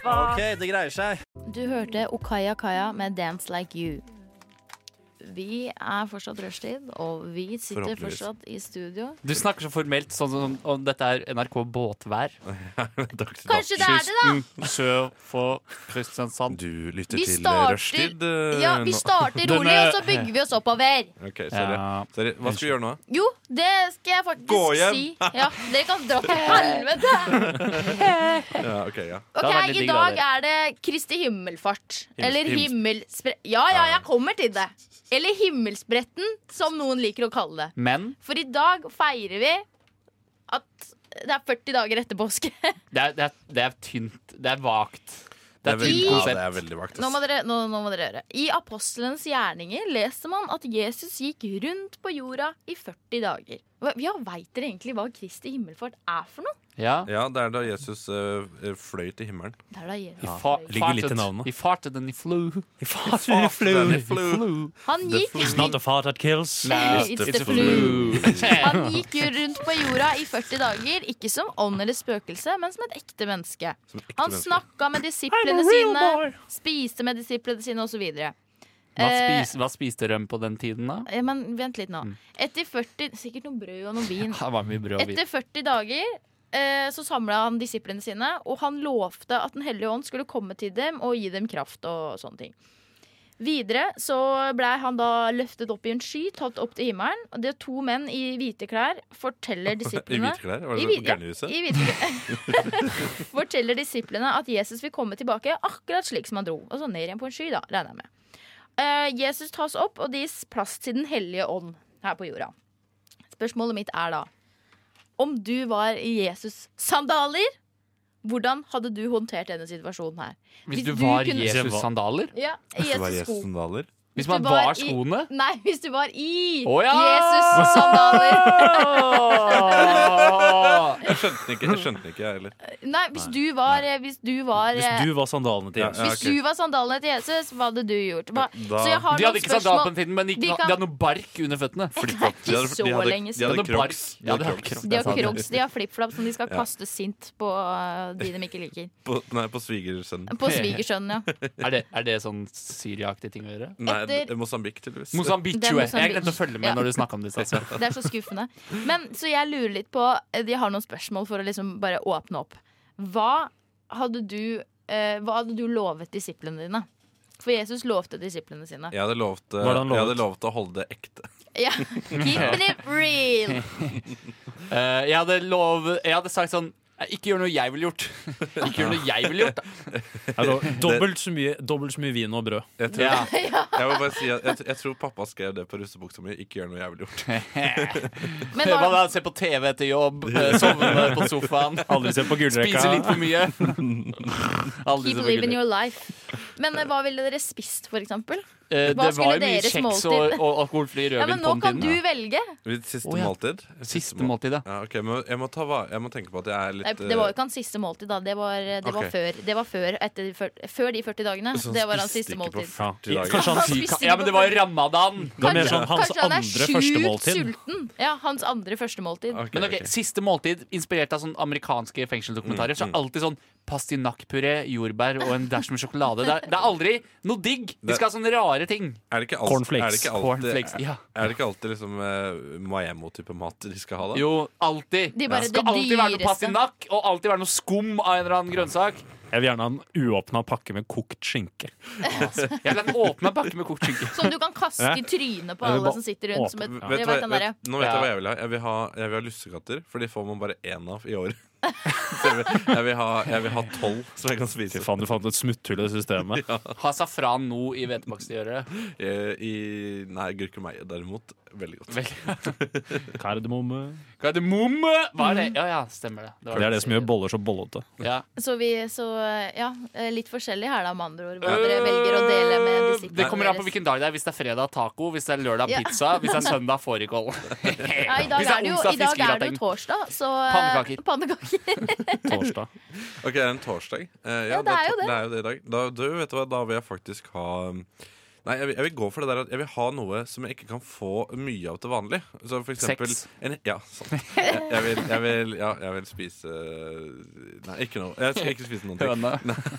Speaker 9: Ok, det greier seg.
Speaker 4: Du hørte Okaya Kaya med Dance Like You. Vi er fortsatt rushtid, og vi sitter
Speaker 5: Forhåpentligvis.
Speaker 4: fortsatt i studio.
Speaker 2: Du snakker så formelt sånn som om dette er NRK Båtvær.
Speaker 5: Takk til
Speaker 4: Kanskje det er det, da!
Speaker 2: sør for Kristiansand.
Speaker 5: Du lytter
Speaker 4: Vi
Speaker 5: til
Speaker 4: starter-
Speaker 5: rushtid eh,
Speaker 4: Ja, Vi
Speaker 5: nå.
Speaker 4: starter
Speaker 2: Den
Speaker 4: rolig,
Speaker 2: er-
Speaker 4: og så bygger vi oss oppover.
Speaker 5: Ok, sorry.
Speaker 2: Ja.
Speaker 5: sorry. Hva skal vi gjøre nå?
Speaker 4: Jo, det skal jeg faktisk
Speaker 5: Gå hjem.
Speaker 4: si. Ja, dere kan dra til helvete!
Speaker 5: Ja, ok, ja.
Speaker 4: Ok,
Speaker 2: hadde vært litt
Speaker 4: I
Speaker 2: digg,
Speaker 4: dag
Speaker 2: da,
Speaker 4: er det Kristi himmelfart.
Speaker 5: Himmel-
Speaker 4: Eller himmelspre... Ja, ja, jeg kommer til det. Eller Himmelspretten, som noen liker å kalle det.
Speaker 2: Men
Speaker 4: For i dag feirer vi at det er 40 dager etter påske.
Speaker 2: det er, det er, det er tynt. Det er vagt. Det er
Speaker 5: veldig,
Speaker 2: tynt
Speaker 5: ja,
Speaker 2: konsept.
Speaker 5: det er veldig vagt.
Speaker 4: Nå
Speaker 5: ass.
Speaker 4: må, dere, nå, nå må dere høre. I apostelens gjerninger leser man at Jesus gikk rundt på jorda i 40 dager. Hva- Ja, Veit dere egentlig hva Kristi himmelfart er for noe?
Speaker 2: Ja.
Speaker 5: Ja, det er da Jesus eh, eh, fløy til himmelen.
Speaker 4: Det er da Jesus.
Speaker 2: He fa-
Speaker 6: Ligger
Speaker 2: farted-
Speaker 6: litt i navnet.
Speaker 2: He farted and he flew.
Speaker 4: Han gikk
Speaker 6: It's not the fart that kills.
Speaker 2: Nei,
Speaker 4: It's the
Speaker 2: flu.
Speaker 4: Han gikk jo rundt på jorda i 40 dager, ikke som ånd eller spøkelse, men som et ekte menneske.
Speaker 5: Som ekte
Speaker 4: Han
Speaker 5: menneske.
Speaker 4: snakka med disiplene sine, spiste med disiplene sine osv.
Speaker 2: Hva,
Speaker 4: Eh,
Speaker 2: spis, hva spiste de på den tiden, da?
Speaker 4: Men vent litt nå. Etter 40 Sikkert noe brød og noe vin.
Speaker 2: Det var mye brød og vin.
Speaker 4: Etter 40 dager eh, så samla han disiplene sine, og han lovte at Den hellige ånd skulle komme til dem og gi dem kraft og sånne ting. Videre så blei han da løftet opp i en sky, tatt opp til himmelen. Og det er to menn i hvite klær forteller
Speaker 5: I
Speaker 4: disiplene
Speaker 5: hvite klær? Var
Speaker 4: I
Speaker 5: det sånn
Speaker 4: hvit-
Speaker 5: på
Speaker 4: ja,
Speaker 5: Garnerhuset?
Speaker 4: I hvit- Forteller disiplene at Jesus vil komme tilbake akkurat slik som han dro. Og så ned igjen på en sky, da, regner jeg med. Eh, Jesus tas opp, og det gis plass til Den hellige ånd her på jorda. Spørsmålet mitt er da om du var i Jesus' sandaler, hvordan hadde du håndtert denne situasjonen her?
Speaker 2: Hvis
Speaker 4: Hvis
Speaker 2: du
Speaker 4: du
Speaker 2: var
Speaker 4: kunne-
Speaker 2: Jesus-sandaler?
Speaker 4: Ja, i
Speaker 5: Det var
Speaker 4: Jesus'
Speaker 5: Jesus
Speaker 4: sko.
Speaker 5: sandaler.
Speaker 2: Hvis
Speaker 4: du
Speaker 2: man
Speaker 4: var
Speaker 2: var
Speaker 4: i-
Speaker 2: skoene?
Speaker 4: Nei, hvis du var i
Speaker 2: Å ja!
Speaker 4: Jesus' sandaler.
Speaker 5: Jeg skjønte den ikke, jeg skjønte den ikke, jeg heller.
Speaker 4: Nei, hvis du var, eh, hvis du var eh,
Speaker 6: Hvis du var sandalene til
Speaker 5: Ja,
Speaker 6: Jesus
Speaker 5: ja.
Speaker 4: Hvis du var sandalene til Jesus, hva hadde du gjort? Hva?
Speaker 5: Da-
Speaker 4: Så jeg har
Speaker 2: De hadde
Speaker 4: noen
Speaker 2: ikke sandaler på
Speaker 4: spørsmål
Speaker 2: den tiden, men de,
Speaker 4: De
Speaker 2: de
Speaker 4: kan-
Speaker 2: hadde noe bark under føttene.
Speaker 4: Det er ikke så lenge
Speaker 5: De
Speaker 4: siden.
Speaker 5: hadde
Speaker 2: Det var
Speaker 5: crocs.
Speaker 2: bark. Ja, det var crocs.
Speaker 4: De har
Speaker 2: Jeg sa det.
Speaker 4: crocs, de har flipflap som de skal
Speaker 5: Ja.
Speaker 4: kaste sint på øh, de de ikke liker.
Speaker 5: På, nei, på svigersønnen.
Speaker 4: På svigersønnen, ja.
Speaker 2: Er det, er det sånn Syria-aktig ting å gjøre?
Speaker 5: Nei,
Speaker 4: Etter-
Speaker 5: det- Mosambik, tydeligvis.
Speaker 2: Mosambik,
Speaker 4: Det er
Speaker 2: jo. jeg. Jeg
Speaker 4: Mosambik.
Speaker 2: glemte å følge med
Speaker 4: Ja.
Speaker 2: når du snakka om det. Altså.
Speaker 4: Det er så skuffende. Men så jeg lurer litt på Jeg har noen spørsmål for å liksom bare åpne opp. Hva hadde du, eh, hva hadde du lovet disiplene dine? For Jesus lovte disiplene sine.
Speaker 5: Jeg hadde lovt, eh,
Speaker 6: Hva hadde han
Speaker 5: jeg hadde lovt
Speaker 6: lovet?
Speaker 5: å holde det ekte.
Speaker 4: Ja. Keep it real!
Speaker 2: Eh, jeg, hadde lov, jeg hadde sagt sånn Ikke gjør noe jeg ville gjort. Ikke gjør noe jeg ville gjort.
Speaker 6: Er det Dobbelt så mye, dobbelt så mye vin og brød.
Speaker 5: Jeg tror,
Speaker 2: Ja.
Speaker 5: jeg, må bare si at jeg, jeg tror pappa skrev det på russebuksa mi. Ikke gjør noe jævlig gjort.
Speaker 4: Men
Speaker 2: Hva
Speaker 4: var,
Speaker 2: da? Se på TV etter jobb, eh, sovne på sofaen,
Speaker 6: Aldri se på
Speaker 2: spise litt for mye. Aldri
Speaker 4: keep
Speaker 2: så
Speaker 4: living
Speaker 2: mye.
Speaker 4: your life. Men eh, hva ville dere spist, for eksempel?
Speaker 2: Eh,
Speaker 4: Hva
Speaker 2: Det
Speaker 4: skulle
Speaker 2: var jo mye
Speaker 4: deres
Speaker 2: kjeks
Speaker 4: måltid?
Speaker 2: og, og alkoholfri
Speaker 4: Ja,
Speaker 2: rødvin
Speaker 4: men
Speaker 2: på
Speaker 4: nå kan
Speaker 2: den
Speaker 4: du
Speaker 2: tiden.
Speaker 4: velge.
Speaker 5: Mitt Siste
Speaker 2: Å, ja.
Speaker 5: måltid.
Speaker 2: Siste måltidet.
Speaker 5: Ja, ok, men jeg må, ta, va- jeg må tenke på at jeg er
Speaker 4: Nei,
Speaker 5: litt eh,
Speaker 4: Det var jo ikke hans siste måltid, da. Det var, eh, det var
Speaker 5: Ok.
Speaker 4: før. Det var før, etter, de fyr- før de 40 dagene.
Speaker 5: Så han
Speaker 4: det var hans
Speaker 5: spiste
Speaker 4: siste
Speaker 5: ikke eh, sånn på 40
Speaker 4: måltid.
Speaker 5: dager.
Speaker 6: Kanskje han
Speaker 4: spiste ikke
Speaker 2: Ja, men det var
Speaker 4: på-
Speaker 2: ramadan.
Speaker 6: Det er mer
Speaker 4: Kanskje-
Speaker 6: sånn hans
Speaker 4: kanskje han er
Speaker 6: andre
Speaker 4: sjukt
Speaker 6: første måltid.
Speaker 4: sulten. Ja, hans andre første måltid.
Speaker 5: Ok,
Speaker 2: Men ok,
Speaker 5: ok.
Speaker 2: Siste måltid, inspirert av sånn amerikanske fengselsdokumentarer. Så alltid sånn pastinakkpuré, jordbær og en dash med sjokolade. Det er, det er aldri noe digg! De skal ha sånne rare ting.
Speaker 5: Er det ikke alt-
Speaker 6: Cornflakes.
Speaker 5: Er det ikke
Speaker 2: Cornflakes.
Speaker 5: alltid,
Speaker 2: Ja.
Speaker 5: er det ikke alltid liksom eh, Maemo-type mat de skal ha, da?
Speaker 2: Jo, alltid.
Speaker 4: De bare
Speaker 2: det skal
Speaker 4: det
Speaker 2: alltid være noe
Speaker 4: dyreste.
Speaker 2: pastinakk og alltid være noe skum av en eller annen grønnsak.
Speaker 6: Jeg vil gjerne ha en uåpna pakke med kokt skinke.
Speaker 2: Jeg vil ha en åpna pakke med kokt skinke.
Speaker 4: Som du kan kaste i
Speaker 6: Hæ?
Speaker 4: trynet på
Speaker 6: Jeg vil
Speaker 4: alle
Speaker 6: bare
Speaker 4: som sitter rundt.
Speaker 6: åpne-
Speaker 4: Som et,
Speaker 5: Vet
Speaker 4: jeg
Speaker 5: du hva-
Speaker 4: vet den derre.
Speaker 5: vet- nå vet jeg
Speaker 2: Ja.
Speaker 5: hva jeg vil ha. Jeg vil ha, jeg vil ha lussekatter, for de får man bare én av i året. Så jeg vil, jeg vil ha, jeg vil ha tolv som jeg kan
Speaker 6: Fy
Speaker 5: spise
Speaker 6: faen, du fant et smutthull i systemet.
Speaker 2: Ha safran nå i hvetepakkestyret.
Speaker 5: Eh, i Nei, gurkemeie derimot. Veldig godt.
Speaker 6: Kardemomme.
Speaker 2: Kardemomme! Hva
Speaker 4: Mm.
Speaker 2: er det? Ja, ja, stemmer det. var
Speaker 6: Det er det som gjør
Speaker 2: jeg
Speaker 6: boller så bollete.
Speaker 2: sa. Ja.
Speaker 4: Så vi så ja, eh, litt forskjellig her, da, med andre ord. Hva dere velger å dele med disiplene
Speaker 2: Øh, Det kommer an på
Speaker 4: deres.
Speaker 2: hvilken dag det er. Hvis det er fredag, taco. Hvis det er lørdag,
Speaker 4: Ja.
Speaker 2: pizza. Hvis det er søndag, fårikål.
Speaker 4: ja, I dag
Speaker 2: Hvis det er
Speaker 4: er det jo,
Speaker 2: onsdag,
Speaker 4: i dag er det
Speaker 2: fiskegratin.
Speaker 4: jo torsdag, så eh,
Speaker 2: Pannekaker.
Speaker 4: Pannekaker.
Speaker 6: Torsdag.
Speaker 5: Ok, det er en torsdag. Eh,
Speaker 4: Ja, det er jo
Speaker 5: to-
Speaker 4: det.
Speaker 5: Det er jo det i dag. Da, du, vet du hva, da vil jeg faktisk ha um, Nei, jeg vil, jeg vil gå for det der at jeg vil ha noe som jeg ikke kan få mye av til vanlig. Så for eksempel
Speaker 2: Sex.
Speaker 5: En, ja, sånn. Jeg, jeg, vil, jeg, vil, ja, jeg vil spise Nei, ikke noe. Jeg skal ikke spise noen ting.
Speaker 2: Høne.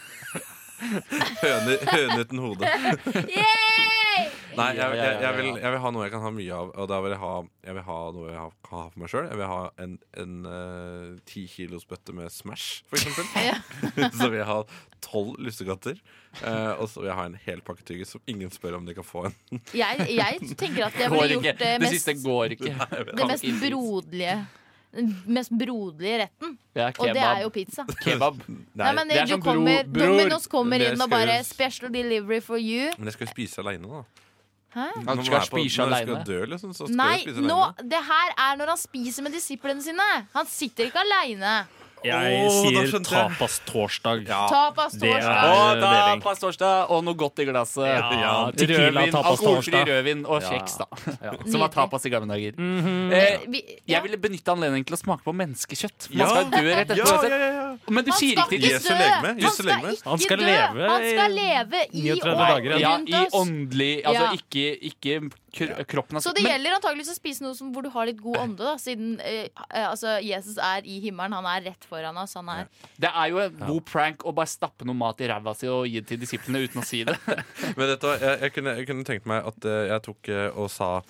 Speaker 5: Høne, høne uten hode.
Speaker 4: Yay!
Speaker 5: Nei, jeg,
Speaker 2: Ja, ja,
Speaker 5: jeg,
Speaker 2: ja,
Speaker 5: jeg, vil,
Speaker 2: ja.
Speaker 5: jeg vil ha noe jeg kan ha mye av. Og da vil jeg ha, jeg vil ha noe jeg har- kan ha for meg sjøl. Jeg vil ha en, en eh, 10 kilos bøtte med Smash, for eksempel. så vil jeg ha tolv lussekatter. eh, og så vil jeg ha en hel pakke tyggis som ingen spør om de kan få en.
Speaker 4: Jeg, jeg tenker at jeg
Speaker 2: Går
Speaker 4: ville
Speaker 2: ikke.
Speaker 4: gjort det
Speaker 2: Det
Speaker 4: mest,
Speaker 2: siste går ikke.
Speaker 4: det mest broderlige den mest broderlige retten,
Speaker 2: Det er
Speaker 4: og det er
Speaker 2: kebab.
Speaker 4: jo pizza.
Speaker 2: Kebab.
Speaker 4: Nei, men
Speaker 2: det er
Speaker 4: du
Speaker 2: som bro-
Speaker 4: kommer,
Speaker 2: bror.
Speaker 4: Dominos kommer
Speaker 5: Det
Speaker 4: inn og
Speaker 5: skal
Speaker 4: bare
Speaker 5: jo-
Speaker 4: 'Special delivery for you'.
Speaker 5: Men jeg skal jo spise aleine, da.
Speaker 4: Hæ?
Speaker 2: Han
Speaker 5: Når
Speaker 2: skal
Speaker 5: man er på-
Speaker 2: spise
Speaker 5: når jeg
Speaker 2: alene.
Speaker 5: Skal dø, liksom, så skal jeg
Speaker 4: Nei,
Speaker 5: spise
Speaker 4: nå,
Speaker 5: alene.
Speaker 4: det her er når han spiser med disiplene sine. Han sitter ikke aleine.
Speaker 6: Jeg
Speaker 5: Åh, da
Speaker 6: sier
Speaker 5: skjønte jeg.
Speaker 6: tapas-torsdag.
Speaker 2: Ah,
Speaker 4: Tapas
Speaker 6: det er-
Speaker 4: torsdag.
Speaker 2: Og da
Speaker 6: deling.
Speaker 2: pass torsdag, og noe godt i glasset.
Speaker 6: Ja, tequila,
Speaker 2: rødvin,
Speaker 6: tapas
Speaker 2: Alkoholfri
Speaker 6: torsdag.
Speaker 2: rødvin og kjeks, da. Som var
Speaker 4: Nydelig.
Speaker 2: tapas i gamle dager.
Speaker 6: Mhm.
Speaker 2: eh,
Speaker 4: Vi, ja.
Speaker 2: jeg ville benytte anledningen til å smake på menneskekjøtt. For
Speaker 5: Ja.
Speaker 2: man skal dø rett etter
Speaker 5: Ja,
Speaker 2: uansett.
Speaker 5: ja, ja, ja.
Speaker 2: Men du
Speaker 4: Han
Speaker 2: sier
Speaker 4: skal
Speaker 2: ikke
Speaker 4: ikke dø!
Speaker 2: til
Speaker 5: Jesu legeme,
Speaker 4: Han
Speaker 5: Jesu
Speaker 4: skal
Speaker 5: legeme.
Speaker 4: ikke
Speaker 6: Han skal
Speaker 4: dø!
Speaker 6: leve
Speaker 4: Han skal
Speaker 6: i
Speaker 4: leve i
Speaker 6: 39
Speaker 4: år
Speaker 6: dager,
Speaker 2: ja,
Speaker 4: rundt
Speaker 2: i
Speaker 4: oss.
Speaker 2: åndelig Altså
Speaker 4: Ja.
Speaker 2: ikke, ikke kro- kroppen altså.
Speaker 4: Så det
Speaker 2: Men-
Speaker 4: gjelder antakeligvis å spise noe som, hvor du har litt god ånde, da, siden eh, eh, altså, Jesus er i himmelen. Han er rett foran oss. Han er
Speaker 2: Det er jo en god prank å bare stappe noe mat i ræva si og gi det til disiplene uten å si det.
Speaker 5: Men vet du hva, jeg, jeg, kunne, jeg kunne tenkt meg at eh, jeg tok eh, og sa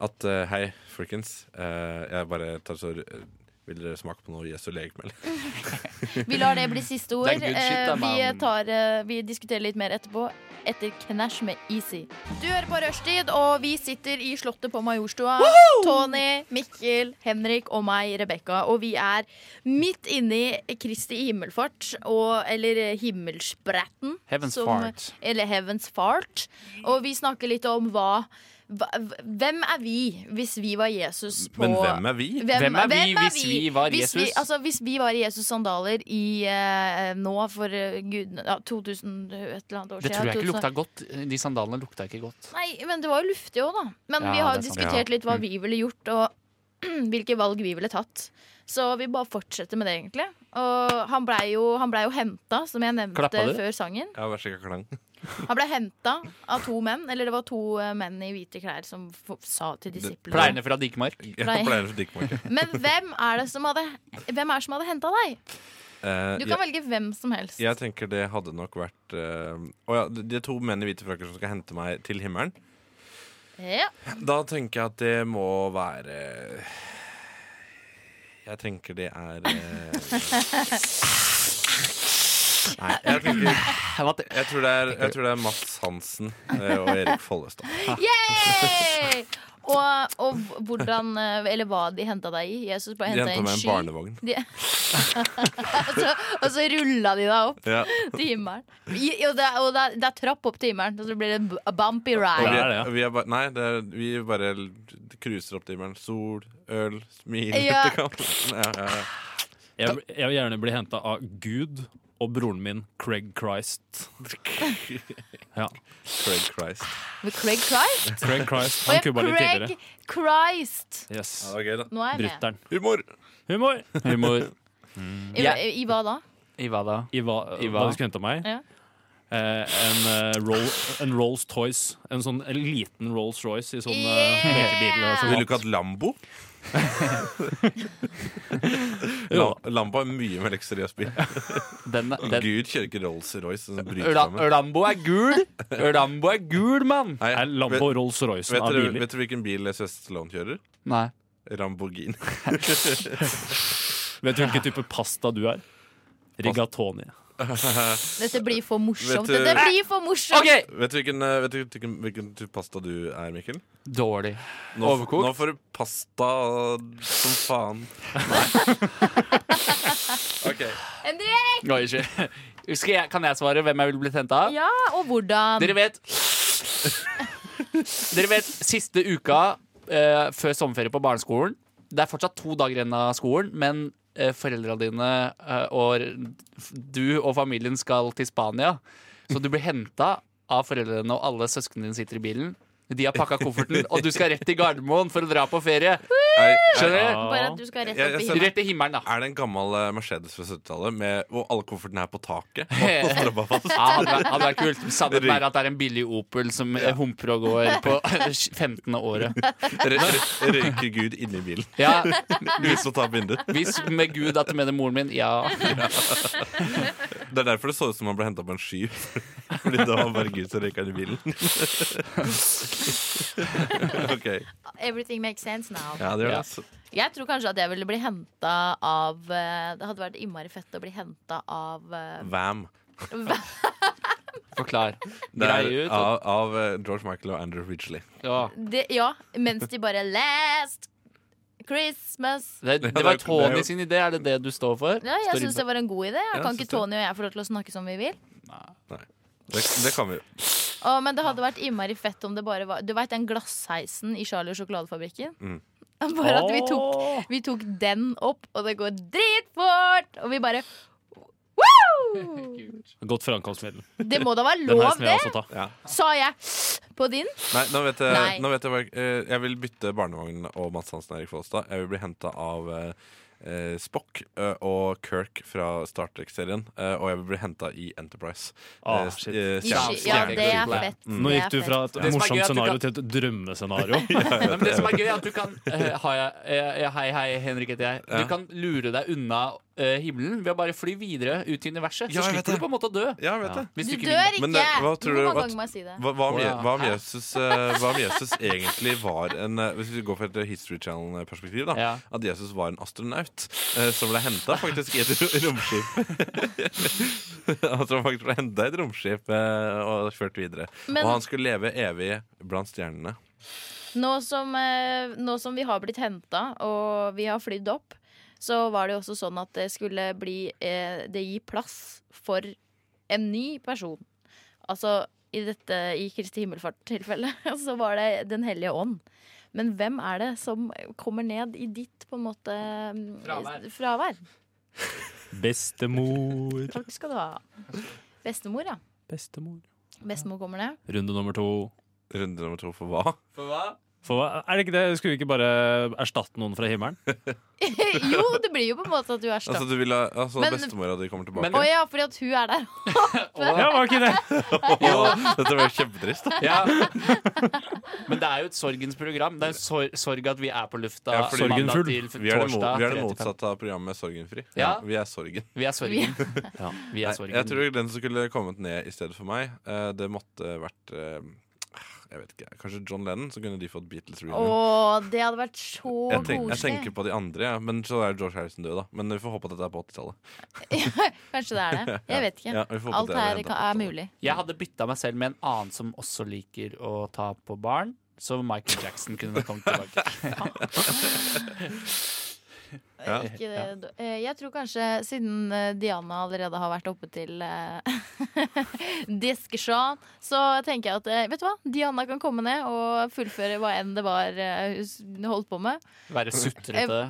Speaker 5: at eh, hei, folkens. eh, jeg bare tar så eh, Vil dere smake på noe Jesu legeme? eller?
Speaker 4: Vi lar det bli siste ord.
Speaker 2: Det er good shit, da,
Speaker 4: Eh, vi,
Speaker 2: man.
Speaker 4: tar, eh, vi diskuterer litt mer etterpå. Etter Knash med Easy. Du hører på Rushtid, og vi sitter i Slottet på Majorstua. Tony, Mikkel, Henrik og meg, Rebekka. Og vi er midt inni Kristi himmelfart, og, eller eh, himmelspretten.
Speaker 2: Heaven's
Speaker 4: som-
Speaker 2: fart.
Speaker 4: Eller Heaven's fart. Og vi snakker litt om hva, hva Hvem er vi hvis vi var Jesus på
Speaker 5: Men hvem er vi?
Speaker 2: Hvem er vi hvis vi var
Speaker 4: Hvis Vi,
Speaker 2: Jesus?
Speaker 4: altså, hvis vi var i Jesus' sandaler i, eh, nå for eh, gud, ja, 2000 et eller annet år siden.
Speaker 2: Det tror jeg ikke
Speaker 4: 2000.
Speaker 2: lukta godt. De sandalene lukta ikke godt.
Speaker 4: Nei, men det var jo luftig òg, da. Men
Speaker 2: Ja, Mm.
Speaker 4: vi har
Speaker 2: det er sant.
Speaker 4: diskutert litt hva vi ville gjort, og hvilke valg vi ville tatt. Så vi bare fortsetter med det, egentlig. Og han blei jo, han ble jo henta, som jeg nevnte
Speaker 2: Klappa du?
Speaker 4: før sangen.
Speaker 5: Ja, vær så god, klang.
Speaker 4: Han blei henta av to menn, eller det var to eh, menn i hvite klær som f sa til disiplene
Speaker 2: Pleierne fra Dikemark.
Speaker 5: Jeg
Speaker 4: Nei.
Speaker 5: pleier å drikke meg ikke.
Speaker 4: Men hvem er det som hadde Hvem er det som hadde henta deg?
Speaker 5: Eh,
Speaker 4: Du kan
Speaker 5: jeg,
Speaker 4: velge hvem som helst.
Speaker 5: jeg tenker det hadde nok vært eh, Å ja, de de to menn i hvite frakker som skal hente meg til himmelen.
Speaker 4: Ja.
Speaker 5: Da tenker jeg at det må være Jeg tenker det er eh, Nei, jeg tenker Jeg tror det er, jeg tror det er Mats Hansen eh, og Erik Follestad.
Speaker 4: Yay! Og, og hvordan eh, Eller hva de henta deg i. Jesus bare
Speaker 5: De
Speaker 4: henta
Speaker 5: henta
Speaker 4: en
Speaker 5: meg en
Speaker 4: sky.
Speaker 5: barnevogn.
Speaker 4: De, og, så, og så rulla de deg opp
Speaker 5: Ja.
Speaker 4: til himmelen. I, og det, er- og det, er- det er trapp opp til himmelen, og så blir det b- a bumpy
Speaker 5: Og
Speaker 4: ride.
Speaker 5: vi,
Speaker 6: Det er det, ja.
Speaker 5: vi er bare, nei, det er, vi bare cruiser opp til himmelen. Sol, øl, smil
Speaker 4: Ja.
Speaker 5: til kamp. Ja, ja, ja.
Speaker 6: Jeg, jeg vil gjerne bli henta av Gud og broren min Craig Christ. Ja.
Speaker 5: Craig Christ.
Speaker 4: Med Craig Christ?
Speaker 6: Craig Christ.
Speaker 4: Og
Speaker 6: Han
Speaker 4: jeg-
Speaker 6: kubba litt tidligere.
Speaker 4: Craig Christ!
Speaker 6: Yes.
Speaker 5: Ja, det var gøy, da.
Speaker 4: Nå er jeg med.
Speaker 6: Brutter'n.
Speaker 5: Humor!
Speaker 6: Humor!
Speaker 2: Humor.
Speaker 4: I,
Speaker 2: Ja.
Speaker 4: i, i hva da?
Speaker 2: I hva da?
Speaker 6: I hva,
Speaker 2: I hva?
Speaker 6: hva du skulle hente av meg?
Speaker 4: Ja.
Speaker 6: Eh, en, eh, roll, en Rolls Toys. En sånn en liten Rolls-Royce i sånn
Speaker 4: Yeah!
Speaker 6: eh, lekebil. eh,
Speaker 5: Vil du ikke ha
Speaker 6: format.
Speaker 5: et Lambo?
Speaker 6: Jo.
Speaker 5: La- Lambo er mye mer luksuriøs bil.
Speaker 2: Den, den.
Speaker 5: Gud kjører ikke Rolls-Royce. Sånn, bryter
Speaker 2: Øla-
Speaker 5: sammen.
Speaker 2: Lambo er gul! Lambo er gul, mann!
Speaker 5: Nei,
Speaker 6: Er Lambo
Speaker 5: vet,
Speaker 6: Rolls-Roycen
Speaker 5: vet,
Speaker 6: av
Speaker 5: dere,
Speaker 6: biler?
Speaker 5: vet dere hvilken bil Sylvester Stallone kjører?
Speaker 2: Nei.
Speaker 5: Rambogin.
Speaker 6: Vet du hvilken type pasta du er? Rigatoni.
Speaker 4: Dette blir for
Speaker 5: Vet
Speaker 4: morsomt.
Speaker 5: du-
Speaker 4: Dette blir for morsomt!
Speaker 2: OK!
Speaker 5: Vet du hvilken, eh, vet du hvilken, hvilken type pasta du er, Mikkel?
Speaker 2: Dårlig.
Speaker 5: Nå,
Speaker 2: Overkokt?
Speaker 5: Nå får du pasta som faen. ok.
Speaker 4: Henrik!
Speaker 2: Oi, ikke. Skal jeg, kan jeg svare hvem jeg ville blitt henta av?
Speaker 4: Ja, og hvordan?
Speaker 2: Dere vet Dere vet, siste uka eh, før sommerferie på barneskolen Det er fortsatt to dager igjen av skolen, men eh, foreldrene dine eh, og du og familien skal til Spania. Så du blir henta av foreldrene, og alle søsknene dine sitter i bilen. De har pakka kofferten, og du skal rett til Gardermoen for å dra på ferie.
Speaker 5: Nei, nei,
Speaker 2: Skjønner du?
Speaker 4: Eh, Bare at du skal rett
Speaker 5: Jeg-
Speaker 4: opp i
Speaker 5: jeg
Speaker 4: himmelen.
Speaker 2: Rett i himmelen, da.
Speaker 5: Er det en gammel eh, Mercedes fra 70-tallet med- hvor alle koffertene er på taket? Og strømmer fast?
Speaker 2: Ja, hadde, vært, hadde vært kult. Sannheten er at det er en billig Opel som eh, humper og går på 15. året.
Speaker 5: Rø- rø- Røyker Gud inni bilen
Speaker 2: Ja,
Speaker 5: uten å ta vinduet?
Speaker 2: Hvis med Gud at du mener moren min, ja.
Speaker 5: Det er derfor det så ut som han ble henta på en sky. Fordi det var bare Gud som røyka inni bilen. ok.
Speaker 4: Everything makes sense now.
Speaker 5: Ja, det gjør det. altså.
Speaker 4: Jeg tror kanskje at jeg ville bli henta av eh, Det hadde vært innmari fett å bli henta av eh,
Speaker 5: Vam.
Speaker 2: Forklar.
Speaker 5: Det
Speaker 2: Grei
Speaker 5: er
Speaker 2: ut.
Speaker 5: av, av eh, George Michael og Andrew Ridgeley.
Speaker 2: Ja.
Speaker 4: det, Ja, mens de bare Last Christmas.
Speaker 2: Det,
Speaker 5: Ja, det
Speaker 2: det var
Speaker 5: er jo- det er
Speaker 2: Tony
Speaker 5: jo-
Speaker 2: sin idé, er det det du står for?
Speaker 4: Ja, jeg
Speaker 2: Står
Speaker 4: syns
Speaker 2: inne-
Speaker 4: det var en god idé.
Speaker 5: Ja,
Speaker 4: Kan
Speaker 5: synes
Speaker 4: ikke
Speaker 5: det.
Speaker 4: Tony og jeg få lov til å snakke som vi vil?
Speaker 5: Det, det kan vi jo.
Speaker 4: Å, men det hadde vært innmari fett om det bare var Du veit den glassheisen i Charlie og sjokoladefabrikken?
Speaker 5: Mm.
Speaker 4: Bare at vi tok, vi tok den opp, og det går dritfort! Og vi bare Woo!
Speaker 6: Godt framkomstmiddel.
Speaker 4: Det må da være
Speaker 6: Den her
Speaker 4: lov,
Speaker 6: skal
Speaker 4: det?
Speaker 6: jeg også ta.
Speaker 5: Ja.
Speaker 4: Sa jeg på din?
Speaker 5: Nei, nå vet jeg,
Speaker 4: Nei.
Speaker 5: Nå vet jeg, hva- eh, jeg vil bytte barnevogn og Mads Hansen og Erik Follestad. Jeg vil bli henta av eh, eh, Spock eh, og Kirk fra Star Trek-serien. eh, og jeg vil bli henta i Enterprise.
Speaker 6: Ah,
Speaker 5: Eh,
Speaker 6: shit.
Speaker 5: eh,
Speaker 4: I
Speaker 5: stjerne-
Speaker 4: ski- Ja,
Speaker 5: stjerne-
Speaker 4: det er
Speaker 5: stjerne-
Speaker 4: fett.
Speaker 6: Nå
Speaker 4: Det er
Speaker 6: gikk du
Speaker 4: fett.
Speaker 6: fra et
Speaker 2: Det som er gøy
Speaker 6: morsomt
Speaker 2: er at du
Speaker 6: scenario
Speaker 2: kan-
Speaker 6: til et drømmescenario.
Speaker 2: Nei, men det som er gøy, er at du kan eh, ha, eh, Hei, hei, Henrik heter jeg. Du
Speaker 5: Ja.
Speaker 2: kan lure deg unna eh, himmelen ved å bare fly videre ut til universet. Så
Speaker 5: Ja, jeg vet
Speaker 2: slipper
Speaker 5: det.
Speaker 2: du på en måte å dø.
Speaker 5: Ja, jeg vet det.
Speaker 2: Hvis
Speaker 4: Du
Speaker 2: ikke
Speaker 4: dør
Speaker 2: vil.
Speaker 4: ikke!
Speaker 5: Men det- hva tror du-
Speaker 4: Hvor mange
Speaker 5: hva-
Speaker 4: ganger må jeg si det?
Speaker 5: Hva, hva, om,
Speaker 2: Å,
Speaker 5: Je-
Speaker 2: ja.
Speaker 5: hva, om Jesus, eh, hva om Jesus egentlig var en eh, Hvis vi går fra et History Channel-perspektiv, da.
Speaker 2: Ja.
Speaker 5: At Jesus var en astronaut eh, som ble henta faktisk i et ro- romskip. At han faktisk ble henta i et romskip eh, og kjørt videre.
Speaker 4: Men-
Speaker 5: Og han skulle leve evig blant stjernene.
Speaker 4: Nå som, eh, nå som vi har blitt henta og vi har flydd opp, så var det jo også sånn at det skulle bli eh, Det gir plass for en ny person. Altså i dette i Kristi himmelfart-tilfellet så var det Den hellige ånd. Men hvem er det som kommer ned i ditt på en måte mm,
Speaker 2: Fravær.
Speaker 4: fravær?
Speaker 6: Bestemor.
Speaker 4: Takk skal du ha. Bestemor, ja.
Speaker 6: Bestemor.
Speaker 4: Bestemor kommer ned.
Speaker 6: Runde nummer to.
Speaker 5: Runde nummer to for hva?
Speaker 2: For hva?
Speaker 6: For hva- er det ikke det? Skulle vi ikke bare erstatte noen fra himmelen?
Speaker 4: jo, det blir jo på en måte at du er
Speaker 5: Altså,
Speaker 4: stopp.
Speaker 5: du vil ha, altså
Speaker 4: Men-
Speaker 5: bestemora di kommer tilbake?
Speaker 2: Men-
Speaker 4: Å ja, fordi at hun er der.
Speaker 6: Ja, var ikke det?
Speaker 5: Dette var jo kjempetrist. da.
Speaker 2: Ja. Men det er jo et sorgens program. Det er en sor sorg at vi er på lufta.
Speaker 5: Ja, fordi-
Speaker 2: mandag
Speaker 6: Sorgenfull.
Speaker 2: til f-
Speaker 5: Vi er det, mo
Speaker 2: torsdag,
Speaker 5: vi er det
Speaker 2: 3 til 5.
Speaker 5: motsatte av programmet Sorgenfri.
Speaker 2: Ja.
Speaker 5: Vi er sorgen.
Speaker 2: Vi er sorgen.
Speaker 6: Ja.
Speaker 2: Vi er
Speaker 5: Nei,
Speaker 2: sorgen.
Speaker 5: Jeg tror den som skulle kommet ned i stedet for meg, eh, det måtte vært eh, Jeg vet ikke, kanskje John Lennon, så kunne de fått Beatles
Speaker 4: Å,
Speaker 5: reunion.
Speaker 4: det hadde vært så
Speaker 5: Jeg, tenk, jeg
Speaker 4: koselig.
Speaker 5: tenker på de andre, ja. men så er George Harrison død, da. Men vi får håpe at dette er på 80-tallet.
Speaker 4: Kanskje det er det.
Speaker 5: Ja.
Speaker 4: Jeg vet ikke.
Speaker 5: Ja, vi får håpe
Speaker 4: Alt
Speaker 5: det er
Speaker 4: her
Speaker 5: det
Speaker 4: kan,
Speaker 5: enda.
Speaker 4: er mulig.
Speaker 2: Jeg hadde bytta meg selv med en annen som også liker å ta på barn. Så Michael Jackson kunne kommet tilbake.
Speaker 5: Ja.
Speaker 4: Ikke det. Eh, Jeg tror kanskje, siden eh, Diana allerede har vært oppe til eh, diskusjon, så tenker jeg at eh, vet du hva, Diana kan komme ned og fullføre hva enn det var eh, hun s- holdt på med.
Speaker 2: Være sutrete.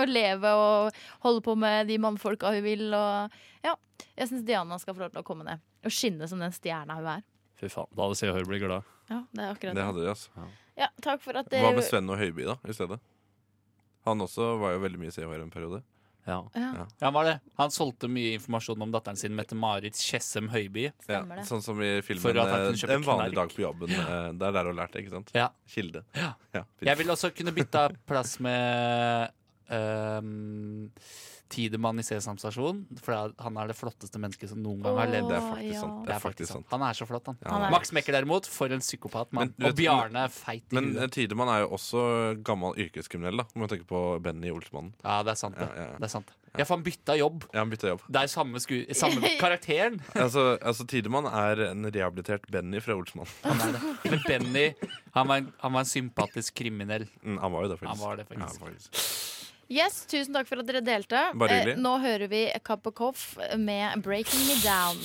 Speaker 4: Og leve og holde på med de mannfolka hun vil. Og, ja, jeg syns Diana skal få lov til å komme ned og skinne som den stjerna hun er.
Speaker 6: Fy faen, da hadde Se og Hør blitt glad.
Speaker 4: Ja, det er akkurat
Speaker 5: Det
Speaker 4: det.
Speaker 5: hadde de, altså.
Speaker 4: Ja, takk for at
Speaker 5: Hva med
Speaker 4: dere
Speaker 5: Sven og Høiby, da, i stedet? Han også var jo veldig mye i CHR en periode.
Speaker 6: Ja.
Speaker 2: Ja, han var det. Han solgte mye informasjon om datteren sin, Mette-Marit Tjessem Høiby.
Speaker 5: Ja,
Speaker 4: Stemmer det.
Speaker 5: sånn som i
Speaker 2: For
Speaker 5: filmen
Speaker 2: at han
Speaker 5: eh,
Speaker 2: kunne kjøpe
Speaker 5: En vanlig
Speaker 2: knark.
Speaker 5: dag på jobben. eh, Det er der du har lært det, ikke sant?
Speaker 2: Ja.
Speaker 5: Kilde.
Speaker 2: Ja.
Speaker 5: Ja, fint.
Speaker 2: Jeg ville også kunne bytta plass med ehm, Tidemann i Sesam stasjon, for han er det flotteste mennesket som noen gang har levd.
Speaker 5: Det er
Speaker 4: Åh,
Speaker 5: faktisk
Speaker 4: ja.
Speaker 5: sant.
Speaker 2: Det er faktisk sant. Han er så flott, han.
Speaker 5: Ja,
Speaker 4: Han er-
Speaker 2: Max Mekker derimot, for en psykopat
Speaker 5: Men
Speaker 2: mann.
Speaker 5: du
Speaker 2: Og
Speaker 5: vet-
Speaker 2: Bjarne er feit i
Speaker 5: Men eh,
Speaker 2: huet.
Speaker 5: Tidemann er jo også gammel yrkeskriminell, da. Må tenke på Benny Olsmannen.
Speaker 2: Ja, det er sant, det.
Speaker 5: Ja, ja, ja.
Speaker 2: det er sant. Ja, for han bytta jobb.
Speaker 5: Ja, han bytta jobb.
Speaker 2: Det er samme, sku samme karakteren.
Speaker 5: Altså, altså Tidemann er en rehabilitert Benny fra Olsmann.
Speaker 2: Han er det. Men Benny han var, en, han var en sympatisk kriminell.
Speaker 5: Mm, han var jo det, faktisk.
Speaker 2: Han var det, faktisk.
Speaker 5: Ja, faktisk.
Speaker 4: Yes, tusen takk for at dere delte.
Speaker 5: Bare hyggelig.
Speaker 4: Eh, nå hører vi Cup of Coff med 'Breaking Me Down'.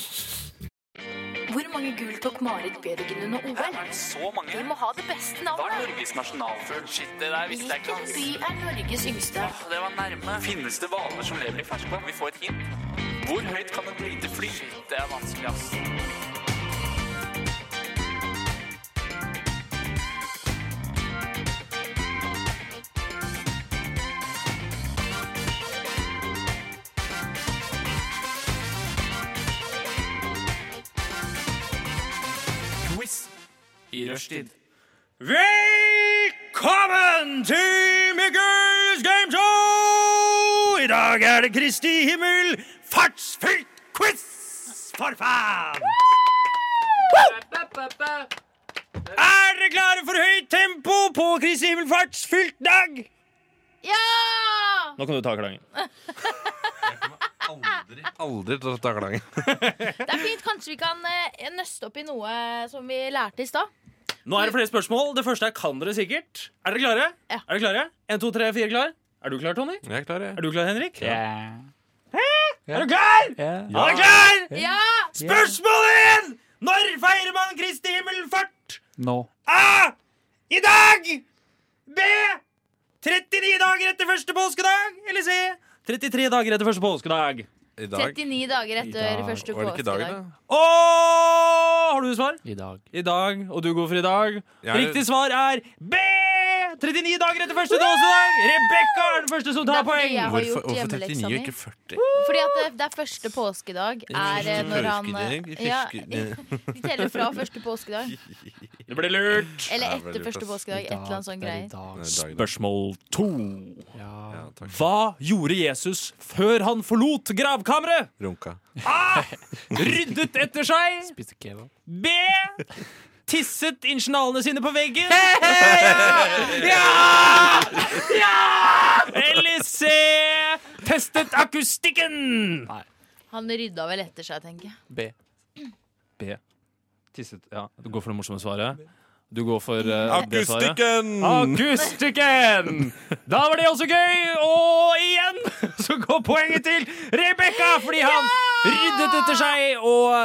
Speaker 10: Hvor mange gull tok Marit Bjørgen under OL?
Speaker 2: Så mange.
Speaker 10: Vi må ha det beste navnet.
Speaker 2: Norges nasjonalfugl? Shit, det der
Speaker 10: Hvilken by er Norges yngste?
Speaker 2: Det var nærme. Finnes det hvaler som lever i ferskvann? Vi får et hint. Hvor høyt kan et lite fly? Det er vanskelig, ass. i rushtid.
Speaker 7: Velkommen til Mikkels gameshow! I dag er det Kristi himmel fartsfylt quiz! For faen! Er dere klare for høyt tempo på Kristi himmel fartsfylt dag?
Speaker 4: Ja!
Speaker 6: Nå kan du ta klangen.
Speaker 5: Aldri tatt taklangen.
Speaker 4: Det er fint. Kanskje vi kan eh, nøste opp i noe eh, som vi lærte i stad.
Speaker 6: Nå er det flere spørsmål. Det første er kan dere sikkert. Er dere klare?
Speaker 4: Ja.
Speaker 6: Er dere klare? En, to, tre, fire, klar? Er du klar, Tony?
Speaker 5: Jeg er klar, jeg.
Speaker 6: Er du klar, Henrik?
Speaker 7: Er du klar? Er du klar?
Speaker 4: Ja!
Speaker 7: Spørsmål 1! Når feirer man Kristi himmelfart?
Speaker 2: Nå.
Speaker 7: A. I dag! B. 39 dager etter første påskedag. Eller C. 33 dager etter første påskedag.
Speaker 5: I dag
Speaker 4: 39 dager
Speaker 2: I
Speaker 4: etter
Speaker 2: dag.
Speaker 4: første
Speaker 5: var det ikke i dag,
Speaker 4: påskedag.
Speaker 5: da?
Speaker 7: Og har du svar?
Speaker 2: I dag.
Speaker 7: I dag. Og du går for i dag.
Speaker 5: Jeg er-
Speaker 7: Riktig svar er B. 39 dager etter første påskedag. Rebekka er den første som
Speaker 4: Det
Speaker 7: tar
Speaker 4: er fordi
Speaker 7: poeng.
Speaker 4: jeg har
Speaker 5: Hvorfor,
Speaker 4: gjort
Speaker 5: hvorfor 39
Speaker 4: hjemmeleksa
Speaker 5: og
Speaker 4: mi.
Speaker 5: ikke 40?
Speaker 4: Fordi at det, det er første påskedag er eh, når han eh, ja, De teller fra første påskedag.
Speaker 6: Det ble lurt.
Speaker 4: Eller
Speaker 5: Ja, veldig
Speaker 4: etter første
Speaker 5: plass.
Speaker 4: påskedag. Et eller annet sånn greier.
Speaker 6: Spørsmål to.
Speaker 5: Ja, takk.
Speaker 6: Hva gjorde Jesus før han forlot gravkammeret?
Speaker 5: Runka.
Speaker 6: Ryddet etter seg.
Speaker 2: Spiste kebab.
Speaker 6: B. Tisset ingenialene sine på veggen. Ja! ja! Eller C. Testet akustikken.
Speaker 4: Han rydda vel etter seg, tenker jeg.
Speaker 2: B.
Speaker 6: B. Tisset Ja, du går for det morsomme svaret. Du går for eh, det Ah, svaret.
Speaker 5: Akustikken!
Speaker 6: Akustikken! Da var det også gøy, og igjen så går poenget til Rebekka, fordi han ryddet etter seg, og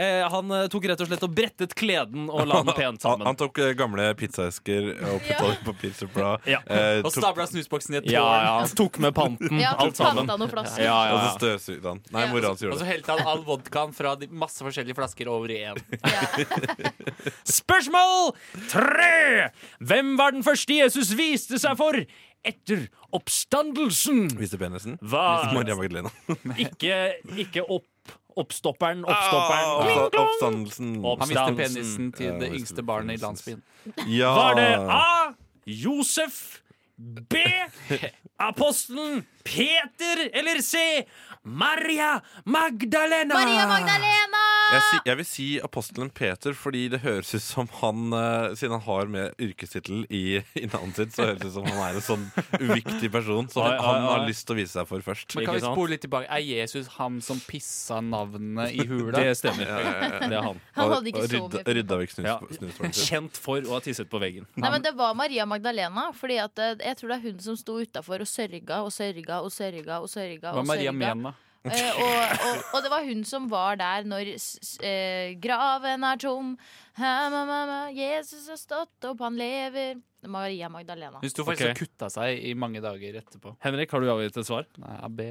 Speaker 6: eh, han eh, tok rett og slett og brettet kleden og la den pent
Speaker 5: Han, han
Speaker 6: sammen.
Speaker 5: tok eh, gamle pizzaesker og putta det på pizzablad.
Speaker 6: Ja.
Speaker 5: eh,
Speaker 2: Og
Speaker 5: tok-
Speaker 2: stabla snusboksen i et tårn.
Speaker 6: Ja, ja, han tok med panten,
Speaker 4: Ja,
Speaker 6: Mm, alt sammen.
Speaker 4: panta noen flasker.
Speaker 6: Ja,
Speaker 5: Og
Speaker 6: ja,
Speaker 5: så
Speaker 6: ja.
Speaker 5: støvsugde han. Nei,
Speaker 4: Ja.
Speaker 5: mora hans
Speaker 2: Og
Speaker 5: gjorde
Speaker 2: så
Speaker 5: det.
Speaker 2: helte han all vodkaen fra de masse forskjellige flasker over i én.
Speaker 4: Ja.
Speaker 6: Spørsmål tre! Hvem var den første Jesus viste seg for etter oppstandelsen?
Speaker 5: Viste penisen.
Speaker 6: Hva?
Speaker 5: Maria Magdalena.
Speaker 6: Ikke, ikke opp, oppstopperen, oppstopperen.
Speaker 5: Oppsta-
Speaker 6: oppstopperen.
Speaker 5: Altså, Oppstandelsen.
Speaker 2: Han viste
Speaker 6: Oppstandelsen.
Speaker 2: penisen til det
Speaker 5: Ja,
Speaker 2: yngste barnet i landsbyen.
Speaker 5: Ja.
Speaker 6: Var det Ah, A. Josef B. Apostelen Peter Eller C. Maria Magdalena
Speaker 4: Maria Magdalena!
Speaker 5: Jeg, si, jeg vil si apostelen Peter, fordi det høres ut som han eh, Siden han har med yrkestittel i, i navnet sitt, så høres det ut som han er en sånn uviktig person som
Speaker 6: Oi, oi,
Speaker 5: han har
Speaker 6: oi.
Speaker 5: lyst til å vise seg for først.
Speaker 2: Men kan
Speaker 6: Ikke
Speaker 2: vi
Speaker 6: sant?
Speaker 2: spole litt tilbake? Er Jesus han som pissa navnet i hula?
Speaker 6: Det stemmer, det er han
Speaker 4: Han
Speaker 5: Og-
Speaker 4: hadde ikke
Speaker 5: og
Speaker 4: så
Speaker 5: rydda-
Speaker 4: mye penger.
Speaker 5: Rydda vekk snus,
Speaker 6: Ja.
Speaker 5: snusboksen sin.
Speaker 6: Kjent for å ha tisset på veggen
Speaker 4: Nei, men Det var Maria Magdalena. Fordi at eh, Jeg tror det er hun som sto utafor og sørga og sørga og sørga. og sørga
Speaker 2: Hva
Speaker 4: og
Speaker 2: er Maria
Speaker 4: sørga.
Speaker 2: Mena?
Speaker 4: Eh, og, og, og det var hun som var der når s- s- eh, graven er tom. Ha, ma, ma, ma, Jesus har stått opp, han lever. Maria Magdalena.
Speaker 2: Hun sto faktisk
Speaker 6: Ok.
Speaker 2: og kutta seg i mange dager etterpå.
Speaker 6: Henrik, har du avgitt et svar?
Speaker 2: Nei, AB.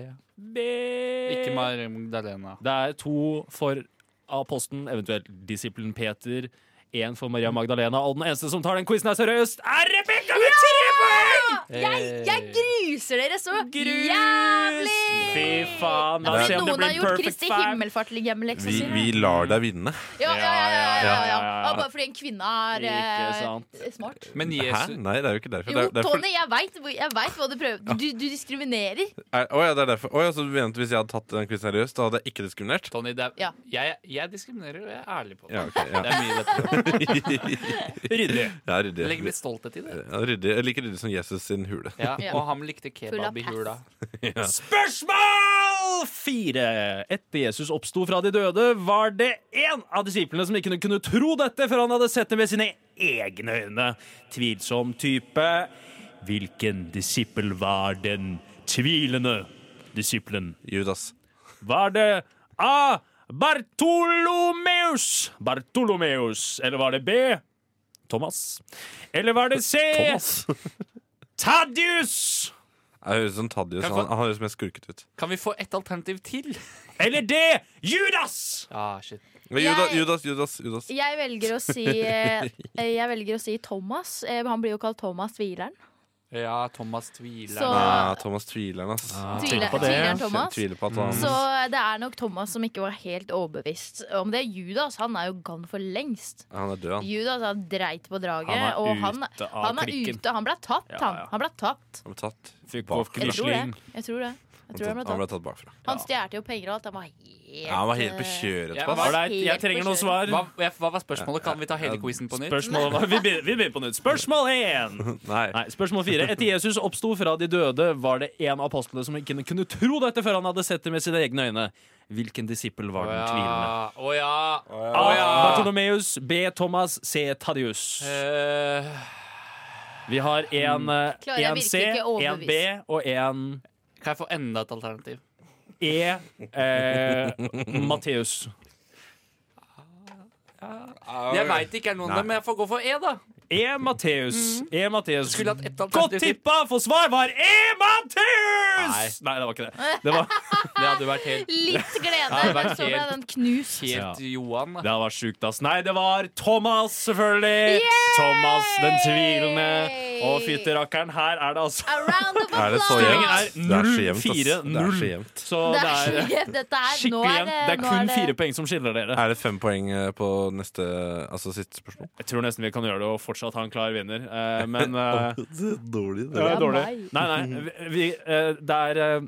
Speaker 6: B
Speaker 4: Eh.
Speaker 2: Ikke Maria Magdalena.
Speaker 6: Det er to for apostelen, eventuelt disippelen Peter En for Maria Magdalena Og den eneste som tar den quizen her seriøst Er Rebecca med tre poeng!
Speaker 4: Jeg, jeg gruser dere så
Speaker 6: Grus!
Speaker 4: jævlig!
Speaker 6: Fy faen,
Speaker 4: Da
Speaker 6: la oss se
Speaker 4: vil
Speaker 6: om det
Speaker 4: noen ha
Speaker 6: blir
Speaker 4: gjort
Speaker 6: perfect
Speaker 4: Kristi
Speaker 6: fair
Speaker 4: himmelfart-hjemmeleksa
Speaker 5: Vi,
Speaker 4: si.
Speaker 5: vi lar deg vinne.
Speaker 4: liksom? Ja, ja, ja, ja, ja, ja, ja.
Speaker 6: ja, ja.
Speaker 4: Ah, Bare fordi en kvinne er
Speaker 6: Ikke
Speaker 4: eh,
Speaker 6: sant.
Speaker 4: smart.
Speaker 2: Men
Speaker 5: Hæ?
Speaker 2: Jesus
Speaker 5: Nei, det er jo ikke derfor.
Speaker 4: Jo,
Speaker 5: Det er- det er for-
Speaker 4: Tony, jeg veit hva du prøver. Du, du diskriminerer.
Speaker 5: Er, å ja, det er derfor. Å ja, så du mener at hvis jeg hadde tatt den quizen seriøst, da hadde jeg ikke diskriminert?
Speaker 2: Tony, det er,
Speaker 4: Ja.
Speaker 2: jeg, jeg diskriminerer, og jeg er ærlig på det.
Speaker 5: Ja, ok, ja.
Speaker 2: Det er mye lettere.
Speaker 6: Ryddig
Speaker 5: Jeg er ryddig.
Speaker 2: Jeg legger litt stolthet i det.
Speaker 5: Ja, ryddig. Jeg liker ryddig som Jesus sin hule.
Speaker 2: Ja,
Speaker 4: Ja.
Speaker 2: og han likte
Speaker 4: Full av
Speaker 2: kebab i
Speaker 4: pass.
Speaker 2: hula.
Speaker 6: Spørsmål fire! Etter Jesus oppsto fra de døde, var det én av disiplene som ikke kunne tro dette før han hadde sett det med sine egne øyne. Tvilsom type. Hvilken disippel var den tvilende disippelen?
Speaker 5: Judas.
Speaker 6: Var det A. Bartolomeus? Bartolomeus. Eller var det B. Thomas? Eller var det C. Tadius?
Speaker 5: Jeg høres som Tadius.
Speaker 2: Kan jeg få-
Speaker 5: Han, han høres mer skurket ut.
Speaker 2: Kan vi få et alternativ til?
Speaker 6: Eller D. Judas?
Speaker 2: Ah, shit.
Speaker 5: Men
Speaker 4: Jeg-
Speaker 5: Judas, Judas, Judas. Judas.
Speaker 4: Jeg velger å si, eh, jeg velger å si Thomas. Eh, Han blir jo kalt Thomas Tvileren.
Speaker 2: Ja, Thomas tviler.
Speaker 4: Så-
Speaker 5: Nei, Thomas tviler, ass.
Speaker 6: Ah.
Speaker 4: Tviler- tvileren Thomas.
Speaker 5: Tviler på at han
Speaker 4: Så det er nok Thomas som ikke var helt overbevist om det. Judas han er jo gone for lengst.
Speaker 5: Han er død, han.
Speaker 4: Judas han dreit på draget.
Speaker 5: Han er
Speaker 4: og han,
Speaker 5: ute av
Speaker 4: han er
Speaker 5: klikken.
Speaker 4: ute. Han ble tatt,
Speaker 5: Ja,
Speaker 4: han.
Speaker 5: ja.
Speaker 4: Han ble tatt.
Speaker 5: Han ble tatt
Speaker 4: Jeg
Speaker 5: bakfra.
Speaker 4: tror det. Jeg tror det. Jeg tror han ble
Speaker 5: Han ble
Speaker 4: tatt.
Speaker 5: tatt bakfra.
Speaker 4: Han stjal jo penger og alt. Han var helt eh,
Speaker 5: Ja, han var helt på kjøret.
Speaker 2: Ja,
Speaker 5: Thomas.
Speaker 2: hva-
Speaker 5: Ålreit, jeg
Speaker 2: trenger
Speaker 6: noe svar.
Speaker 2: Hva, hva var spørsmålet? Kan vi ta hele quizen på nytt?
Speaker 6: Spørsmål, vi, begynner, vi begynner på nytt. Spørsmål én!
Speaker 5: Nei.
Speaker 6: spørsmål fire. Etter Jesus oppsto fra de døde, var det en av apostlene som ikke kunne tro dette før han hadde sett det med sine egne øyne. Hvilken disippel var den tvilende?
Speaker 2: Å ja. Å
Speaker 6: A.
Speaker 2: ja.
Speaker 6: Bartolomeus. B. Thomas. C. Tadius.
Speaker 2: Eh.
Speaker 6: Vi har en, eh,
Speaker 2: Klarer jeg
Speaker 6: en
Speaker 2: virkelig
Speaker 6: C,
Speaker 2: ikke å
Speaker 6: en B
Speaker 2: overbevise?
Speaker 6: og en
Speaker 2: Kan jeg få enda et alternativ?
Speaker 6: E. Eh, Matteus.
Speaker 2: Jeg veit ikke er noen av dem, men jeg får gå for E, da.
Speaker 6: E. Matteus. E. Matteus.
Speaker 2: Skulle hatt ett
Speaker 6: Godt
Speaker 2: alternativ til.
Speaker 6: tippa, for svar var E. Matteus! Nei. det var ikke det. Det, var,
Speaker 2: det hadde vært helt
Speaker 4: Litt glede,
Speaker 6: Ja, det var
Speaker 4: men så ble
Speaker 6: helt-
Speaker 4: den knust.
Speaker 6: Helt
Speaker 2: Johan.
Speaker 6: Det var sjukt, ass. Nei, det var Thomas, selvfølgelig. Thomas den tvilende. Og fytterakkeren, her er det altså
Speaker 5: Er det så
Speaker 6: Stillingen
Speaker 5: jevnt?
Speaker 6: er
Speaker 5: Det er så jevnt, ass.
Speaker 6: 0-4-0.
Speaker 5: Det er så jevnt.
Speaker 6: Så
Speaker 4: Det
Speaker 6: det
Speaker 4: er,
Speaker 6: er
Speaker 4: dette er, nå
Speaker 6: skikkelig
Speaker 4: er
Speaker 6: jevnt. Det er
Speaker 4: nå
Speaker 6: kun fire poeng som skiller dere.
Speaker 5: Er det fem poeng eh, på neste, altså siste spørsmål?
Speaker 6: Jeg tror nesten vi kan gjøre det og fortsatt ha en klar vinner, eh, men eh,
Speaker 5: Det er dårlig,
Speaker 6: det er dårlig. Nei, nei. vi- Vi, eh, det er eh,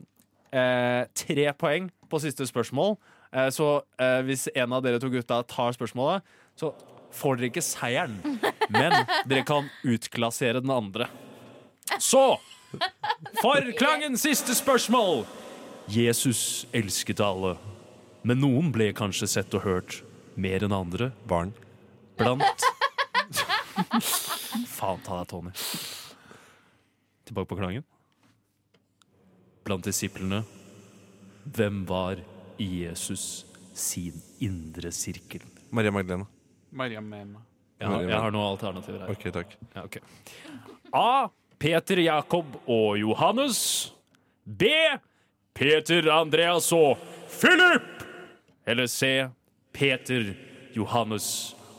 Speaker 6: eh, tre poeng på siste spørsmål, eh, så eh, hvis en av dere to gutta tar spørsmålet, så får dere ikke seieren. Men dere kan utklassere den andre. Så For klangens siste spørsmål! Jesus elsket alle, men noen ble kanskje sett og hørt mer enn andre.
Speaker 5: Barn.
Speaker 6: Blant Faen ta deg, Tony. Tilbake på klangen. Blant disiplene, hvem var i Jesus sin indre sirkel?
Speaker 5: Maria Magdalena.
Speaker 2: Maria Mena.
Speaker 6: Jeg har, jeg har noen alternativer her.
Speaker 5: Ok, takk.
Speaker 6: Ja, ok. A. Peter, Jakob og Johannes. B. Peter, Andreas og Philip. Eller C. Peter, Johannes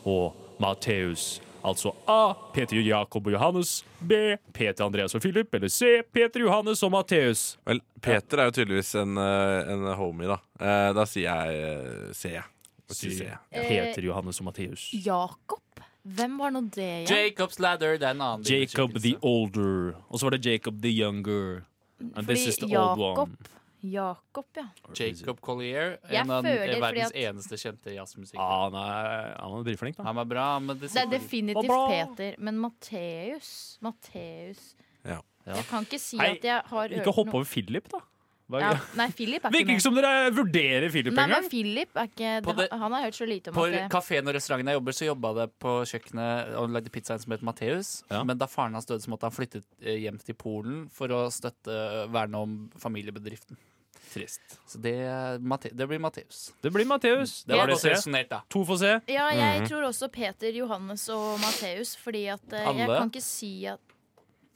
Speaker 6: og Matteus. Altså A. Peter, Jakob og Johannes. B. Peter, Andreas og Philip. Eller C. Peter, Johannes og Matteus.
Speaker 5: Vel, Peter er jo tydeligvis en, eh, en homie, da. Eh, Da sier jeg eh, C. jeg. Jeg sier C.
Speaker 4: Eh,
Speaker 6: Peter, Johannes og Matteus.
Speaker 4: Jakob? Hvem var nå det igjen?
Speaker 2: Jacob's Ladder, det er en annen.
Speaker 6: Jacob the older. Og så var det Jacob the younger. And this
Speaker 4: Fordi
Speaker 6: is the old
Speaker 4: Jakob,
Speaker 6: one.
Speaker 4: Jakob, ja.
Speaker 2: Jacob Collier.
Speaker 4: Jeg
Speaker 2: En av den-
Speaker 4: føler fordi
Speaker 2: verdens
Speaker 4: at-
Speaker 2: eneste kjente jazzmusikere.
Speaker 6: han, er, Ah, han dritflink, da.
Speaker 2: Han var bra, men det
Speaker 4: Det er definitivt Peter, men Matteus Matteus
Speaker 5: Ja.
Speaker 4: Jeg kan ikke si
Speaker 6: Hei,
Speaker 4: at jeg har hørt
Speaker 6: Ikke hopp
Speaker 4: noe-
Speaker 6: over Philip, da. Hva-
Speaker 4: ja, Nei, Philip er
Speaker 6: Virker
Speaker 4: ikke
Speaker 6: ikke som dere vurderer Philip
Speaker 4: Nei, men
Speaker 6: engang.
Speaker 4: Philip er ikke
Speaker 2: På det-
Speaker 4: Han har hørt så lite om
Speaker 2: På
Speaker 4: at det
Speaker 2: kafeen og restauranten jeg jobber, så jobba det på kjøkkenet og lagde pizzaen som het Matteus. Men da faren hans døde, så måtte han flytte eh, hjem til Polen for å støtte eh, verne om familiebedriften.
Speaker 6: Trist.
Speaker 2: Så det, Matte, det blir Matteus.
Speaker 6: Det blir Matteus.
Speaker 2: Det var
Speaker 6: Ja.
Speaker 2: godt resonert, da.
Speaker 6: To får se.
Speaker 4: Ja, jeg
Speaker 2: Mhm.
Speaker 4: tror også Peter, Johannes og Matteus, fordi at eh, jeg
Speaker 2: Alle?
Speaker 4: kan ikke si at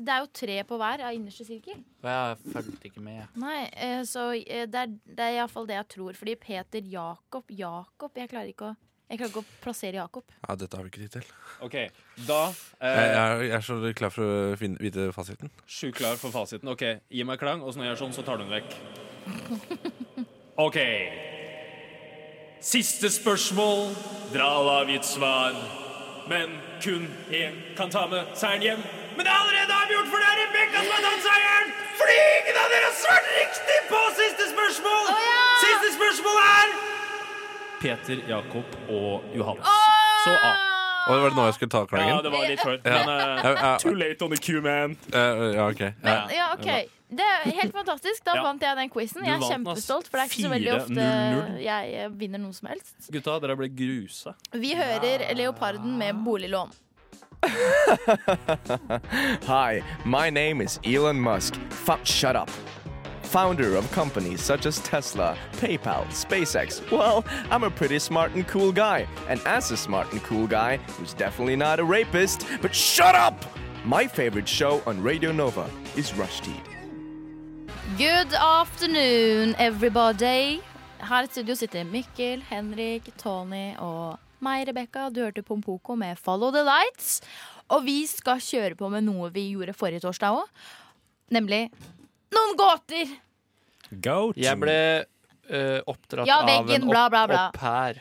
Speaker 4: Det er jo tre på hver av innerste sirkel.
Speaker 2: For jeg fulgte ikke med.
Speaker 4: Nei, eh, så eh, det er, det er iallfall det jeg tror. Fordi Peter, Jakob, Jakob Jeg klarer ikke å, jeg klarer ikke å plassere Jakob.
Speaker 5: Ja, dette har vi ikke tid til.
Speaker 6: Ok, da
Speaker 5: Jeg, jeg,
Speaker 6: eh,
Speaker 5: er- jeg er så klar for å finne, vite fasiten.
Speaker 6: Sjukt klar for fasiten. Ok, Gi meg klang, og så når jeg gjør sånn, så tar du den vekk. Ok. Siste spørsmål. Dere har alle avgitt svar. Men kun én kan ta med seieren hjem. Men det er allerede avgjort, for det er Rebekka som har tatt seieren! Fordi ingen av dere har svart riktig på siste spørsmål! Siste spørsmål er Peter, Jakob og Johannes. Så A.
Speaker 5: Og det var det nå jeg skulle ta klangen?
Speaker 6: Ja, det var litt før.
Speaker 5: Ja.
Speaker 6: Men eh,
Speaker 5: Ja, ja.
Speaker 6: too late on the cue, man.
Speaker 5: Eh, ja, OK. Ja.
Speaker 4: Ja, ok. Det er helt fantastisk. Da
Speaker 6: Ja.
Speaker 4: vant jeg den quizen.
Speaker 6: Du
Speaker 4: Jeg er
Speaker 6: vant den, ass.
Speaker 4: kjempestolt, for det er ikke så veldig ofte
Speaker 6: 4-0.
Speaker 4: jeg eh, vinner noe som helst.
Speaker 6: Gutta, dere ble grusa.
Speaker 4: Vi hører Leoparden med boliglån.
Speaker 11: Hi, my name is Elon Musk. Fuck, shut up. Founder of companies such as Tesla, PayPal, SpaceX. Well, I'm a pretty smart and cool guy. And as a smart and cool guy, who's definitely not a rapist, but shut up! My favorite show on Radio Nova is Rush Teed.
Speaker 4: Good afternoon, everybody. Her i studio sitter Mikkel, Henrik, Tony og meg, Rebekka. Du hørte Pompoko med Follow the Lights. Og vi skal kjøre på med noe vi gjorde forrige torsdag òg, nemlig noen gåter!
Speaker 2: Jeg ble eh, oppdratt
Speaker 4: Ja,
Speaker 2: av en
Speaker 4: veggen, bla, bla, bla.
Speaker 2: opp, opp her.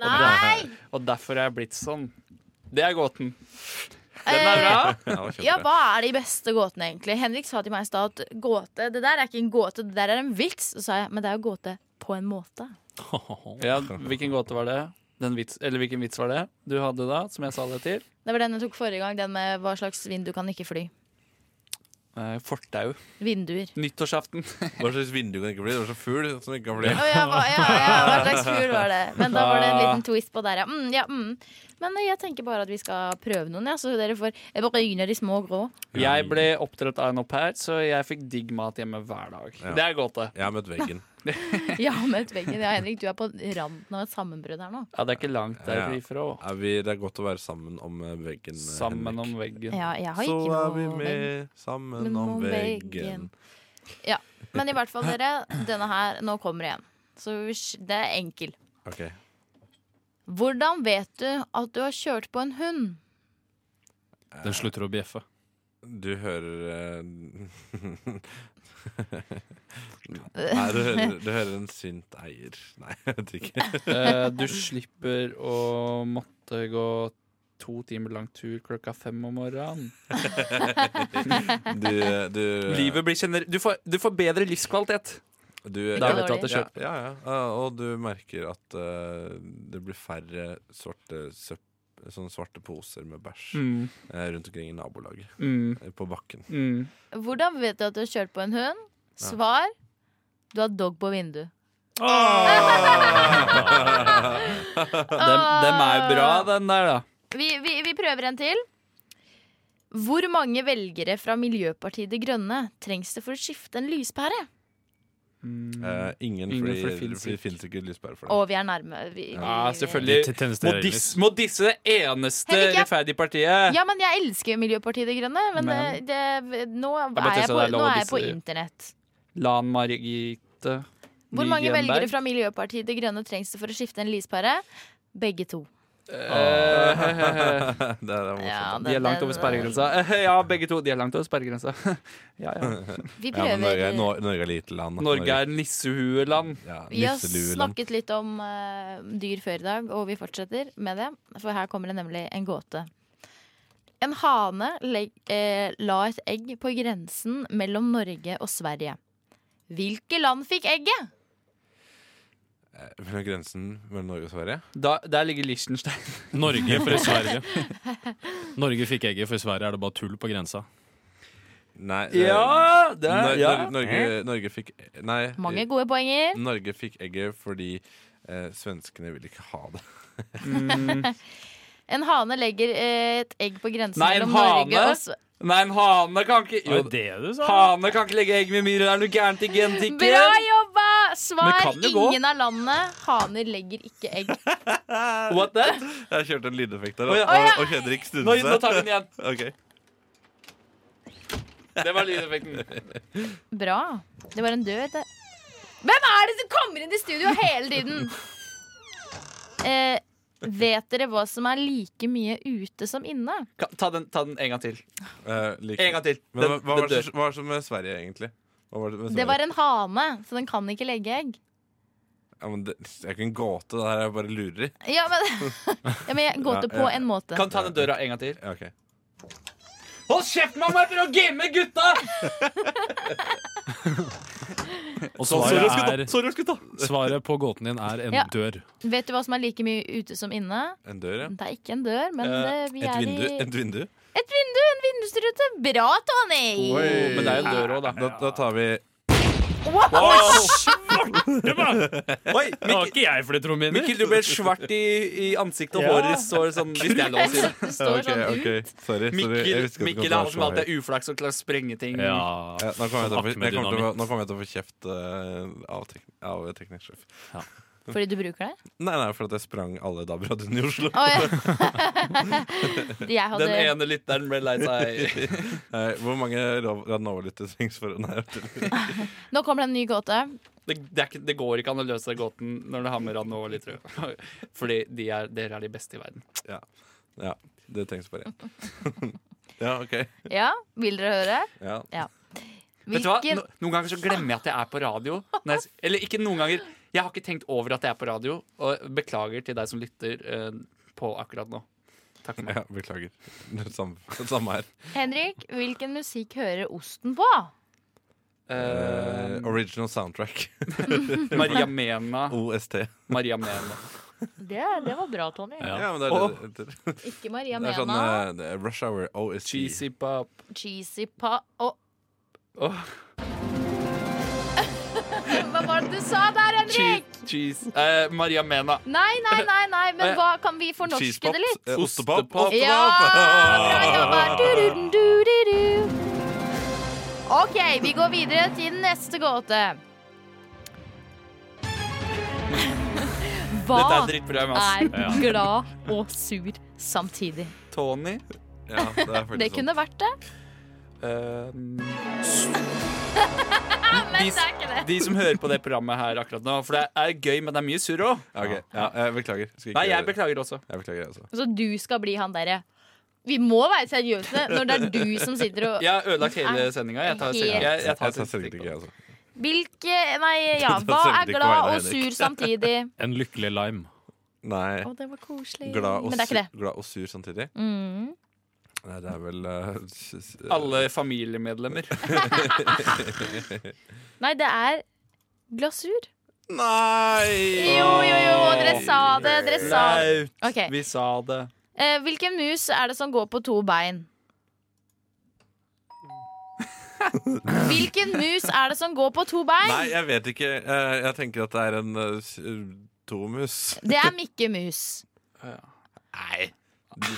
Speaker 4: Nei!
Speaker 2: Og derfor er jeg blitt sånn. Det er gåten. Den er bra.
Speaker 4: Ja, hva er de beste gåtene, egentlig? Henrik sa til meg i stad at gåte, det der er ikke en gåte, det der er en vits. Så sa jeg, men det er jo gåte på en måte.
Speaker 2: Ja, hvilken gåte var det? Den vits, eller hvilken vits var det du hadde da, som jeg sa det til?
Speaker 4: Det var den jeg tok forrige gang, den med hva slags vind du kan ikke fly.
Speaker 2: Eh, fortau.
Speaker 4: Vinduer.
Speaker 2: Nyttårsaften.
Speaker 5: Hva slags vindu kan det ikke bli? Det var så fugl som ikke kan bli.
Speaker 4: Å, ja, hva, ja, ja, hva slags fugl var det? Men da var det
Speaker 5: Ah.
Speaker 4: en liten twist på der, ja. Mm, ja mm. Men jeg tenker bare at vi skal prøve noen, ja, så dere får Jeg bare yner de små grå.
Speaker 2: Jeg ble oppdratt av en au pair, så jeg fikk digg mat hjemme hver dag.
Speaker 5: Ja.
Speaker 2: Det er gåte.
Speaker 5: Jeg har møtt veggen.
Speaker 4: Ja, møtt veggen. Ja, Henrik, du er på randen av et sammenbrudd her nå.
Speaker 2: Ja, det er ikke langt
Speaker 5: Ja.
Speaker 2: der ifra.
Speaker 5: Er vi, det er godt å være sammen om eh, veggen. eh,
Speaker 2: Sammen
Speaker 5: Henrik.
Speaker 2: om veggen.
Speaker 4: Ja, jeg har
Speaker 5: Så
Speaker 4: ikke
Speaker 5: er
Speaker 4: noe
Speaker 5: vi
Speaker 4: vegg.
Speaker 5: med sammen om veggen.
Speaker 4: Ja, Men i hvert fall, dere, denne her nå kommer igjen. Så hvis- det er enkel.
Speaker 5: Ok.
Speaker 4: Hvordan vet du at du har kjørt på en hund?
Speaker 6: Den slutter å bjeffe.
Speaker 5: Du hører eh, Nei, du hører, du hører en sint eier. Nei, jeg vet ikke.
Speaker 2: Eh, du slipper å måtte gå to timer lang tur klokka fem om morgenen.
Speaker 5: Du- eh, du-
Speaker 2: Livet blir gener... Du får, du får bedre livskvalitet.
Speaker 5: Du-
Speaker 2: da
Speaker 5: ja,
Speaker 2: vet du at det skjer.
Speaker 5: Ja, ja, ja. Eh, Og du merker at eh, det blir færre svarte, søpp, sånne svarte poser med bæsj
Speaker 2: Mm.
Speaker 5: eh, rundt omkring i nabolaget.
Speaker 2: Mm.
Speaker 5: Eh, På bakken.
Speaker 4: Hvordan vet du at du har kjørt på en hund? Svar du har dog på vinduet.
Speaker 5: Ah!
Speaker 2: Dem, dem er
Speaker 4: Ah.
Speaker 2: jo bra, den der, da.
Speaker 4: Vi, vi, vi prøver en til. Hvor mange velgere fra Miljøpartiet De Grønne trengs det for å skifte en lyspære?
Speaker 2: Mm.
Speaker 5: Eh, ingen,
Speaker 2: Ingen,
Speaker 5: fordi,
Speaker 2: for
Speaker 5: for
Speaker 2: det finnes
Speaker 5: det finnes ikke lyspære for
Speaker 4: Og
Speaker 5: dem.
Speaker 4: vi er nærme. Vi, vi,
Speaker 2: Ja,
Speaker 6: Det
Speaker 2: selvfølgelig.
Speaker 6: tennes det
Speaker 2: Må
Speaker 6: øyelys.
Speaker 2: disse, må disse det eneste
Speaker 4: Henrik, jeg-
Speaker 2: rettferdige partiet.
Speaker 4: Ja, men jeg elsker Miljøpartiet De Grønne, men, eh,
Speaker 2: Men-
Speaker 4: Det, det, nå,
Speaker 2: bare
Speaker 4: er jeg
Speaker 2: testa
Speaker 4: på,
Speaker 2: det er lov
Speaker 4: nå
Speaker 2: å
Speaker 4: er jeg på
Speaker 2: disse-
Speaker 4: internett.
Speaker 2: Lan Margite
Speaker 4: Hvor mange
Speaker 2: Nygenberg.
Speaker 4: velgere fra Miljøpartiet De Grønne trengs det for å skifte en lyspære? Begge to.
Speaker 2: Eh,
Speaker 5: Det er, det er morsomt.
Speaker 4: Ja,
Speaker 2: De er langt over sperregrensa. Eh, Ja, begge to. De er langt over sperregrensa. Ja, ja.
Speaker 4: Vi
Speaker 5: Ja, men Norge,
Speaker 4: prøver
Speaker 5: er- Nor- Norge er lite land. da.
Speaker 2: Norge er nissehueland.
Speaker 5: ja,
Speaker 4: Vi har
Speaker 5: nisselueland.
Speaker 4: snakket litt om eh, dyr før i dag, og vi fortsetter med det. For her kommer det nemlig en gåte. En hane legg, eh, la et egg på grensen mellom Norge og Sverige. Hvilke land fikk egget?
Speaker 5: Eh, Mellom grensen mellom Norge og Sverige?
Speaker 2: Da, der ligger Liechtenstein.
Speaker 6: Norge for Sverige. Norge fikk egget, for i Sverige er det bare tull på grensa.
Speaker 5: Nei.
Speaker 2: Ja, det
Speaker 5: Nor
Speaker 2: er, ja.
Speaker 5: Nor Norge, Norge fikk Nei.
Speaker 2: Eh,
Speaker 5: eh,
Speaker 4: Mange gode
Speaker 2: mm.
Speaker 4: poenger.
Speaker 5: Norge fikk egget fordi eh, svenskene ville ikke ha det.
Speaker 4: En hane legger eh, et egg på grensen
Speaker 2: Nei, en
Speaker 4: mellom
Speaker 2: hane.
Speaker 4: Norge og Sverige.
Speaker 2: Nei, en hane kan ikke
Speaker 6: Var
Speaker 2: jo,
Speaker 6: det det du sa?
Speaker 2: Hane kan ikke legge egg med myrer. Er du gæren til
Speaker 4: Bra
Speaker 2: genetikken?
Speaker 4: jobba!
Speaker 2: Men
Speaker 4: Svar
Speaker 2: kan det gå?
Speaker 4: ingen av landene. Haner legger ikke egg.
Speaker 2: What that?
Speaker 5: Jeg kjørte en lydeffekt der,
Speaker 2: Å,
Speaker 5: og,
Speaker 2: ja.
Speaker 5: og, og Henrik
Speaker 2: Nå,
Speaker 5: snudde
Speaker 2: nå tar vi
Speaker 5: seg.
Speaker 2: den igjen.
Speaker 5: Ok.
Speaker 2: Det var lydeffekten.
Speaker 4: Bra. Det var en dør der. Hvem er det som kommer inn i studio hele tiden? Eh, vet dere hva som er like mye ute som inne?
Speaker 2: Ka- Ta den, ta den en gang til.
Speaker 5: Eh, like-
Speaker 2: En gang til.
Speaker 5: Men
Speaker 2: Den,
Speaker 5: hva, hva, var
Speaker 2: den
Speaker 5: det,
Speaker 2: dør.
Speaker 5: som- hva var det som med Sverige, egentlig? Hva var det, med
Speaker 4: Det var
Speaker 5: Sverige?
Speaker 4: en hane, så den kan ikke legge egg.
Speaker 5: ja, men det, det er ikke en gåte, det her er bare lureri.
Speaker 4: Ja, men, ja, men jeg går til på en måte.
Speaker 2: Kan ta den døra en gang til.
Speaker 5: Ja, ok.
Speaker 2: Hold kjeft, mamma, etter å game gutta!
Speaker 6: Og
Speaker 2: Sorry, skutta.
Speaker 6: svaret, er,
Speaker 2: Sorry, skutta.
Speaker 6: svaret på gåten din er en
Speaker 4: Ja.
Speaker 6: dør.
Speaker 4: Vet du hva som er like mye ute som inne?
Speaker 5: En dør, ja.
Speaker 4: Det er ikke en dør, men Mm. det, vi
Speaker 5: Et
Speaker 4: er
Speaker 5: vindu.
Speaker 4: i
Speaker 5: Et vindu.
Speaker 4: Et vindu, en vindusrute. Bra, Tony!
Speaker 2: Men det er jo en dør òg, da.
Speaker 5: Da, da tar vi
Speaker 2: Oi,
Speaker 6: Det var ikke jeg for det, trommehinner.
Speaker 2: Mikkel, du ble svart i, i ansiktet, og
Speaker 6: Ja.
Speaker 2: håret står sånn, hvis det er lov å si det.
Speaker 4: Det står
Speaker 5: Ok,
Speaker 4: sånn ut.
Speaker 5: ok. Sorry. sorry. Jeg visste
Speaker 2: Mikkel,
Speaker 5: ikke at det
Speaker 2: Mikkel
Speaker 5: kom til
Speaker 2: er
Speaker 5: å
Speaker 2: han
Speaker 5: være
Speaker 2: som
Speaker 5: så høy.
Speaker 2: alltid er uflaks og klarer å sprenge ting.
Speaker 6: Ja.
Speaker 5: Ja, nå kommer jeg til å få-
Speaker 6: Akme
Speaker 5: jeg kommer til å
Speaker 6: dynamitt.
Speaker 5: få- nå kommer jeg til å få kjeft eh, av, tek, av teknisk sjef.
Speaker 4: Fordi du bruker det?
Speaker 5: Nei, nei, for at jeg sprang alle DAB-radioene i Oslo.
Speaker 4: Å, ja. Jeg hadde
Speaker 2: Den ene lytteren ble lei seg.
Speaker 5: Eh, Hvor mange Radnova-lyttere trengs for å Nei, jeg vet ikke.
Speaker 4: Nå kommer det en ny gåte.
Speaker 2: Det, det, er ikke, det går ikke an å løse gåten når det har med Rann og Litterud Fordi de er, dere er de beste i verden.
Speaker 5: ja. Det trengs bare én. ja, OK.
Speaker 4: Ja, vil dere høre?
Speaker 5: Ja.
Speaker 2: Vet du hva?
Speaker 4: Hvilken-
Speaker 2: No, noen ganger så glemmer jeg at jeg er på radio. Når jeg, s- eller ikke noen ganger. Jeg har ikke tenkt over at jeg er på radio, og beklager til deg som lytter eh, på akkurat nå. Takk for meg.
Speaker 5: Ja, beklager. Det Samme, det samme her.
Speaker 4: Henrik, hvilken musikk hører osten på?
Speaker 5: Eh, original soundtrack.
Speaker 2: Maria Mena.
Speaker 5: OST.
Speaker 2: Maria Mena.
Speaker 4: Det, det var bra, Tony.
Speaker 5: Ja, men det er
Speaker 2: Og-
Speaker 5: det. det-
Speaker 4: Ikke Maria
Speaker 5: Det
Speaker 4: Mena.
Speaker 5: er sånn eh, det er Rush Hour OST.
Speaker 2: Cheesy pop.
Speaker 4: Cheesy pa... Å,
Speaker 2: Åh,
Speaker 4: hva var det du sa der, Henrik?
Speaker 2: cheese, cheese. Eh, Maria Mena.
Speaker 4: Nei, nei, nei, nei, men
Speaker 2: Eh,
Speaker 4: hva kan vi fornorske det litt?
Speaker 5: Eh,
Speaker 2: Ostepop.
Speaker 4: Ja, bra jobba! Du-du-du-du-du. OK, vi går videre til neste gåte. Hva
Speaker 2: Dette er drittbra, ass. Ja.
Speaker 4: er glad og sur samtidig?
Speaker 2: Tony.
Speaker 4: Det
Speaker 5: sånn.
Speaker 4: kunne vært det.
Speaker 2: Eh,
Speaker 4: Men
Speaker 2: det er
Speaker 4: ikke det.
Speaker 2: de som hører på det programmet her akkurat nå, for det er gøy, men det er mye surr òg.
Speaker 5: sånn. jeg beklager.
Speaker 2: Nei, jeg beklager også.
Speaker 5: Jeg beklager, altså. jeg også.
Speaker 4: Så du skal bli han derre. Vi må være seriøse når det er du som sitter og
Speaker 2: Jeg har ødelagt hele sendinga. Jeg tar
Speaker 4: Helt-
Speaker 2: selv- jeg- jeg tar
Speaker 5: Jeg tar
Speaker 2: selvkritikk.
Speaker 5: selvkritikk, jeg altså. også.
Speaker 4: Hvilke Nei, ja.
Speaker 6: Da
Speaker 4: Hva
Speaker 6: søkte
Speaker 4: er
Speaker 6: ikke
Speaker 4: glad
Speaker 6: Veiler
Speaker 4: og sur
Speaker 6: Henrik.
Speaker 4: samtidig?
Speaker 6: En lykkelig lime.
Speaker 5: Nei.
Speaker 4: Å, det var koselig.
Speaker 5: Glad og,
Speaker 4: Men det er ikke det.
Speaker 5: sur, glad og sur samtidig.
Speaker 4: Mm.
Speaker 5: Nei, det er vel eh, s- s-
Speaker 2: Alle familiemedlemmer.
Speaker 4: Nei, det er glasur.
Speaker 5: Nei!
Speaker 4: Jo, jo, jo, dere sa det. Dere sa det.
Speaker 2: Flaut.
Speaker 4: Ok.
Speaker 2: Vi sa det.
Speaker 4: Eh, hvilken mus er det som går på to bein? Hvilken mus er det som går på to bein?
Speaker 5: Nei, jeg vet ikke. Eh, Jeg tenker at det er en eh, s- tomus.
Speaker 4: Det er Mikke Mus.
Speaker 2: Nei.
Speaker 5: Nei, du-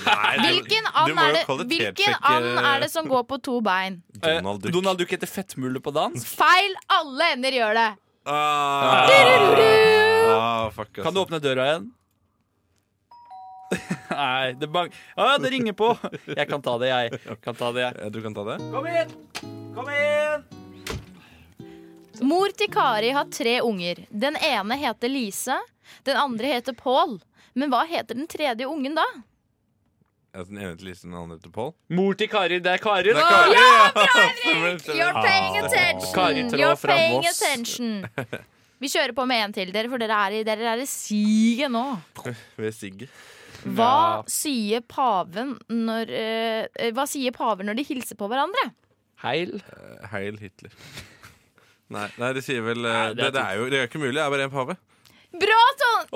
Speaker 4: Hvilken
Speaker 5: du
Speaker 4: and,
Speaker 5: må
Speaker 4: er
Speaker 5: jo
Speaker 4: det,
Speaker 5: kvalitetssjekke-
Speaker 4: hvilken and
Speaker 5: eh,
Speaker 4: er det som går på to bein?
Speaker 5: Donald Duck.
Speaker 2: Eh, Donald Duck heter Fettmulle på dans.
Speaker 4: Feil! Alle ender gjør det.
Speaker 5: Ah. Ah, fuck,
Speaker 2: Kan du
Speaker 5: altså.
Speaker 2: åpne døra igjen? Nei, det bang... Å, det ringer på! Jeg kan ta det, jeg. Kan ta det, jeg.
Speaker 5: Eh, Du kan ta det?
Speaker 2: Kom inn! Kom inn!
Speaker 4: Mor til Kari har tre unger. Den ene heter Lise, den andre heter Pål. Men hva heter den tredje ungen da?
Speaker 5: Ja, Den ene sånn til Lise, den andre til Pål?
Speaker 2: Mor til Kari. Det er Kari, da!
Speaker 4: Ja, bra, Henrik! You're paying
Speaker 2: Ah. Kari
Speaker 4: attention!
Speaker 2: Trå
Speaker 4: You're
Speaker 2: fra
Speaker 4: paying
Speaker 2: Voss.
Speaker 4: attention. Vi kjører på med en til dere, for dere er i, dere er i siget nå.
Speaker 5: Ved Sigge.
Speaker 4: Hva sier paven når eh, Hva sier paver når de hilser på hverandre?
Speaker 2: Heil.
Speaker 5: Heil Hitler. Nei, nei, det sier vel eh,
Speaker 2: det
Speaker 5: det,
Speaker 2: er
Speaker 5: det, er jo, det er ikke mulig. Det er bare en pave.
Speaker 4: Bra, Ton!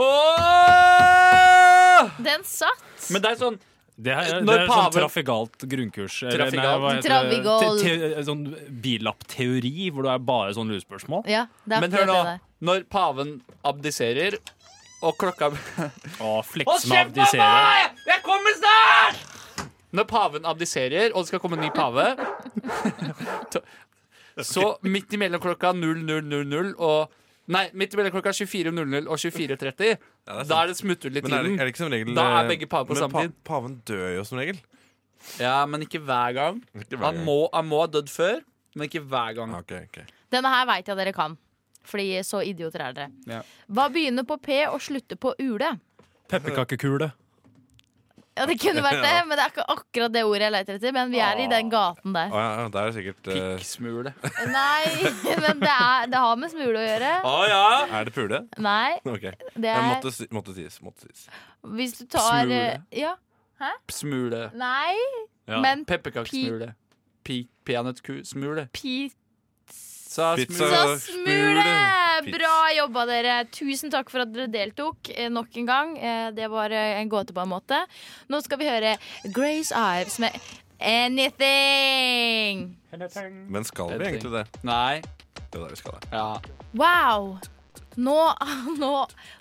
Speaker 2: Åh!
Speaker 4: Den satt.
Speaker 2: Men det er sånn
Speaker 6: Det er, det
Speaker 2: Når
Speaker 6: er
Speaker 2: paven-
Speaker 6: sånn trafikalt grunnkurs. eller nei,
Speaker 2: Trafikalt.
Speaker 6: hva heter det?
Speaker 4: Travigol.
Speaker 6: Te- te- Sånn bilappteori, hvor det er bare sånn lurespørsmål.
Speaker 4: Ja, det er
Speaker 2: Men hør
Speaker 4: akkurat
Speaker 2: nå.
Speaker 4: det der.
Speaker 2: Når paven abdiserer, og klokka
Speaker 6: Å,
Speaker 2: Hold
Speaker 6: flex med
Speaker 2: kjeft, mamma!
Speaker 6: abdisere.
Speaker 2: Jeg kommer snart! Når paven abdiserer, og det skal komme en ny pave to- Så midt imellom klokka 00.00 og Nei, midt imellom klokka 24.00 og
Speaker 5: Ja,
Speaker 2: 24.30
Speaker 5: det er sant.
Speaker 2: Da er det smutthull i
Speaker 5: Men er det,
Speaker 2: tiden.
Speaker 5: er det ikke som regel
Speaker 2: Da er
Speaker 5: eh,
Speaker 2: begge paver på
Speaker 5: men
Speaker 2: samme tid.
Speaker 5: Paven dør jo som regel.
Speaker 2: Ja, men ikke hver gang.
Speaker 5: Ikke hver
Speaker 2: Han
Speaker 5: gang.
Speaker 2: må, han må ha dødd før, men ikke hver gang.
Speaker 5: Ok, ok.
Speaker 4: Denne her veit jeg dere kan. Fordi så idioter er dere.
Speaker 2: Ja.
Speaker 4: Hva begynner på P og slutter på ule?
Speaker 6: Pepperkakekule.
Speaker 4: Ja, Det kunne vært det, men det er ikke akkurat det ordet jeg leter etter. Men vi er i den
Speaker 5: Å
Speaker 4: gaten der.
Speaker 5: ja, ja, det er sikkert eh,
Speaker 2: Pikksmule.
Speaker 4: Nei, men det, er, det har med smule å gjøre.
Speaker 2: Å
Speaker 5: Ah,
Speaker 2: ja!
Speaker 5: Er det pule?
Speaker 4: Nei,
Speaker 5: Ok.
Speaker 4: det
Speaker 5: Jeg
Speaker 4: er
Speaker 5: måtte, si- måtte sies. Måtte sies.
Speaker 4: Hvis du tar eh,
Speaker 2: Smule.
Speaker 4: Ja.
Speaker 2: Smule.
Speaker 4: Nei,
Speaker 6: Ja.
Speaker 4: men
Speaker 2: Pepperkakesmule. Pi- Peanøttkusmule.
Speaker 4: pi...
Speaker 2: Sa
Speaker 5: Pizza.
Speaker 2: smule.
Speaker 4: Så smule!
Speaker 5: Pizza.
Speaker 4: Bra jobba, dere. Tusen takk for at dere deltok eh, nok en gang. Eh, Det var eh, en gåte på en måte. Nå skal vi høre Grace Ives med Anything.
Speaker 5: Men skal vi egentlig det?
Speaker 2: Nei.
Speaker 5: Jo, da, vi skal det.
Speaker 2: Ja.
Speaker 4: Wow! Nå, nå,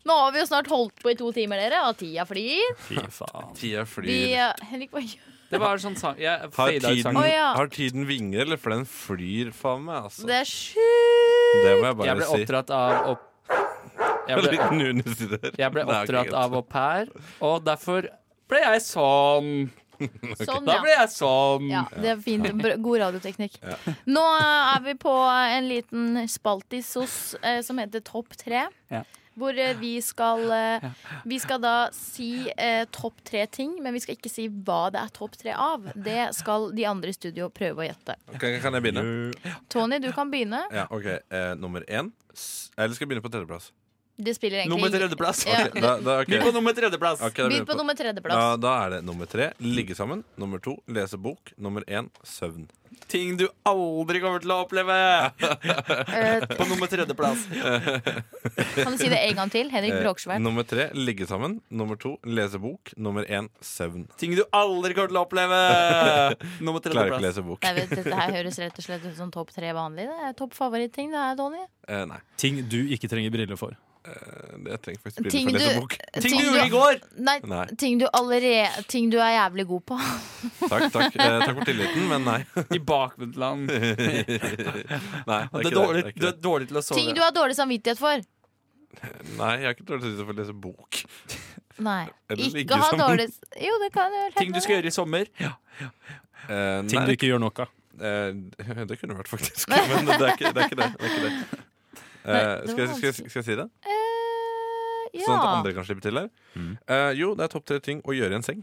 Speaker 4: nå har vi jo snart holdt på i to timer, dere, og tida flyr.
Speaker 6: Fy faen.
Speaker 5: Tida
Speaker 4: Vi,
Speaker 5: flyr.
Speaker 4: eh, Henrik, hva gjør
Speaker 2: Det var sånn sang Jeg
Speaker 5: Har
Speaker 2: fada ut
Speaker 5: tiden,
Speaker 4: Å,
Speaker 2: sangen.
Speaker 4: ja.
Speaker 5: har tiden vinger, eller? For den flyr faen meg, altså.
Speaker 4: Det er sjukt!
Speaker 5: Det må jeg
Speaker 2: Jeg
Speaker 5: bare
Speaker 2: ble
Speaker 5: si.
Speaker 2: oppdratt av opp... Jeg ble,
Speaker 5: Litt nunes i det.
Speaker 2: jeg ble
Speaker 5: Nei, ok,
Speaker 2: oppdratt
Speaker 5: greit.
Speaker 2: av au pair, og derfor ble jeg sånn.
Speaker 4: Sånn,
Speaker 2: Da
Speaker 4: ja.
Speaker 2: ble jeg sånn.
Speaker 4: ja. Det er fint. Br- God radioteknikk. Nå eh, er vi på en liten spaltis hos eh, som heter Topp tre.
Speaker 2: Ja.
Speaker 4: Hvor eh, vi skal eh, Vi skal da si eh, topp tre ting, men vi skal ikke si hva det er topp tre av. Det skal de andre i studio prøve å gjette.
Speaker 5: Kan, kan jeg begynne?
Speaker 4: Tony, du kan begynne.
Speaker 5: Ja, ok, eh, Nummer én. S- Eller skal jeg begynne på tredjeplass?
Speaker 4: Det spiller egentlig
Speaker 2: Nummer
Speaker 4: ingen-
Speaker 2: tredjeplass.
Speaker 4: Ja.
Speaker 5: Ok, da- da- ok.
Speaker 2: Vi er på nummer tredjeplass.
Speaker 5: Ok, da
Speaker 4: Vi
Speaker 5: begynner
Speaker 4: på nummer tredjeplass.
Speaker 5: Da, da er det nummer tre ligge sammen. Nummer to lese bok. Nummer én søvn.
Speaker 2: Ting du aldri kommer til å oppleve! På nummer tredjeplass.
Speaker 4: Eh, Kan du si det en gang til?
Speaker 5: Eh,
Speaker 4: Henrik Bråksvær.
Speaker 5: nummer tre ligge sammen. Nummer to lese bok. Nummer én søvn.
Speaker 2: Ting du aldri kommer til å oppleve! Nummer
Speaker 5: Klarer ikke
Speaker 2: tredjeplass.
Speaker 5: lese bok.
Speaker 4: Jeg vet, dette her høres rett og slett ut som topp tre vanlig. Det er topp favorittting, det her, Tony.
Speaker 5: Eh, nei. Eh,
Speaker 6: Ting du ikke trenger briller for.
Speaker 5: jeg trenger faktisk
Speaker 4: Ting du, Nei,
Speaker 5: Nei.
Speaker 4: Ting du allerede Ting du er jævlig god på.
Speaker 5: Takk, takk. Eh, takk for tilliten, men nei.
Speaker 2: I bakvendtland. nei,
Speaker 5: det er
Speaker 2: Du
Speaker 5: ikke
Speaker 2: er
Speaker 5: det,
Speaker 2: dårlig,
Speaker 5: det er ikke
Speaker 2: du er dårlig til å sove.
Speaker 4: ting du har dårlig samvittighet for.
Speaker 5: Nei, jeg har ikke dårlig tid til å lese bok.
Speaker 4: Nei.
Speaker 5: Eller ligge
Speaker 4: Ikke ha
Speaker 5: sammen.
Speaker 4: dårlig Jo, det kan du vel
Speaker 2: Ting du skal gjøre i sommer.
Speaker 5: Eh,
Speaker 6: Ting
Speaker 5: nei.
Speaker 6: du ikke gjør nok av.
Speaker 5: Eh, det kunne vært faktisk, men det er ikke det. Er ikke det, det, er ikke det. Eh,
Speaker 6: Nei, det
Speaker 5: skal, jeg,
Speaker 6: var
Speaker 5: skal, jeg, skal jeg si det?
Speaker 4: Eh, ja.
Speaker 5: Sånn at andre kan slippe til her. Eh, jo, det er topp tre ting å gjøre i en seng.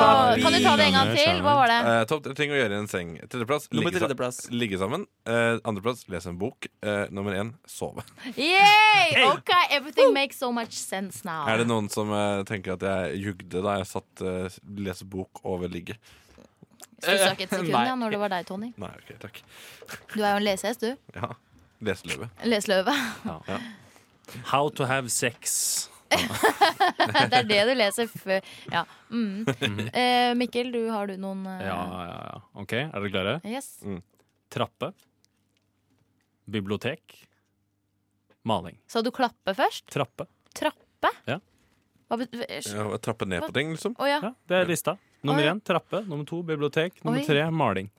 Speaker 4: papir! Kan du ta det en gang til? Hva var det?
Speaker 5: Eh, topp tre ting å gjøre i en seng. Tredjeplass
Speaker 2: Nummer
Speaker 5: ligge sa-
Speaker 2: tredjeplass.
Speaker 5: ligge sammen. Eh, Andreplass lese en bok. Eh, nummer én sove.
Speaker 4: Yay! OK, everything makes so much sense now.
Speaker 5: Er det noen som eh, tenker at jeg jugde da jeg satt eh, lese bok over ligge?
Speaker 4: Stussa ikke et sekund
Speaker 5: Nei.
Speaker 4: ja, når det var deg, Tony.
Speaker 5: Nei, ok, takk.
Speaker 4: Du er jo en lesehest, du.
Speaker 5: Ja. Leseløve.
Speaker 4: Leseløve.
Speaker 5: Ja.
Speaker 6: How to have sex.
Speaker 4: det er det du leser før Ja. Mm.
Speaker 5: Mhm.
Speaker 4: Eh, Mikkel, du, har du noen eh,
Speaker 6: Ja, ja, ja. OK, er dere klare?
Speaker 4: Yes.
Speaker 6: Trappe. Bibliotek. Maling.
Speaker 4: Sa du klappe først?
Speaker 6: Trappe.
Speaker 4: Trappe?
Speaker 6: Ja.
Speaker 4: Hva bet- eh,
Speaker 5: trappe ned på ting, liksom.
Speaker 4: Å, ja.
Speaker 6: det er lista. Nummer
Speaker 4: Å, ja.
Speaker 6: én trappe. Nummer to bibliotek. Nummer
Speaker 4: Oi.
Speaker 6: tre maling.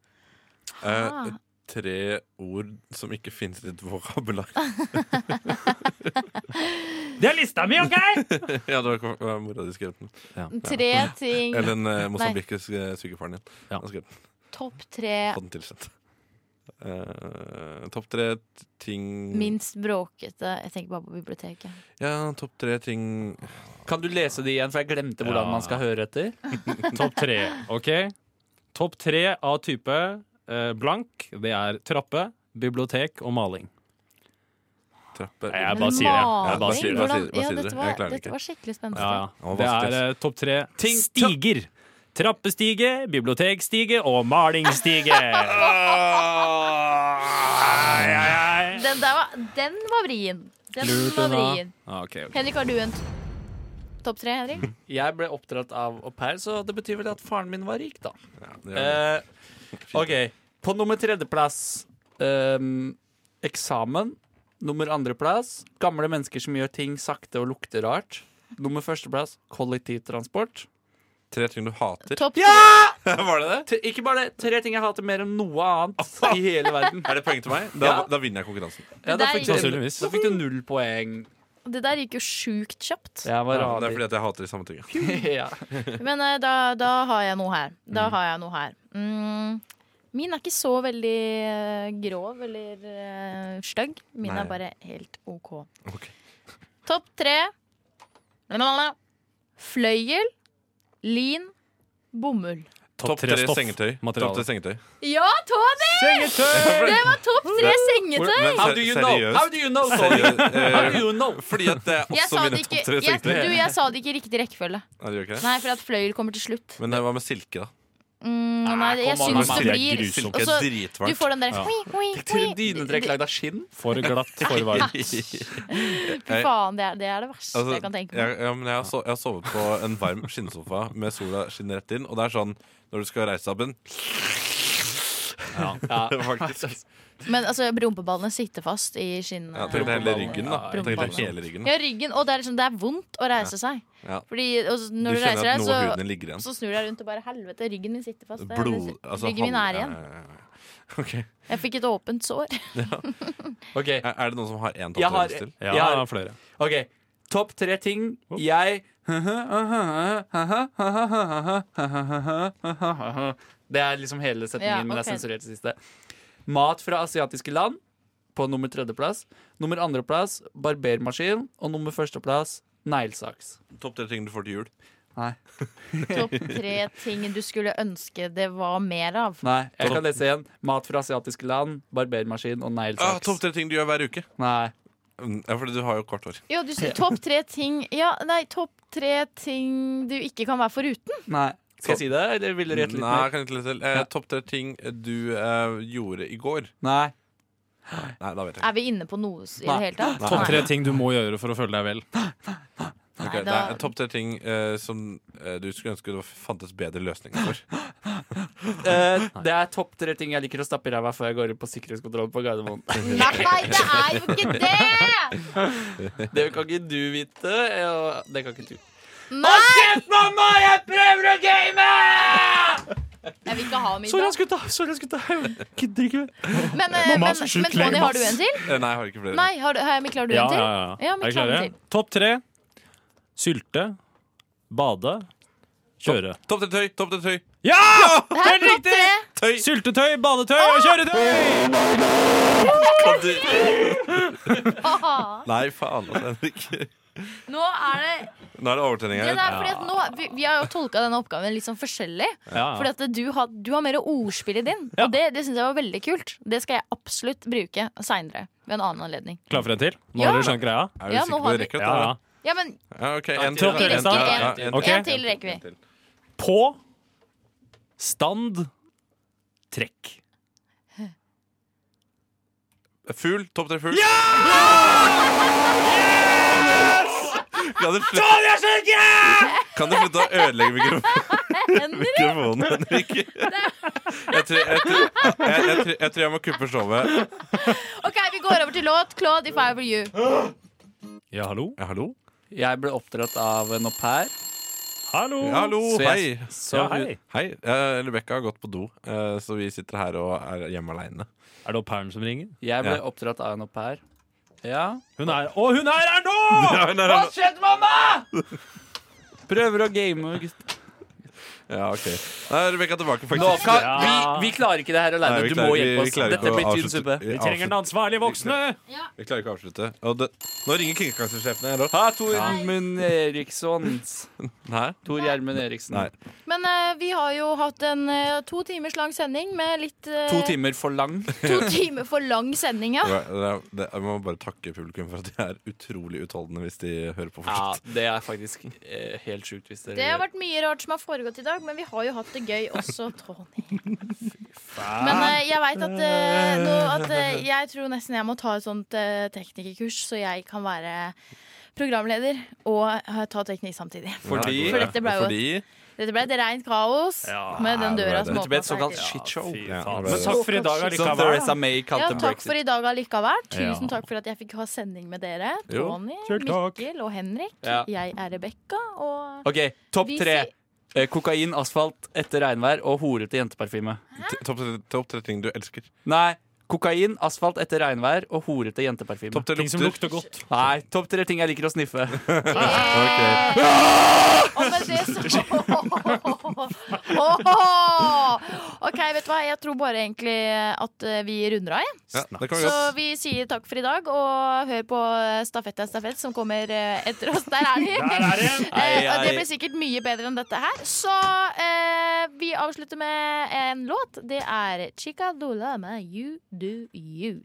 Speaker 4: Ah.
Speaker 5: Eh, tre ord som ikke finnes i ditt vokabular.
Speaker 6: Det er lista mi, OK?!
Speaker 5: ja, det var var mora di skrev den.
Speaker 4: Tre ting
Speaker 5: Eller en uh,
Speaker 4: Nei.
Speaker 5: mosambikisk eh, sykefaren din.
Speaker 6: Ja.
Speaker 5: Han skrev den.
Speaker 4: Topp tre
Speaker 5: Fått den tilsendt. Eh, topp tre t- ting
Speaker 4: minst bråkete Jeg tenker bare på biblioteket.
Speaker 5: Ja, topp tre ting
Speaker 2: Kan du lese det igjen, for jeg glemte hvordan
Speaker 6: Ja.
Speaker 2: man skal høre etter?
Speaker 6: Topp tre, OK? Topp tre av type eh, blank, det er trappe, bibliotek og maling.
Speaker 5: Trapper
Speaker 6: Nei, jeg
Speaker 4: Men
Speaker 6: bare sier det. Jeg bare
Speaker 4: maling,
Speaker 6: sier det.
Speaker 4: hvordan-
Speaker 5: Hva sier- hva
Speaker 4: ja,
Speaker 5: sier
Speaker 4: dette
Speaker 5: dere?
Speaker 4: var,
Speaker 5: Jeg klarer det
Speaker 4: dette
Speaker 5: ikke.
Speaker 4: var skikkelig spennende.
Speaker 6: Ja, ja.
Speaker 5: Og
Speaker 6: Det
Speaker 5: vanskelig,
Speaker 6: er eh, topp tre stiger. Trappestige, bibliotekstige og malingsstige. Ah, Ai, ai, ai.
Speaker 4: Den, der var, den var vrien. Den var vrien.
Speaker 6: Ah, ok, ok.
Speaker 4: Henrik, har du en topp tre, Henrik?
Speaker 2: Jeg ble oppdratt av au pair, så det betyr vel at faren min var rik, da.
Speaker 5: det
Speaker 2: Eh, OK. På nummer tredjeplass ehm, eksamen. Nummer andreplass gamle mennesker som gjør ting sakte og lukter rart. Nummer førsteplass kollektivtransport.
Speaker 5: Tre ting du hater.
Speaker 4: Topp tre.
Speaker 2: Ja!
Speaker 5: Var det det?
Speaker 2: Tre- Ikke bare det. Tre ting jeg hater mer enn noe annet i hele verden.
Speaker 5: Er det poeng til meg? Da,
Speaker 2: Ja.
Speaker 5: da vinner jeg konkurransen.
Speaker 2: Ja, da, fikk du,
Speaker 6: Sannsynligvis.
Speaker 2: da fikk du null poeng.
Speaker 4: Det der gikk jo sjukt kjapt.
Speaker 2: Jeg var
Speaker 5: Ja, men det er
Speaker 2: radig.
Speaker 5: fordi at jeg hater de samme tingene.
Speaker 2: Ja.
Speaker 4: Men eh, da, da har jeg noe her. Da har jeg noe her. Mm. Min er ikke så veldig eh, grov eller eh, stygg. Min
Speaker 5: Nei.
Speaker 4: er bare helt OK.
Speaker 5: Ok.
Speaker 4: Topp tre. La, la, la. Fløyel, lin, bomull.
Speaker 5: Topp tre
Speaker 6: stoff.
Speaker 5: sengetøy.
Speaker 6: Materiale.
Speaker 5: Topp tre sengetøy.
Speaker 4: Ja, Tony! Det var topp tre sengetøy!
Speaker 5: Men
Speaker 2: How do you know?
Speaker 5: seriøst.
Speaker 2: How do you know, Tony?
Speaker 5: Seriøst, eh,
Speaker 2: How do you know?
Speaker 5: Fordi at det er
Speaker 4: Jeg
Speaker 5: også
Speaker 4: sa,
Speaker 5: mine
Speaker 4: det ikke,
Speaker 5: topp tre
Speaker 4: jeg,
Speaker 5: sengetøy.
Speaker 4: du, jeg sa det ikke i riktig rekkefølge.
Speaker 5: Nei, det gjør ikke det.
Speaker 4: Nei, for at fløyel kommer til slutt.
Speaker 5: Men eh, hva med silke, da?
Speaker 4: Mm, nei, det, jeg
Speaker 2: kom an,
Speaker 4: syns det
Speaker 2: Silke
Speaker 6: er
Speaker 4: blir
Speaker 6: grusomt.
Speaker 5: Silke
Speaker 4: Og
Speaker 5: er
Speaker 4: så- Du
Speaker 5: dritvarmt.
Speaker 4: får den der
Speaker 6: Ja.
Speaker 4: hui, hui,
Speaker 2: Til
Speaker 4: hui.
Speaker 2: dine trekk lagd av skinn?
Speaker 6: For glatt, for varmt.
Speaker 4: Fy faen, det er det, er det verste
Speaker 5: Altså,
Speaker 4: jeg kan tenke
Speaker 5: jeg,
Speaker 4: meg.
Speaker 5: ja, men jeg, har so jeg har sovet på en varm skinnsofa med sola skinner rett inn. Og det er sånn når du skal reise deg opp en
Speaker 2: Ja.
Speaker 5: Faktisk.
Speaker 4: Men altså, rumpeballene sitter fast i skinnet.
Speaker 5: Jeg tenkte hele ryggen, da. Jeg tenkte hele ryggen.
Speaker 4: Ja, ryggen. Og det er, liksom, det er vondt å reise seg.
Speaker 5: Ja.
Speaker 4: Fordi og så
Speaker 5: Du
Speaker 4: når du,
Speaker 5: kjenner
Speaker 4: reiser
Speaker 5: at
Speaker 4: deg,
Speaker 5: noe av huden din
Speaker 4: så,
Speaker 5: ligger igjen.
Speaker 4: så snur du deg rundt og bare Helvete, ryggen min sitter fast. Det er-
Speaker 5: Blod altså,
Speaker 4: ryggen min
Speaker 5: halv-
Speaker 4: er igjen.
Speaker 5: Ja, ja, ja. Ok.
Speaker 4: Jeg fikk et åpent sår.
Speaker 2: Ok,
Speaker 5: Er, er det noen som har én
Speaker 2: Jeg har-
Speaker 5: tatovering til?
Speaker 6: Ja,
Speaker 2: Jeg har-
Speaker 6: flere.
Speaker 2: ok Topp tre ting jeg Det er liksom hele setningen
Speaker 4: Ja,
Speaker 2: min er liksom
Speaker 4: ok.
Speaker 2: sensurert til siste. Mat fra asiatiske land. på nummer tredjeplass. Nummer andreplass barbermaskin. Og nummer førsteplass neglesaks.
Speaker 5: Topp tre ting du får til jul.
Speaker 2: Nei.
Speaker 4: Topp tre ting du skulle ønske det var mer av.
Speaker 2: Nei, jeg kan lese igjen. Mat fra asiatiske land, barbermaskin og
Speaker 5: Ah,
Speaker 2: neglesaks.
Speaker 5: topp tre ting du gjør hver uke. Mm,
Speaker 2: Nei.
Speaker 5: Ja, fordi du har jo kort hår.
Speaker 4: Jo, du, s- topp tre ting Ja, nei, topp tre ting du ikke kan være foruten.
Speaker 2: Nei. Skal jeg si det, eller vil dere gjette litt
Speaker 5: Nei,
Speaker 2: mer?
Speaker 5: jeg kan ikke lese selv. Eh, Topp tre ting du eh, gjorde i går.
Speaker 2: Nei.
Speaker 5: Nei, da vet jeg.
Speaker 4: Er vi inne på noe s- i det hele tatt?
Speaker 6: Topp tre ting du må gjøre for å føle deg vel.
Speaker 5: Ok,
Speaker 4: Nei,
Speaker 5: det
Speaker 4: da-
Speaker 5: er Topp tre ting eh, som eh, du skulle ønske det fantes bedre løsninger for.
Speaker 2: Eh, det er topp tre ting jeg liker å stappe i ræva før jeg går inn på sikkerhetskontrollen på Gardermoen.
Speaker 4: Nei, det er jo ikke det!
Speaker 2: Det kan ikke du vite, og det kan ikke du.
Speaker 4: Nei!
Speaker 2: Kjeft, mamma! Jeg prøver å game!
Speaker 4: Jeg vil ikke ha
Speaker 2: Sorry,
Speaker 4: middag.
Speaker 2: ass, gutta. Sorry, ass, gutta. Jeg gidder ikke mer.
Speaker 4: Men, eh, men,
Speaker 6: Mamma,
Speaker 4: men
Speaker 6: så sjukt
Speaker 4: Tony,
Speaker 6: lame,
Speaker 4: har du
Speaker 6: ass.
Speaker 4: en til?
Speaker 5: Eh, Nei, jeg har ikke flere.
Speaker 4: Nei, har du, har jeg, Mikkel, har du en til?
Speaker 6: Er
Speaker 4: Mikkel,
Speaker 6: dere
Speaker 4: har en
Speaker 6: klare?
Speaker 4: til.
Speaker 6: Topp tre. Sylte. Bade. Kjøre.
Speaker 5: Topp tre tøy! Topp tre tøy!
Speaker 6: Ja!
Speaker 4: Det er topp tre.
Speaker 5: Tøy!
Speaker 6: Syltetøy, badetøy og kjøretøy!
Speaker 5: Kan du-
Speaker 4: Haha.
Speaker 5: Nei, faen altså, Henrik.
Speaker 4: Nå er det
Speaker 5: Nå er det overtenning
Speaker 4: det
Speaker 5: her.
Speaker 4: der, fordi at nå, vi, vi har jo tolka denne oppgaven litt sånn forskjellig.
Speaker 6: Ja.
Speaker 4: Fordi at du har, du har mer ordspill i din.
Speaker 6: Ja.
Speaker 4: Og det, det syns jeg var veldig kult. Det skal jeg absolutt bruke seinere. Ved en annen anledning.
Speaker 6: Klar for en til? Nå
Speaker 4: Ja.
Speaker 6: har dere skjønt greia?
Speaker 5: Er du
Speaker 4: Ja, nå
Speaker 5: sikker på det
Speaker 4: har vi-
Speaker 5: rekker?
Speaker 6: Ja,
Speaker 5: dette,
Speaker 6: ja.
Speaker 5: eller?
Speaker 4: Ja, men
Speaker 5: Ja, ok, en
Speaker 2: til,
Speaker 5: til.
Speaker 4: vi
Speaker 5: En
Speaker 4: rekker
Speaker 5: til.
Speaker 4: en,
Speaker 5: Ja,
Speaker 6: til.
Speaker 5: en
Speaker 6: Ok.
Speaker 4: en til rekker vi.
Speaker 6: På stand trekk.
Speaker 5: Fugl. Topp tre fugl. Ja! Yes! Kan du slutte, kan du slutte å ødelegge mikrofonen,
Speaker 4: Henrik,
Speaker 5: mikrofonen Henrik? Jeg tror jeg, tror, jeg, jeg, tror, jeg tror jeg må kuppe showet.
Speaker 4: OK, vi går over til låt. Claude, if I were you.
Speaker 6: Ja, hallo?
Speaker 5: Ja, hallo?
Speaker 2: Jeg ble oppdratt av en au pair.
Speaker 6: Hallo!
Speaker 5: Ja, hallo,
Speaker 2: Så jeg-
Speaker 5: hei.
Speaker 2: Så
Speaker 6: Ja,
Speaker 2: hun,
Speaker 6: hei.
Speaker 5: Hei, eh, Rebekka har gått på do, eh, så vi sitter her og er hjemme aleine.
Speaker 6: Er det au pairen som ringer?
Speaker 2: jeg ble
Speaker 5: Ja.
Speaker 2: oppdratt av en au pair. Ja.
Speaker 6: Hun er Å, hun er her nå!
Speaker 2: Hva skjedde, mamma? Prøver å game. gutt.
Speaker 5: Ja, ok. Nå er Rebekka tilbake,
Speaker 2: Nå
Speaker 5: faktisk.
Speaker 2: kan, vi,
Speaker 6: Ja.
Speaker 2: vi klarer ikke det her
Speaker 5: Nei,
Speaker 2: aleine.
Speaker 5: vi
Speaker 2: Du
Speaker 5: klarer-
Speaker 2: må
Speaker 5: vi- vi
Speaker 2: hjelpe oss.
Speaker 5: klarer ikke
Speaker 2: Dette
Speaker 5: å
Speaker 2: blir tynn
Speaker 5: avslutte-
Speaker 2: suppe.
Speaker 5: vi
Speaker 6: Vi trenger den
Speaker 5: avslutter-
Speaker 6: ansvarlige voksne!
Speaker 5: Vi klarer ikke å avslutte. Og det, nå ringer kringkastingssjefen her òg.
Speaker 2: Ha Tormund Erikssons.
Speaker 5: Nei.
Speaker 2: Tor Gjermund Eriksen.
Speaker 5: Nei.
Speaker 4: Men eh, vi har jo hatt en eh, to timers lang sending med litt eh,
Speaker 2: To timer for lang.
Speaker 4: to timer for lang sending, ja.
Speaker 5: Det var- det- det- Jeg må bare takke publikum for at de er utrolig utholdende hvis de hører på
Speaker 2: Ja,
Speaker 5: fortsatt.
Speaker 2: det er faktisk eh, helt sjukt hvis dere
Speaker 4: Det har vært mye rart som har foregått i dag, men vi har jo hatt det gøy også, Tony. Men eh, jeg veit at, eh, nå, at eh, Jeg tror nesten jeg må ta et sånt eh, teknikerkurs, så jeg kan være programleder og eh, ta teknikk samtidig.
Speaker 2: Fordi
Speaker 4: For dette ble jo et,
Speaker 5: Fordi
Speaker 4: dette ble et reint kaos
Speaker 6: Ja,
Speaker 4: med den
Speaker 5: det ble
Speaker 4: døra
Speaker 5: det.
Speaker 4: som
Speaker 2: Dette ble et
Speaker 4: åpna
Speaker 2: såkalt
Speaker 4: seg.
Speaker 2: shitshow.
Speaker 6: Fy
Speaker 5: Ja,
Speaker 6: faen.
Speaker 5: det var
Speaker 6: Men takk for i dag
Speaker 2: Som
Speaker 6: allikevel.
Speaker 2: Theresa May
Speaker 4: Ja,
Speaker 2: kalte
Speaker 4: takk for
Speaker 2: brexit.
Speaker 4: i dag allikevel. Tusen
Speaker 6: Ja.
Speaker 4: takk for at jeg fikk ha sending med dere.
Speaker 5: Jo,
Speaker 4: Tony,
Speaker 6: selv takk.
Speaker 4: Mikkel og Henrik.
Speaker 2: Ja.
Speaker 4: Jeg er Rebekka, og
Speaker 2: OK, topp
Speaker 4: Vi
Speaker 2: tre.
Speaker 4: sier-
Speaker 2: Eh, Kokain, asfalt etter regnvær og horete jenteparfyme.
Speaker 5: t- Topp tre- topp tre ting du elsker.
Speaker 2: Nei, kokain, asfalt etter regnvær og horete jenteparfyme.
Speaker 5: Topp tre
Speaker 6: Ting som
Speaker 5: lukter.
Speaker 6: lukter godt.
Speaker 2: Nei, topp tre ting jeg liker å sniffe.
Speaker 4: Og med det så Åh! OK, vet du hva. Jeg tror bare egentlig at eh, vi runder av, jeg.
Speaker 5: Ja, det kan vi
Speaker 4: Så
Speaker 5: godt.
Speaker 4: vi sier takk for i dag, og hør på eh, Stafett er stafett, som kommer eh, etter oss. Der er de!
Speaker 6: Der er det!
Speaker 4: Eh, og det
Speaker 2: ei.
Speaker 4: blir sikkert mye bedre enn dette her. Så eh, vi avslutter med en låt. Det er Chica Dola med You Do You.